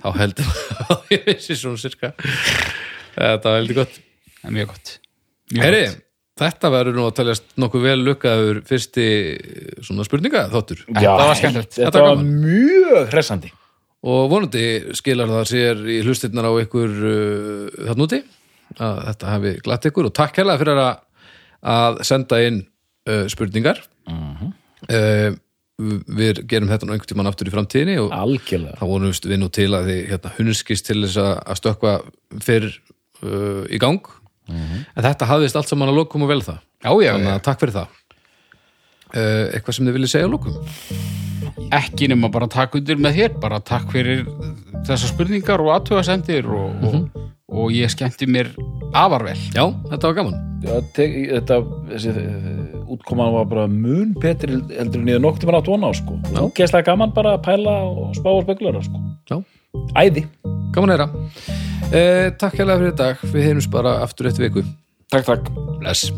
Speaker 1: þá heldur að ég vissi svona cirka þetta var heldur gott
Speaker 3: en mjög gott
Speaker 1: Heri, þetta verður nú að teljast nokkuð vel lukkaður fyrsti eh, svona spurninga þáttur
Speaker 2: þetta
Speaker 3: var skemmtilegt.
Speaker 2: þetta,
Speaker 1: Þetta var
Speaker 2: var mjög hressandi
Speaker 1: og vonandi skilar það sér í hlustirnar á ykkur uh, þann úti að þetta hafi glatt ykkur og takk hérlega fyrir að, að senda inn uh, spurningar uh við gerum þetta nú einhvern tímann aftur í framtíðinni og
Speaker 2: algjörlega
Speaker 1: þá vonumst við nú til að þið hérna, hunskist til þess að, að stökkva fyrr uh, í gang en þetta hafðist allt saman að lokum og vel það
Speaker 3: já, já,
Speaker 1: þannig að takk fyrir það uh, eitthvað sem þið viljið segja að lokum
Speaker 3: ekki nema bara takk undir með þér bara takk fyrir þessar spurningar og aðtöðasendir og, og, og ég skemmti mér afar vel
Speaker 1: já, þetta var gaman
Speaker 2: Já, te- þetta þessi, eh, útkoman var bara mun betri heldur en ég nokti mér átt vona á sko ógeðslega gaman bara að pæla og spá og spekulara sko
Speaker 1: Já.
Speaker 2: æði
Speaker 1: Gaman að heyra. Eh, takk hérlega fyrir í dag. Við heyrums bara aftur eftir viku.
Speaker 2: takk takk
Speaker 1: Bless.